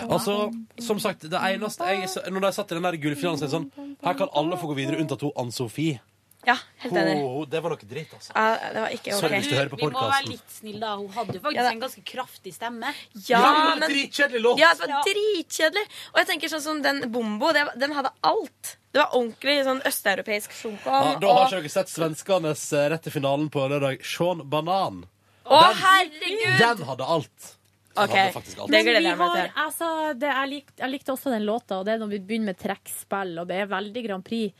Speaker 2: Altså, som sagt, det eneste jeg Når jeg satt i den der gullfinalen, så er det sånn Her kan alle få gå videre, unntatt hun Ann-Sofie.
Speaker 11: ja, helt enig.
Speaker 2: Ho, det var noe dritt, altså.
Speaker 11: Ja, det var ikke ok.
Speaker 2: Sorry hvis du hører på
Speaker 16: Vi må
Speaker 2: podcasten.
Speaker 16: være litt snille, da. Hun hadde jo faktisk en ganske kraftig stemme.
Speaker 11: Ja, men-
Speaker 2: dritkjedelig
Speaker 11: Ja, det var dritkjedelig. Og jeg tenker sånn som den Bombo, det, var- den hadde alt. Det var ordentlig sånn østeuropeisk
Speaker 2: Ja,
Speaker 11: sjunkon.
Speaker 2: da har
Speaker 11: og
Speaker 2: ikke dere sett svenskenes eh, rett til finalen på lørdag. Sean Banan.
Speaker 11: Å,
Speaker 2: Den-
Speaker 11: herregud!
Speaker 2: Den hadde alt. Den
Speaker 11: Ok,
Speaker 2: hadde faktisk alt.
Speaker 4: Men vi har, altså, det, jeg, likte, jeg likte også den låta, og det er når vi begynner med trekkspill, og det er veldig Grand Prix.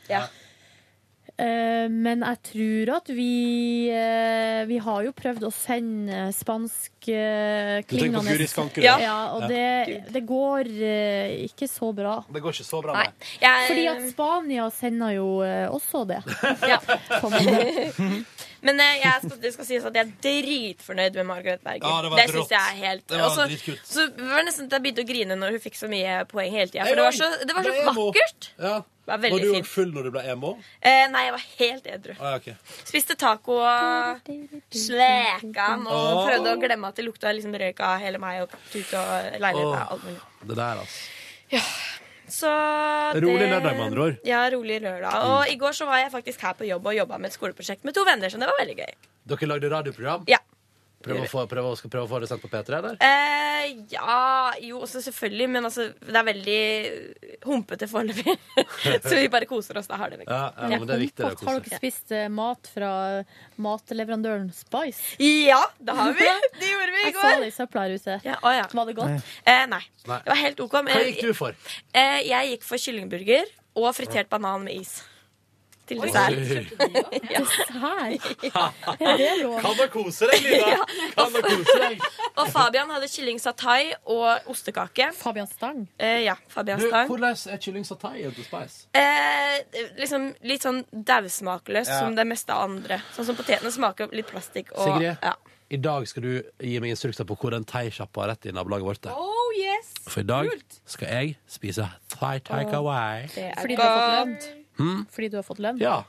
Speaker 4: Eh, men jeg tror at vi eh, Vi har jo prøvd å sende spansk uh,
Speaker 2: Du tenker på
Speaker 4: klingende
Speaker 2: Guri Skankerud,
Speaker 4: ja.
Speaker 2: ja.
Speaker 4: og
Speaker 2: Ja.
Speaker 4: det, det går eh, ikke så bra.
Speaker 2: Det går ikke så bra, nei.
Speaker 4: Fordi
Speaker 11: Eh.
Speaker 4: at Spania sender jo eh, også det.
Speaker 11: Men eh, jeg skal, det skal sies at jeg er dritfornøyd med Margaret Berger.
Speaker 2: Ja, det var
Speaker 11: synes
Speaker 2: rått.
Speaker 11: jeg er helt
Speaker 2: Det var
Speaker 11: og så-
Speaker 2: dritkult.
Speaker 11: Så det var nesten at jeg begynte å grine når hun fikk så mye poeng hele tida.
Speaker 2: Nei,
Speaker 11: For det var
Speaker 2: nei,
Speaker 11: så, det var
Speaker 2: det
Speaker 11: så
Speaker 2: er emo.
Speaker 11: vakkert.
Speaker 2: Ja.
Speaker 11: Det var
Speaker 2: Var
Speaker 11: veldig
Speaker 2: du
Speaker 11: fint.
Speaker 2: òg full når du ble emo?
Speaker 11: Eh, nei, jeg var helt edru.
Speaker 2: Ah, ja, ok.
Speaker 11: Spiste taco og slekan og
Speaker 2: Åh.
Speaker 11: prøvde å glemme at det lukta liksom røyk av hele meg og tut og leiligheten og alt mulig.
Speaker 2: Det der, altså.
Speaker 11: Så
Speaker 2: Rolig lørdag, med andre ord. Mm.
Speaker 11: Ja, rolig lørdag. Og i går så var jeg faktisk her på jobb og jobba med et skoleprosjekt med to venner, så det var veldig gøy.
Speaker 2: Dere lagde radioprogram?
Speaker 11: Ja.
Speaker 2: Prøv å få, prøv å, skal prøve å få det sendt på P3, eller?
Speaker 11: Eh, ja Jo, også selvfølgelig, men altså, det er veldig humpete foreløpig. så vi bare koser oss. Da har det vekk.
Speaker 2: Ja, ja, men det er viktig. Det, å
Speaker 4: Har
Speaker 2: kose
Speaker 4: dere
Speaker 2: seg.
Speaker 4: spist eh, mat fra matleverandøren Spice?
Speaker 11: Ja, det har vi. Det gjorde vi i
Speaker 4: Jeg
Speaker 11: går.
Speaker 4: så det i søpla her ute. Var det godt?
Speaker 11: Eh, nei.
Speaker 2: Nei.
Speaker 11: Det var helt OK. men-
Speaker 2: Hva gikk du for?
Speaker 11: Eh, jeg gikk for kyllingburger og fritert banan med is. til
Speaker 2: Oi.
Speaker 11: dessert. Ja.
Speaker 4: Er det lov?
Speaker 2: Kan man kose deg, Lina? Kan man kose deg?
Speaker 11: Og Fabian hadde kylling satai og ostekake.
Speaker 4: Fabian Stang?
Speaker 11: Eh, ja. Fabian
Speaker 2: Du,
Speaker 11: Stang.
Speaker 2: Hvordan er kylling satai ute spice?
Speaker 11: Eh, liksom litt sånn dausmakeløst
Speaker 2: Ja.
Speaker 11: som det meste andre. Sånn som potetene smaker litt plastikk. Og,
Speaker 2: Sigrid,
Speaker 11: ja.
Speaker 2: i dag skal du gi meg instrukser på hvor den thaisjappa rett i nabolaget vårt er.
Speaker 11: Oh yes!
Speaker 2: For i dag skal jeg spise thai thai kawai.
Speaker 4: Fordi du har fått lønn?
Speaker 2: Hmm?
Speaker 4: Fordi du har fått lønn?
Speaker 2: Ja.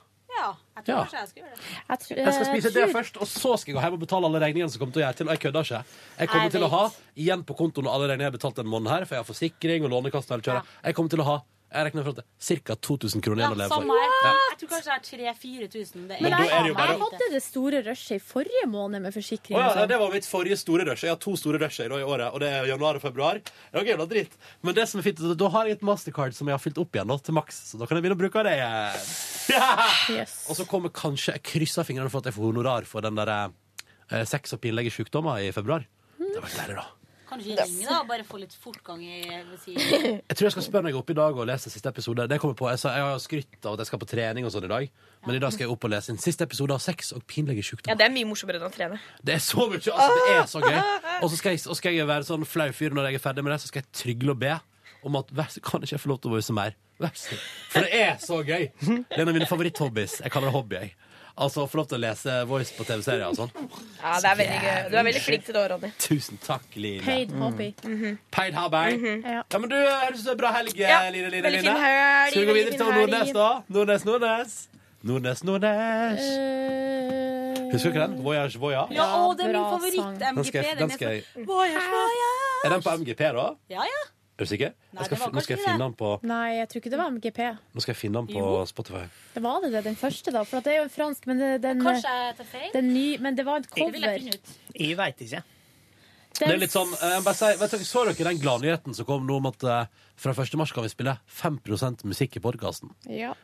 Speaker 4: Jeg
Speaker 2: tror Ja.
Speaker 4: kanskje jeg skal gjøre det.
Speaker 2: Jeg
Speaker 4: Eh,
Speaker 2: skal spise det først, og så skal jeg gå hjem og betale alle regningene som kommer til å gjøre til. Og jeg kødder ikke. Jeg kommer
Speaker 4: Jeg
Speaker 2: til å
Speaker 4: vet.
Speaker 2: ha igjen på kontoen alle regningene jeg har betalt en måned her, for jeg har forsikring og lånekast og hele kjøret. Jeg kommer til å ha jeg regner for at det er ca. 2000 kroner igjen å leve
Speaker 16: samme
Speaker 2: for.
Speaker 16: her.
Speaker 2: Ja.
Speaker 16: Jeg tror kanskje det er 3000-4000.
Speaker 2: Men da er det jo bare-
Speaker 4: Jeg hadde det store rushet i forrige måned med forsikring.
Speaker 2: Å ja,
Speaker 4: og
Speaker 2: ja,
Speaker 4: sånn.
Speaker 2: det var mitt forrige store rush. Jeg har to store rusher i året, og det er januar og februar. Det var jævla dritt. Men det som er fint, er at da har jeg et mastercard som jeg har fylt opp igjen nå, til maks, så da kan jeg begynne å bruke det igjen. Og så kommer kanskje Jeg krysser fingrene for at jeg får honorar for den der eh, sex og pinlige sykdommer i februar. Det var deilig, da.
Speaker 19: Kanskje ringe, da, og bare få litt fortgang i hva si-
Speaker 2: Jeg tror jeg skal spørre når jeg er oppe i dag og lese siste episode. Det kommer på, jeg, sa, jeg har skrytt av at jeg skal på trening og sånn i dag, men i dag skal jeg opp og lese inn siste episode av sex og pinlige sykdommer.
Speaker 11: Ja, det er mye morsommere enn å trene.
Speaker 2: Det er så mye, altså det er så gøy Og så skal jeg, og skal jeg være sånn flau fyr når jeg er ferdig med det Så skal jeg trygle og be Om at vær, så- kan ikke jeg få lov til å vise mer Vær så- For det er så gøy Det er en av mine favoritthobbys Jeg kaller det hobby jeg Altså å få lov til å lese voice på tv-serier og sånn
Speaker 11: Ja, det er veldig gøy. Du er veldig flink til det òg, Ronny.
Speaker 2: Tusen takk, Line
Speaker 11: Mhm.
Speaker 2: Paid hobby ja. men du, høres ut som en bra helg, eh,
Speaker 11: Ja,
Speaker 2: Line, Line,
Speaker 11: veldig
Speaker 2: Line
Speaker 11: fin helg,
Speaker 2: Skal vi gå
Speaker 11: veldig
Speaker 2: videre
Speaker 11: fin
Speaker 2: til Nordnes
Speaker 11: helg.
Speaker 2: da? Nordnes, Nordnes Nordnes, Nordnes
Speaker 11: Eh.
Speaker 4: Eh,
Speaker 2: Husker du ikke den? Voyage, Voyage
Speaker 19: Ja, å, det er min
Speaker 4: bra sang.
Speaker 2: Den skal
Speaker 19: favoritt-MGP.
Speaker 2: jeg- den skal jeg-
Speaker 19: jeg
Speaker 2: Er den på MGP da?
Speaker 19: Ja, ja.
Speaker 2: Er du sikker?
Speaker 4: Nei,
Speaker 2: jeg skal,
Speaker 4: det var
Speaker 2: fi- nå skal jeg
Speaker 4: kanskje
Speaker 2: finne
Speaker 4: det.
Speaker 2: den på
Speaker 4: Nei, jeg tror ikke det var MGP.
Speaker 2: Nå skal jeg finne den på Spotify.
Speaker 4: Det var det, det, den første, da. For at det er jo en fransk, men det, den,
Speaker 19: Kanskje jeg tar feil?
Speaker 4: den ny, men det var et
Speaker 19: Det vil jeg
Speaker 4: cover.
Speaker 19: finne ut.
Speaker 18: Jeg veit ikke.
Speaker 2: Det er litt sånn, eh, jeg må bare si, vet dere, Så dere den gladnyheten som kom nå om at eh, fra 1. mars kan vi spille 5 musikk i podkasten?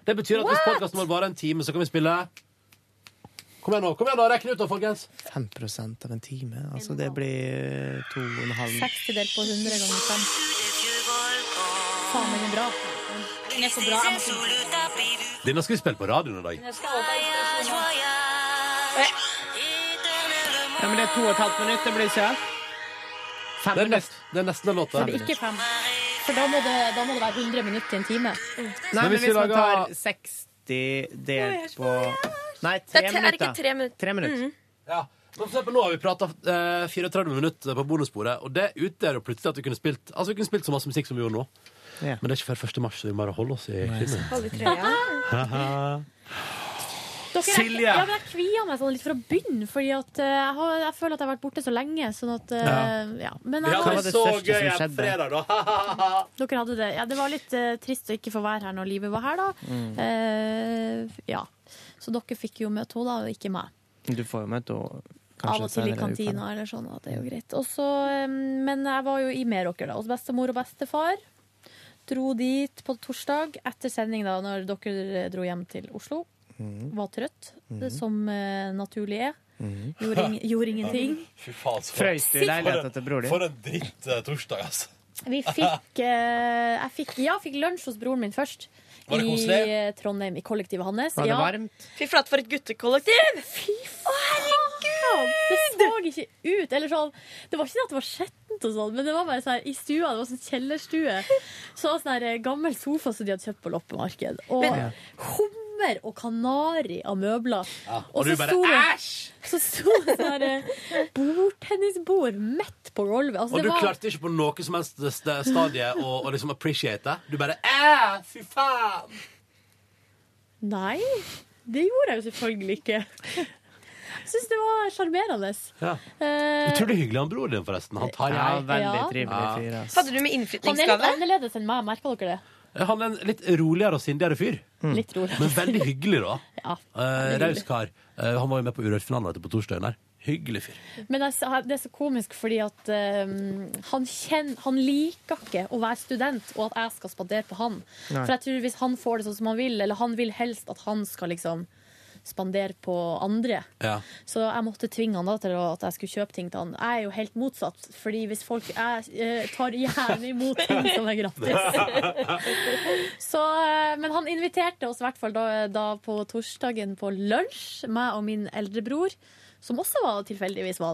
Speaker 2: Det betyr at hvis
Speaker 19: What?
Speaker 2: podkasten vår varer en time, så kan vi spille Kom igjen nå, kom igjen nå, rekk ut da, folkens!
Speaker 18: 5 av en time. Altså, det blir eh, to og en halv
Speaker 4: 60 delt på 100 ganger 5. Faen, den er bra.
Speaker 19: Den er så bra. Jeg må finne ut.
Speaker 2: Denne skal vi spille på radioen i dag.
Speaker 19: Den skal også ta inspirasjon av.
Speaker 18: Ja, men det er to og et halvt minutt. Det blir ikke
Speaker 2: Det er, nest, det er nesten en låt.
Speaker 4: Men ikke fem. For da må, det, da må det være 100 minutter i en time.
Speaker 18: Nei, men hvis
Speaker 2: vi
Speaker 18: man
Speaker 2: lager-
Speaker 18: tar 60 delt på Nei, tre
Speaker 11: Det er, tre, er det ikke
Speaker 18: minutter.
Speaker 11: tre minutter?
Speaker 18: Tre minutter.
Speaker 11: Mhm.
Speaker 2: Ja. Men for eksempel, nå har vi eh, prata 34 minutter på bonussporet, og det utgjør jo plutselig at vi kunne spilt Altså vi kunne spilt så masse musikk som vi gjorde nå. Men det er ikke før 1. mars, så vi må bare holde oss i
Speaker 11: Hold i
Speaker 2: kinnet.
Speaker 11: trøya.
Speaker 2: Haha.
Speaker 4: Dere, jeg-
Speaker 2: Silje!
Speaker 4: Ja, men jeg kvier meg sånn litt for å begynne, fordi at eh, jeg, har, jeg føler at jeg har vært borte så lenge. Sånn at, eh, ja. Men jeg
Speaker 2: Vi
Speaker 4: har,
Speaker 2: hadde det så gøy en fredag, da.
Speaker 4: Dere hadde det. Ja, det var litt eh, trist å ikke få være her når livet var her, da.
Speaker 18: Mm.
Speaker 4: Eh, ja. Så dere fikk jo møte henne, da, og ikke meg.
Speaker 18: Du får jo møte henne
Speaker 4: Av og til i kantina eller sånn, og det er jo greit. Og så, eh, men jeg var jo i Meråker, da. Hos bestemor og bestefar. Dro dit på torsdag etter sending, da, når dere dro hjem til Oslo.
Speaker 2: Mm.
Speaker 4: Var trøtt, det som eh, naturlig er.
Speaker 2: Mm.
Speaker 4: Gjorde, ing gjorde ingenting.
Speaker 2: Fy faen, så
Speaker 18: Frøys du i leiligheten til bror din?
Speaker 2: For en dritt eh, torsdag, altså.
Speaker 4: Vi fikk, eh, jeg fikk, ja, jeg fikk lunsj hos broren min først.
Speaker 2: Var det
Speaker 4: I
Speaker 2: koselig?
Speaker 4: eh, Trondheim, i kollektivet hans.
Speaker 2: Var det
Speaker 4: ja.
Speaker 2: varmt?
Speaker 4: Fy flate, for et guttekollektiv! Fy faen! Det så ikke ut. Eller sånn, det var ikke det at det var skjettent, og sånn, men det var bare sånn her, i stua. Det var sånn kjellerstue. Så var det sånn her, eh, gammel sofa som de hadde kjøpt på loppemarked. Og
Speaker 2: Men-
Speaker 4: hummer og kanari av møbler.
Speaker 2: Ja, og
Speaker 4: Og
Speaker 2: du
Speaker 4: så
Speaker 2: bare,
Speaker 4: sto det- Så sto det sånn her, eh, bordtennisbord midt på gulvet. Altså,
Speaker 2: Og
Speaker 4: det
Speaker 2: du
Speaker 4: var-
Speaker 2: klarte ikke på noe som helst eh, st- stadie å å liksom appreciate det. Du bare Æ, fy faen!
Speaker 4: Nei, det gjorde jeg jo selvfølgelig ikke. Jeg syns det var sjarmerende.
Speaker 2: ja.
Speaker 4: Eh,
Speaker 2: Utrolig hyggelig han broren din, forresten. Han tar
Speaker 18: Ja, veldig
Speaker 4: Ja.
Speaker 18: trivelig fyr. altså. ass.
Speaker 4: Hadde du med Han er litt
Speaker 11: innflyttingsgave?
Speaker 4: annerledes enn meg, merka dere det?
Speaker 2: Han er en litt roligere og sindigere fyr.
Speaker 4: Litt roligere.
Speaker 2: Mm. Men veldig hyggelig, da.
Speaker 4: Ja,
Speaker 2: Eh,
Speaker 4: veldig
Speaker 2: Raus kar. Eh, han var jo med på Urørt-finalen på torsdagen her. Hyggelig fyr.
Speaker 4: Men jeg, sa- det er så komisk fordi at eh, han, kjenner, han liker ikke å være student, og at jeg skal spandere på han.
Speaker 2: Nei.
Speaker 4: For jeg tror hvis han får det sånn som han vil, eller han vil helst at han skal liksom spandere på andre.
Speaker 17: Ja.
Speaker 4: Så jeg måtte tvinge han da til å- at jeg skulle kjøpe ting til han. Jeg er jo helt motsatt, fordi hvis folk Jeg eh, tar gjerne imot ting som er gratis. Så, eh, men han inviterte oss i hvert fall da, da på torsdagen på lunsj, meg og min eldre bror, som også var, tilfeldigvis var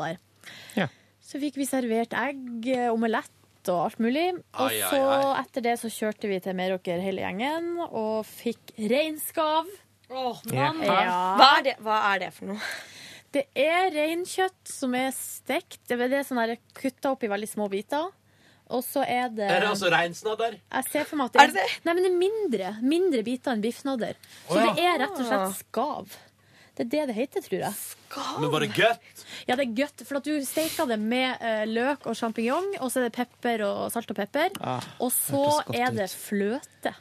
Speaker 4: der. Så fikk vi servert egg, eh, omelett og alt mulig. Og
Speaker 19: Ai, ai,
Speaker 4: så etter det så kjørte vi til Meråker hele gjengen og fikk reinskav.
Speaker 11: mann.
Speaker 4: Ja.
Speaker 11: Hva er det- hva er det for noe?
Speaker 4: Det er reinkjøtt som er stekt. Det er det sånn her kutta opp i veldig små biter. Og så er det
Speaker 17: Er det altså reinsnadder?
Speaker 4: Jeg ser for meg at det er, Nei, men det er mindre, mindre biter enn biffnadder. Så
Speaker 17: Å, ja.
Speaker 4: det er rett og
Speaker 17: Ah.
Speaker 4: slett skav. Det er det det heter, tror jeg.
Speaker 17: Men var det godt?
Speaker 4: Ja, det er godt, for at du steker det med eh, løk og sjampinjong, og så er det pepper og salt og pepper.
Speaker 17: Ah,
Speaker 4: og så
Speaker 17: hørtes godt
Speaker 4: er det fløte.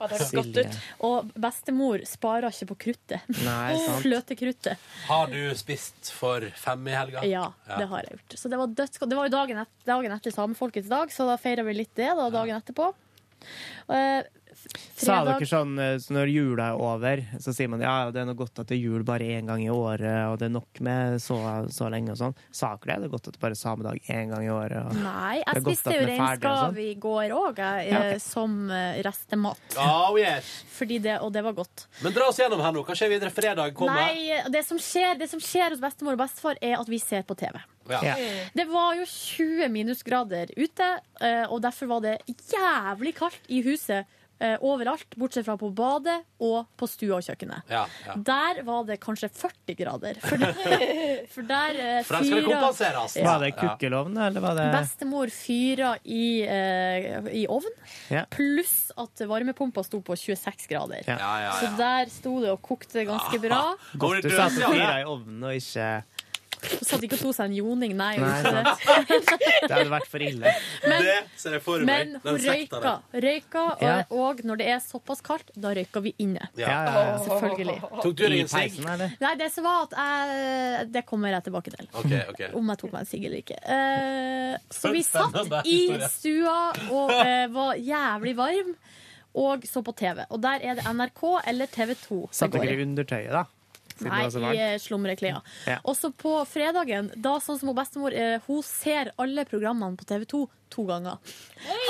Speaker 4: Ah,
Speaker 17: det hørtes godt Silje. ut.
Speaker 4: Og bestemor sparer ikke på kruttet.
Speaker 17: Nei, sant.
Speaker 4: Fløtekruttet.
Speaker 17: Har du spist for fem i helga?
Speaker 4: Ja, det har jeg gjort. Så det var dødsgodt. Det var jo dagen etter, dagen etter Samefolkets dag, så da feira vi litt det da, dagen etterpå. Eh,
Speaker 3: Sa
Speaker 4: fredag-
Speaker 3: dere sånn eh, så når jula er over, så sier man ja, ja, det er noe godt at det er jul bare én gang i året, og det er nok med så, så lenge og sånn. Sa dere det? Det er godt at det bare er samedag én gang i året. Og
Speaker 4: Nei,
Speaker 3: det
Speaker 4: jeg
Speaker 3: er godt
Speaker 4: spiste
Speaker 3: at
Speaker 4: jo
Speaker 3: den er ferdig og sånn.
Speaker 4: reinskav i går òg,
Speaker 3: Ja, ok.
Speaker 4: som eh, restemat.
Speaker 17: Oh, yes.
Speaker 4: Fordi det, og det var godt.
Speaker 17: Men dra oss gjennom her nå. Hva skjer videre fredag? Kommer.
Speaker 4: Nei, det som, skjer, det som skjer hos bestemor og bestefar, er at vi ser på TV.
Speaker 17: Ja. Ja.
Speaker 4: Det var jo 20 minusgrader ute, eh, og derfor var det jævlig kaldt i huset eh, overalt, bortsett fra på badet og på stua og kjøkkenet.
Speaker 17: Ja, ja.
Speaker 4: Der var det kanskje 40 grader. For, for der eh,
Speaker 3: For der skal det
Speaker 4: fyra-
Speaker 3: kompenseres.
Speaker 4: Ja.
Speaker 3: Var det kukkeloven, eller var det
Speaker 4: Bestemor fyra i, eh, i ovn,
Speaker 3: Ja.
Speaker 4: pluss at varmepumpa sto på 26 grader.
Speaker 3: Ja. Ja, Ah. ja, ja.
Speaker 4: Så der sto det og kokte ganske bra.
Speaker 3: Godt du satte fyra i ovnen og ikke
Speaker 4: Så Satt ikke og tok seg en joning, nei.
Speaker 3: Nei,
Speaker 4: gjorde ikke
Speaker 3: Det hadde vært for ille.
Speaker 4: Men-
Speaker 17: det ser jeg for meg.
Speaker 4: Men hun røyka, røyka og,
Speaker 3: Ja.
Speaker 4: og når det er såpass kaldt, da røyker vi inne.
Speaker 17: Ja, ja, ja.
Speaker 4: Selvfølgelig.
Speaker 17: Tok du deg
Speaker 3: I
Speaker 17: en sigg?
Speaker 3: peisen, eller?
Speaker 4: Nei, det som var at jeg Det kommer jeg tilbake til.
Speaker 17: Ok, ok.
Speaker 4: Om jeg tok meg en sigg eller ikke. Eh, så vi
Speaker 17: Spennende
Speaker 4: satt i
Speaker 17: historie.
Speaker 4: stua og eh, var jævlig varm. Og så på TV. Og der er det NRK eller TV 2.
Speaker 3: Satte dere i undertøyet, da? Siden det var så
Speaker 4: Nei,
Speaker 3: varmt.
Speaker 4: i eh, slumreklær.
Speaker 3: Ja.
Speaker 4: Også på fredagen, da sånn som hun bestemor eh, Hun ser alle programmene på TV 2 to ganger.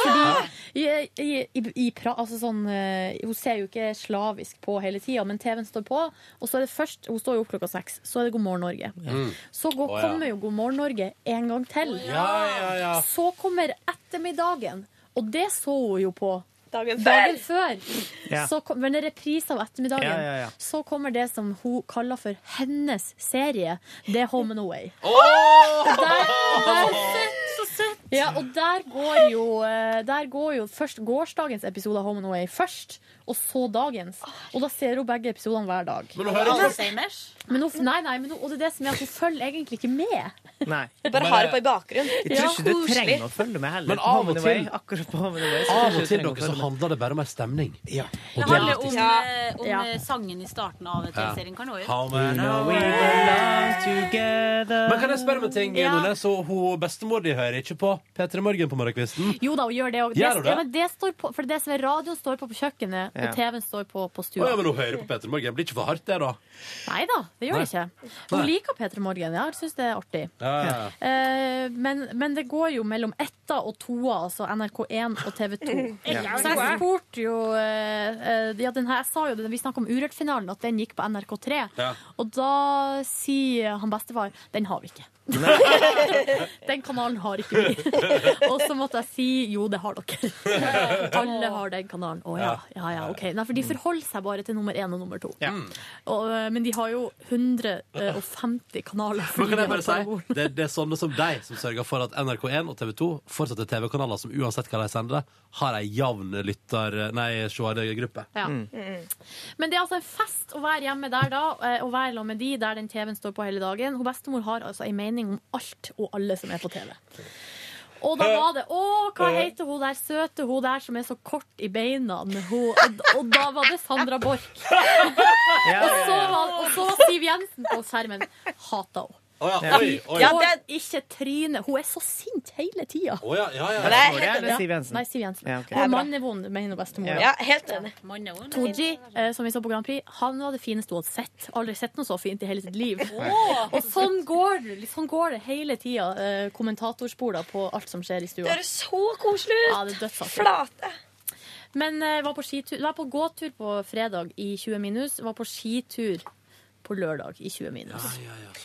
Speaker 4: Fordi i, i, i, i, pra- altså sånn, eh, Hun ser jo ikke slavisk på hele tida, men TV-en står på. Og så er det først, Hun står jo opp klokka seks. Så er det God morgen, Norge.
Speaker 19: Mm.
Speaker 4: Så går,
Speaker 19: Å, ja.
Speaker 4: kommer jo God morgen, Norge en gang til.
Speaker 19: Ja, ja, ja.
Speaker 4: Så kommer ettermiddagen, og det så hun jo på.
Speaker 11: Dagen
Speaker 4: Dagen
Speaker 11: før.
Speaker 4: før.
Speaker 11: Ja.
Speaker 4: Så kom, men en reprise av ettermiddagen.
Speaker 11: Ja, ja, ja.
Speaker 4: Så kommer det som hun kaller for hennes serie. Det er Home and Away.
Speaker 19: Åh!
Speaker 4: Der, der, Ja, og der går jo, eh, der går jo først gårsdagens episode av Home and Away først, og så dagens. Og da ser hun begge episodene hver dag.
Speaker 17: Men hun hører ikke-
Speaker 4: Men hun, nei, nei, men hun, og det er det som er at hun følger egentlig ikke med.
Speaker 3: Nei.
Speaker 4: Bare har det på i bakgrunnen.
Speaker 3: Jeg tror
Speaker 4: Ja,
Speaker 3: ikke du
Speaker 4: eh, koselig.
Speaker 3: trenger å følge med heller.
Speaker 17: Men av og
Speaker 3: Home and
Speaker 17: til-
Speaker 3: Away, akkurat på Home and Away, så
Speaker 17: Av
Speaker 3: kanskje
Speaker 17: og til
Speaker 3: du trenger
Speaker 17: dere
Speaker 3: å
Speaker 17: så
Speaker 18: sånn.
Speaker 3: følge med.
Speaker 17: handler det bare om ei stemning.
Speaker 19: Det
Speaker 17: Og det
Speaker 19: handler
Speaker 17: er
Speaker 19: om,
Speaker 17: viktig.
Speaker 19: eh, om
Speaker 17: Ja.
Speaker 19: eh, sangen i starten av TV-serien. Kan du også
Speaker 17: How
Speaker 19: gjøre?
Speaker 17: many
Speaker 19: Now
Speaker 17: we
Speaker 19: we
Speaker 17: belong
Speaker 3: together
Speaker 17: Men kan jeg spørre om en ting,
Speaker 4: Ja.
Speaker 17: Nordnes? Og hun bestemor di hører ikke på P3 Morgen på morgenkvisten?
Speaker 4: Jo da, hun gjør det òg.
Speaker 17: Gjør hun det?
Speaker 4: Ja, men det står på- for det som er radioen, står på på kjøkkenet,
Speaker 17: Ja.
Speaker 4: og TV-en står på på
Speaker 17: Å
Speaker 4: stua.
Speaker 17: ja, men hun hører på P3 Morgen. Blir ikke for hardt, det, da?
Speaker 4: Nei da, det gjør det
Speaker 17: Nei.
Speaker 4: ikke. Hun
Speaker 17: Nei.
Speaker 4: liker P3 Morgen. Ja, hun syns det er artig.
Speaker 17: Ja, ja, ja.
Speaker 4: Eh, men, men det går jo mellom etta og toa, altså NRK1 og TV2.
Speaker 19: Ja.
Speaker 4: Så jeg spurte jo eh, eh, ja, den her, Jeg sa jo det, vi snakka om Urørt-finalen, at den gikk på NRK3.
Speaker 19: Ja.
Speaker 4: Og da sier han bestefar den har vi ikke. den kanalen har ikke vi. og så måtte jeg si jo, det har dere. Alle har den kanalen. Å ja. ja, ja, ok. Nei, for de forholder seg bare til nummer én og nummer to. Og, eh, men de har jo 150 kanaler.
Speaker 17: Men
Speaker 4: fordi
Speaker 17: kan jeg
Speaker 4: de
Speaker 17: bare
Speaker 4: har på-
Speaker 17: si, det, det er sånne som deg som sørger for at NRK1 og TV2 fortsatt er TV-kanaler som uansett hva de sender, har ei jevn lytter... Nei, seergruppe.
Speaker 4: Ja. Mm. Men det er altså en fest å være hjemme der da, eh, og være sammen med de der den TV-en står på hele dagen. Hun bestemor har altså en mening om alt og alle som er på TV. Og da var det Å, hva heter hun der søte, hun der som er så kort i beina? Hun, og, og da var det Sandra Borch. og, så var, og så var Siv Jensen på skjermen. Hata henne.
Speaker 2: Å ja,
Speaker 3: Ja.
Speaker 2: oi, oi.
Speaker 4: Ja, det er ikke trynet. Hun er så sint hele tida.
Speaker 2: Å ja, ja, ja.
Speaker 4: Det er
Speaker 2: Hvor
Speaker 4: helt
Speaker 2: er det,
Speaker 4: enig.
Speaker 2: Siv Jensen?
Speaker 4: Nei, Siv Jensen.
Speaker 2: Ja, ok. Det er
Speaker 4: Og
Speaker 2: bra.
Speaker 4: mannevond, mener bestemor.
Speaker 2: Ja.
Speaker 11: Ja, helt enig.
Speaker 4: Tooji, eh, som vi så på Grand Prix, han var det fineste hun hadde sett. Aldri sett noe så fint i hele sitt liv.
Speaker 11: Åh!
Speaker 4: Og sånn går, det- sånn går det hele tida. Eh, kommentatorsporer på alt som skjer i stua.
Speaker 11: Det høres så koselig ut!
Speaker 4: Ja, det er dødsartig.
Speaker 11: Flate.
Speaker 4: Men eh, var, på skitur, var på gåtur på fredag i 20 minus. Var på skitur på lørdag i 20 minus.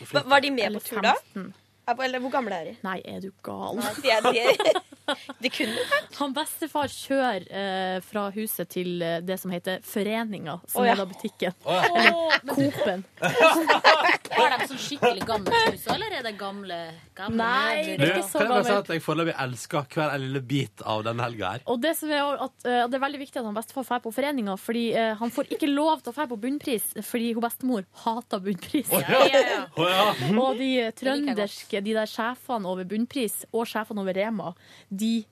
Speaker 11: Hva- Var de med på tur da?
Speaker 4: 15.
Speaker 11: Eller hvor gamle er de?
Speaker 4: Nei, er du gal?
Speaker 11: Nei, de er- de er-
Speaker 4: Han bestefar kjører eh, fra huset til eh, det som heter Foreninga,
Speaker 19: Å,
Speaker 4: som
Speaker 19: ja.
Speaker 4: er da butikken.
Speaker 19: Å, ja.
Speaker 4: Eller Coop-en.
Speaker 19: Har Er de sånn skikkelig gammelt hus, eller er det gamle, gamle
Speaker 4: Nei,
Speaker 19: møbler?
Speaker 2: Du,
Speaker 4: ikke så
Speaker 2: kan jeg bare si
Speaker 4: gammel.
Speaker 2: at jeg foreløpig elsker hver lille bit av denne helga her.
Speaker 4: Og det, som er, jo at, eh, det er veldig viktig at han bestefar drar på foreninga, fordi eh, han får ikke lov til å dra på bunnpris, fordi hun bestemor hater bunnpris.
Speaker 2: Å ja.
Speaker 4: Og de trønderske, de der sjefene over bunnpris og sjefene over Rema, de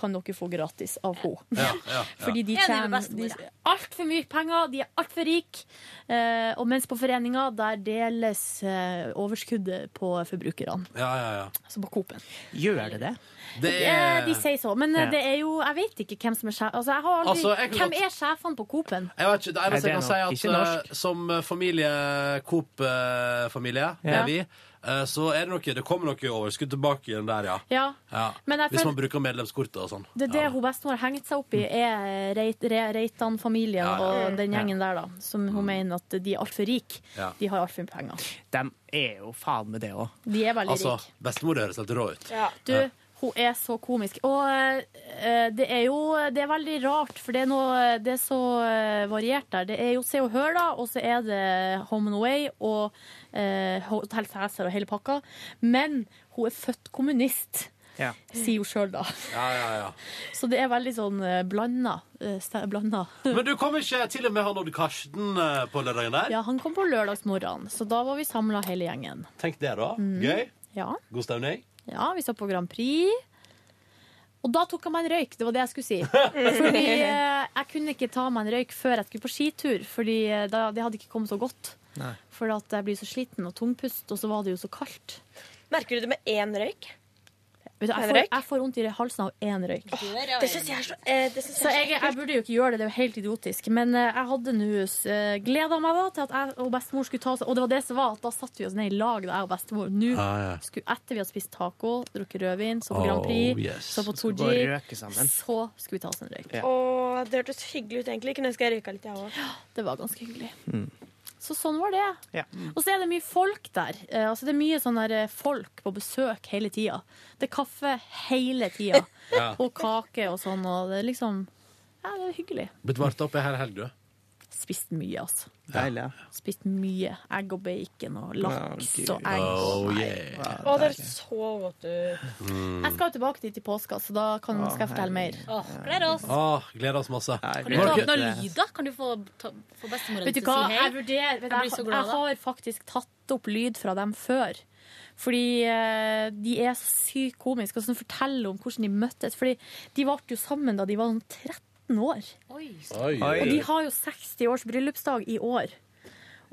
Speaker 4: kan dere få gratis av henne.
Speaker 2: Ja, ja, ja.
Speaker 4: Fordi de
Speaker 19: Enig med
Speaker 4: tjener
Speaker 19: bestemor,
Speaker 4: altfor mye penger, de er altfor rike. Eh, og mens på foreninga, der deles eh, overskuddet på forbrukerne.
Speaker 2: Ja, ja, ja.
Speaker 4: Altså på Coop-en.
Speaker 3: Gjør det det?
Speaker 4: Eh, De sier så, men eh,
Speaker 2: Ja.
Speaker 4: det er jo Jeg vet ikke hvem som er sjef... Altså, jeg har aldri,
Speaker 2: Altså, jeg kan
Speaker 4: hvem
Speaker 2: godt-
Speaker 4: er sjefene på Coop-en?
Speaker 2: Jeg vet ikke, det eneste
Speaker 3: Nei,
Speaker 2: jeg kan
Speaker 3: det er nok
Speaker 2: si
Speaker 3: ikke
Speaker 2: er at
Speaker 3: norsk.
Speaker 2: eh, som eh, familie, Coop-familie, det
Speaker 4: Ja.
Speaker 2: er vi, eh, så er det noe, det kommer noe overskudd tilbake igjen der, ja.
Speaker 4: Ja.
Speaker 2: Ja.
Speaker 4: Men jeg
Speaker 2: Hvis
Speaker 4: føler-
Speaker 2: man bruker medlemskortet og sånn.
Speaker 4: Det er det hun bestemor har hengt seg opp i, er eh, Reit- Re- Reitan-familien
Speaker 2: Ja, ja. Mm.
Speaker 4: og den gjengen der, da. Som hun mener at de er altfor rike.
Speaker 2: Ja.
Speaker 4: De har altfor mye penger.
Speaker 3: De er jo faen med det òg.
Speaker 4: De er veldig
Speaker 2: Altså,
Speaker 4: rike.
Speaker 2: bestemor høres helt rå ut.
Speaker 4: Du, hun er så komisk. Og eh, det er jo Det er veldig rart, for det er, noe, det er så eh, variert der. Det er jo Se og Hør, da, og så er det Home and Away og eh, Hotel Cæsar og hele pakka. Men hun er født kommunist,
Speaker 3: Ja.
Speaker 4: sier hun sjøl, da.
Speaker 2: Ja, ja, ja.
Speaker 4: Så det er veldig sånn eh, blanda. eh, sta- blanda.
Speaker 2: Men du kom ikke til og med han Odd Karsten eh, på lørdagen der?
Speaker 4: Ja, han kom på lørdagsmorgenen, så da var vi samla hele gjengen.
Speaker 2: Tenk det, da.
Speaker 4: Mm.
Speaker 2: Gøy.
Speaker 4: Ja.
Speaker 2: God stemning.
Speaker 4: Ja, vi så på Grand Prix. Og da tok jeg meg en røyk, det var det jeg skulle si. Fordi eh, jeg kunne ikke ta meg en røyk før jeg skulle på skitur, fordi eh, da, det hadde ikke kommet så godt.
Speaker 3: Nei.
Speaker 4: For at jeg blir så sliten og tungpust, og så var det jo så kaldt.
Speaker 11: Merker du det med én røyk?
Speaker 4: Vet du, jeg,
Speaker 11: En
Speaker 4: får,
Speaker 11: røyk?
Speaker 4: jeg får vondt i halsen av én røyk.
Speaker 11: Det syns jeg er så eh, det synes
Speaker 4: Så jeg,
Speaker 11: jeg, er
Speaker 4: jeg
Speaker 11: så ekkelt.
Speaker 4: burde jo ikke gjøre det, det er jo helt idiotisk. Men eh, jeg hadde nus. Gleda meg da til at jeg og bestemor skulle ta oss Og det var det som var, at da satte vi oss ned i lag, da jeg og bestemor. Nå,
Speaker 2: Ah, Ja, ja.
Speaker 4: skulle, etter vi hadde spist taco, drukket rødvin, så på
Speaker 2: Oh,
Speaker 4: Grand Prix,
Speaker 2: yes.
Speaker 4: så på
Speaker 2: Skal gå og
Speaker 4: Tooji,
Speaker 2: røke sammen.
Speaker 4: så skulle vi ta oss en røyk.
Speaker 11: Åh, det hørtes hyggelig ut, egentlig. Kunne ønske jeg røyka litt, jeg òg.
Speaker 4: Det var ganske hyggelig.
Speaker 3: Mm.
Speaker 4: Så sånn var det.
Speaker 3: Ja.
Speaker 4: Og så er det mye folk der. Eh, altså det er mye sånn der eh, folk på besøk hele tida. Det er kaffe hele tida.
Speaker 2: Ja.
Speaker 4: Og kake og sånn. Og det er liksom Ja, det er hyggelig.
Speaker 2: Blitt vart opp i her helg, du.
Speaker 4: Spist mye, altså.
Speaker 3: Deilig.
Speaker 4: Spist mye egg og bacon og laks
Speaker 3: Å, Gud.
Speaker 4: og egg.
Speaker 2: Oh,
Speaker 4: Nei.
Speaker 2: yeah.
Speaker 11: Å, det høres så godt ut.
Speaker 4: Jeg skal jo tilbake dit i påska, så da kan,
Speaker 2: Å,
Speaker 4: skal jeg fortelle mer.
Speaker 19: Gleder oss.
Speaker 2: Ah, gleder oss masse.
Speaker 19: Kan du ta opp noen lyder? Kan du få, ta, få bestemoren
Speaker 4: Vet du
Speaker 19: til å
Speaker 4: hva,
Speaker 19: si hei?
Speaker 4: jeg vurderer vet du,
Speaker 19: blir så
Speaker 4: jeg,
Speaker 19: glad
Speaker 4: jeg
Speaker 19: da.
Speaker 4: har faktisk tatt opp lyd fra dem før. Fordi eh, de er så sykt komiske og sånn forteller om hvordan de møttes. Fordi de ble jo sammen da de var sånn 13 år. Og de har jo 60 års bryllupsdag i år.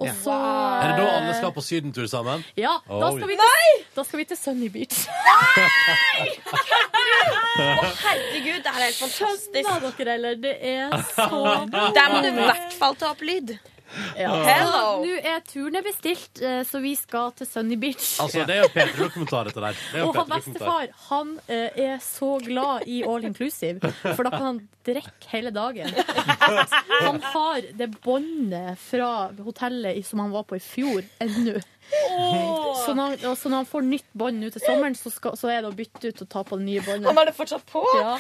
Speaker 4: Og
Speaker 2: Ja.
Speaker 4: så
Speaker 2: Er det da alle skal på sydentur sammen?
Speaker 4: Ja, da skal, vi
Speaker 2: Oh,
Speaker 4: til, da skal vi til Sunny Beach.
Speaker 11: Å, herregud, det her er helt fantastisk.
Speaker 4: Skjønner dere, eller? Det er så
Speaker 11: Der må du i hvert fall ta opp lyd.
Speaker 4: Ja.
Speaker 11: Hello.
Speaker 4: Så Nå er turen er bestilt, eh, så vi skal til Sunny Beach.
Speaker 2: Altså, det er jo P3-dokumentar, dette der. Det er jo
Speaker 4: Og han
Speaker 2: P3-dokumentar.
Speaker 4: bestefar han eh, er så glad i all inclusive, for da kan han drikke hele dagen. Han har det båndet fra hotellet i- som han var på i fjor, ennå. Så, når, han- og så når han får nytt bånd nå til sommeren, så, skal, så er det å bytte ut og ta på det nye båndet.
Speaker 11: Han har det fortsatt på?
Speaker 4: Ja.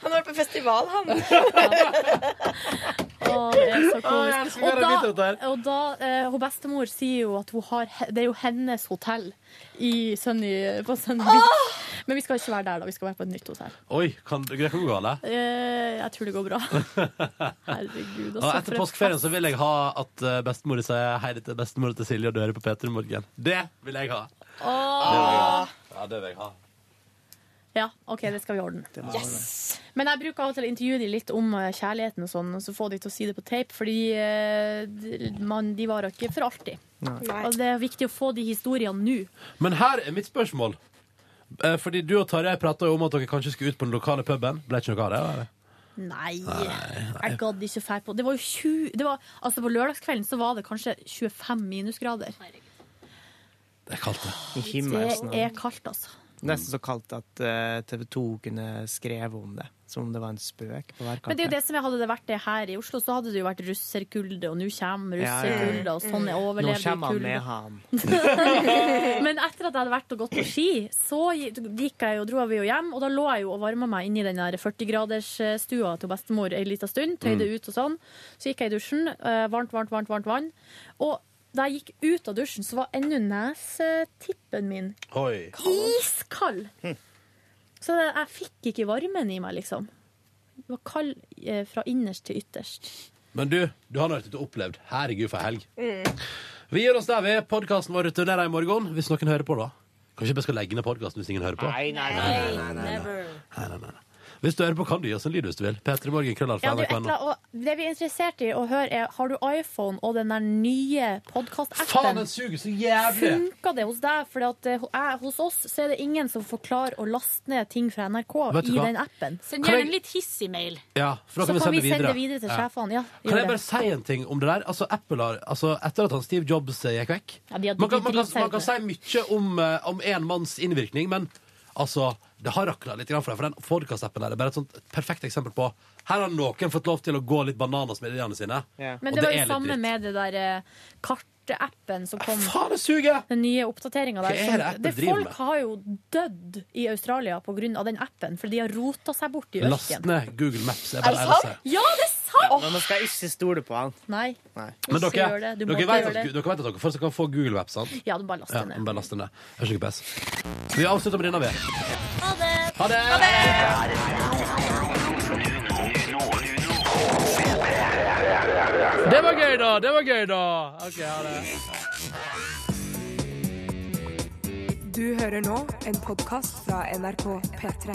Speaker 11: Han har vært på festival, han.
Speaker 4: Å, det er så
Speaker 11: Å, jeg
Speaker 4: komisk.
Speaker 11: elsker å
Speaker 4: Og
Speaker 11: høre
Speaker 4: da,
Speaker 11: videre dette
Speaker 4: og da eh, hun bestemor sier jo at hun har he- Det er jo hennes hotell i Sunny, på Sunny Beach. Men vi skal ikke være der, da. Vi skal være på et nytt hotell.
Speaker 2: Oi, kan, det kan gå galt.
Speaker 4: Eh, jeg tror det går bra. Herregud. altså,
Speaker 2: Og etter påskeferien så vil jeg ha at eh, bestemor sier hei til bestemor til Silje og døre på P3 Morgen. Det vil jeg ha.
Speaker 4: Åh.
Speaker 2: Ja, det vil jeg ha.
Speaker 4: Ja, OK, det skal vi ordne. Men jeg bruker av og til å intervjue de litt om eh, kjærligheten og sånn, og så få de til å si det på tape, fordi eh, de- man, de varer ikke for alltid.
Speaker 3: Nei.
Speaker 4: Og det er viktig å få de historiene nå.
Speaker 2: Men her er mitt spørsmål. Eh, Fordi du og Tarjei prata jo om at dere kanskje skulle ut på den lokale puben. Ble ikke noe av det? Eller?
Speaker 4: Nei, jeg gadd ikke fære på. Det var jo 20, det var, altså på lørdagskvelden så var det kanskje 25 minusgrader.
Speaker 2: Det er kaldt, det.
Speaker 18: I himmelens
Speaker 3: sånn
Speaker 4: Det er
Speaker 18: navn.
Speaker 4: kaldt, altså.
Speaker 18: Nesten så kaldt at eh, TV 2 kunne skrevet om det, som om det var en spøk på hver
Speaker 4: Men det er jo det
Speaker 18: kant.
Speaker 4: som jeg hadde det vært det her i Oslo, så hadde det jo vært russerkulde, og nå kommer
Speaker 18: Ja, ja, ja.
Speaker 4: russerkulda, og sånn er
Speaker 18: Nå
Speaker 4: overlevd
Speaker 18: kommer han med han.
Speaker 4: Men etter at jeg hadde vært og gått på ski, så gikk jeg jo, dro vi jo hjem, og da lå jeg jo og varma meg inni den der 40-gradersstua til bestemor ei lita stund, tøyde
Speaker 20: Mm.
Speaker 4: ut og sånn. Så gikk jeg i dusjen, eh, varmt, varmt, varmt, varmt vann. Og da jeg gikk ut av dusjen, så var ennå nesetippen min
Speaker 2: Oi.
Speaker 4: iskald! Så jeg jeg fikk ikke varmen i meg, liksom. Det var kald eh, fra innerst til ytterst.
Speaker 2: Men du, du har nå vært ute og opplevd. Herregud, for ei helg.
Speaker 4: Mm.
Speaker 2: Vi gir oss der, vi. Podkasten vår returnerer i morgen, hvis noen hører på, da. Kanskje vi skal legge ned podkasten hvis ingen hører på?
Speaker 18: Nei, nei,
Speaker 2: Hvis du hører på, kan du gi oss en lyd hvis du vil. P3
Speaker 4: Ja, du,
Speaker 2: Morgen,
Speaker 4: et
Speaker 2: krøllalfa.nrk.no.
Speaker 4: eller annet- og det vi er interessert i å høre, er har du iPhone og den der nye
Speaker 2: Faen, den
Speaker 4: podkast-appen?
Speaker 2: suger så jævlig!
Speaker 4: Funka det hos deg? For hos oss så er det ingen som forklarer å laste ned ting fra NRK
Speaker 2: Vet du
Speaker 4: i
Speaker 2: hva?
Speaker 4: den appen.
Speaker 2: Send Kan gjerne jeg- en
Speaker 4: litt hissig mail.
Speaker 2: Ja, for
Speaker 4: Så
Speaker 2: da kan,
Speaker 4: kan
Speaker 2: du
Speaker 4: vi
Speaker 2: sende
Speaker 4: sende
Speaker 2: videre.
Speaker 4: det videre til sjefene, ja, gjør
Speaker 2: kan jeg bare
Speaker 4: det.
Speaker 2: si en ting om det der? Altså, Apple har, altså, etter at han Steve Jobs eh, gikk vekk
Speaker 4: Ja, de har-
Speaker 2: man, kan,
Speaker 4: de
Speaker 2: man, kan,
Speaker 4: driter
Speaker 2: man kan si
Speaker 4: seg
Speaker 2: mye om, eh, om en manns innvirkning, men altså, det har rakla litt grann for deg. For den podkast-appen der er bare et sånt perfekt eksempel på Her har noen fått lov til å gå litt bananas med ideene sine.
Speaker 4: Men
Speaker 2: Og
Speaker 4: det var
Speaker 2: er
Speaker 4: jo
Speaker 2: litt
Speaker 4: samme
Speaker 2: dritt.
Speaker 4: med det der eh, kartappen som kom.
Speaker 2: Faen, det suger!
Speaker 4: Den nye oppdateringa
Speaker 2: Hva
Speaker 4: der.
Speaker 2: er
Speaker 4: som-
Speaker 2: det Apple
Speaker 4: det
Speaker 2: driver med?
Speaker 4: folk har jo dødd i Australia pga. den appen, for de har rota seg bort i
Speaker 2: Last
Speaker 4: ørkenen.
Speaker 2: ned Google Maps.
Speaker 4: Er
Speaker 2: Jeg
Speaker 4: det
Speaker 2: bare
Speaker 4: sant?
Speaker 2: eneste.
Speaker 4: Ja, det er sant!
Speaker 18: Men nå skal jeg ikke stole på han.
Speaker 4: Nei.
Speaker 18: Nei.
Speaker 2: Men
Speaker 4: Ikke
Speaker 2: dere,
Speaker 4: gjør det. Du må
Speaker 2: dere,
Speaker 4: ikke
Speaker 2: vet
Speaker 4: gjøre
Speaker 2: at,
Speaker 4: det.
Speaker 2: dere vet at dere fortsatt kan få Google Maps, sant?
Speaker 4: Ja, du bare laster
Speaker 2: Ja,
Speaker 4: ned.
Speaker 2: bare last den ned. Jeg er ikke pes. Vi avslutter med denne, vi.
Speaker 21: Ha det!
Speaker 2: Ha det!
Speaker 18: Det var gøy, da! Det var gøy, da! Ok, ha det.
Speaker 1: Du hører nå en podkast fra NRK P3.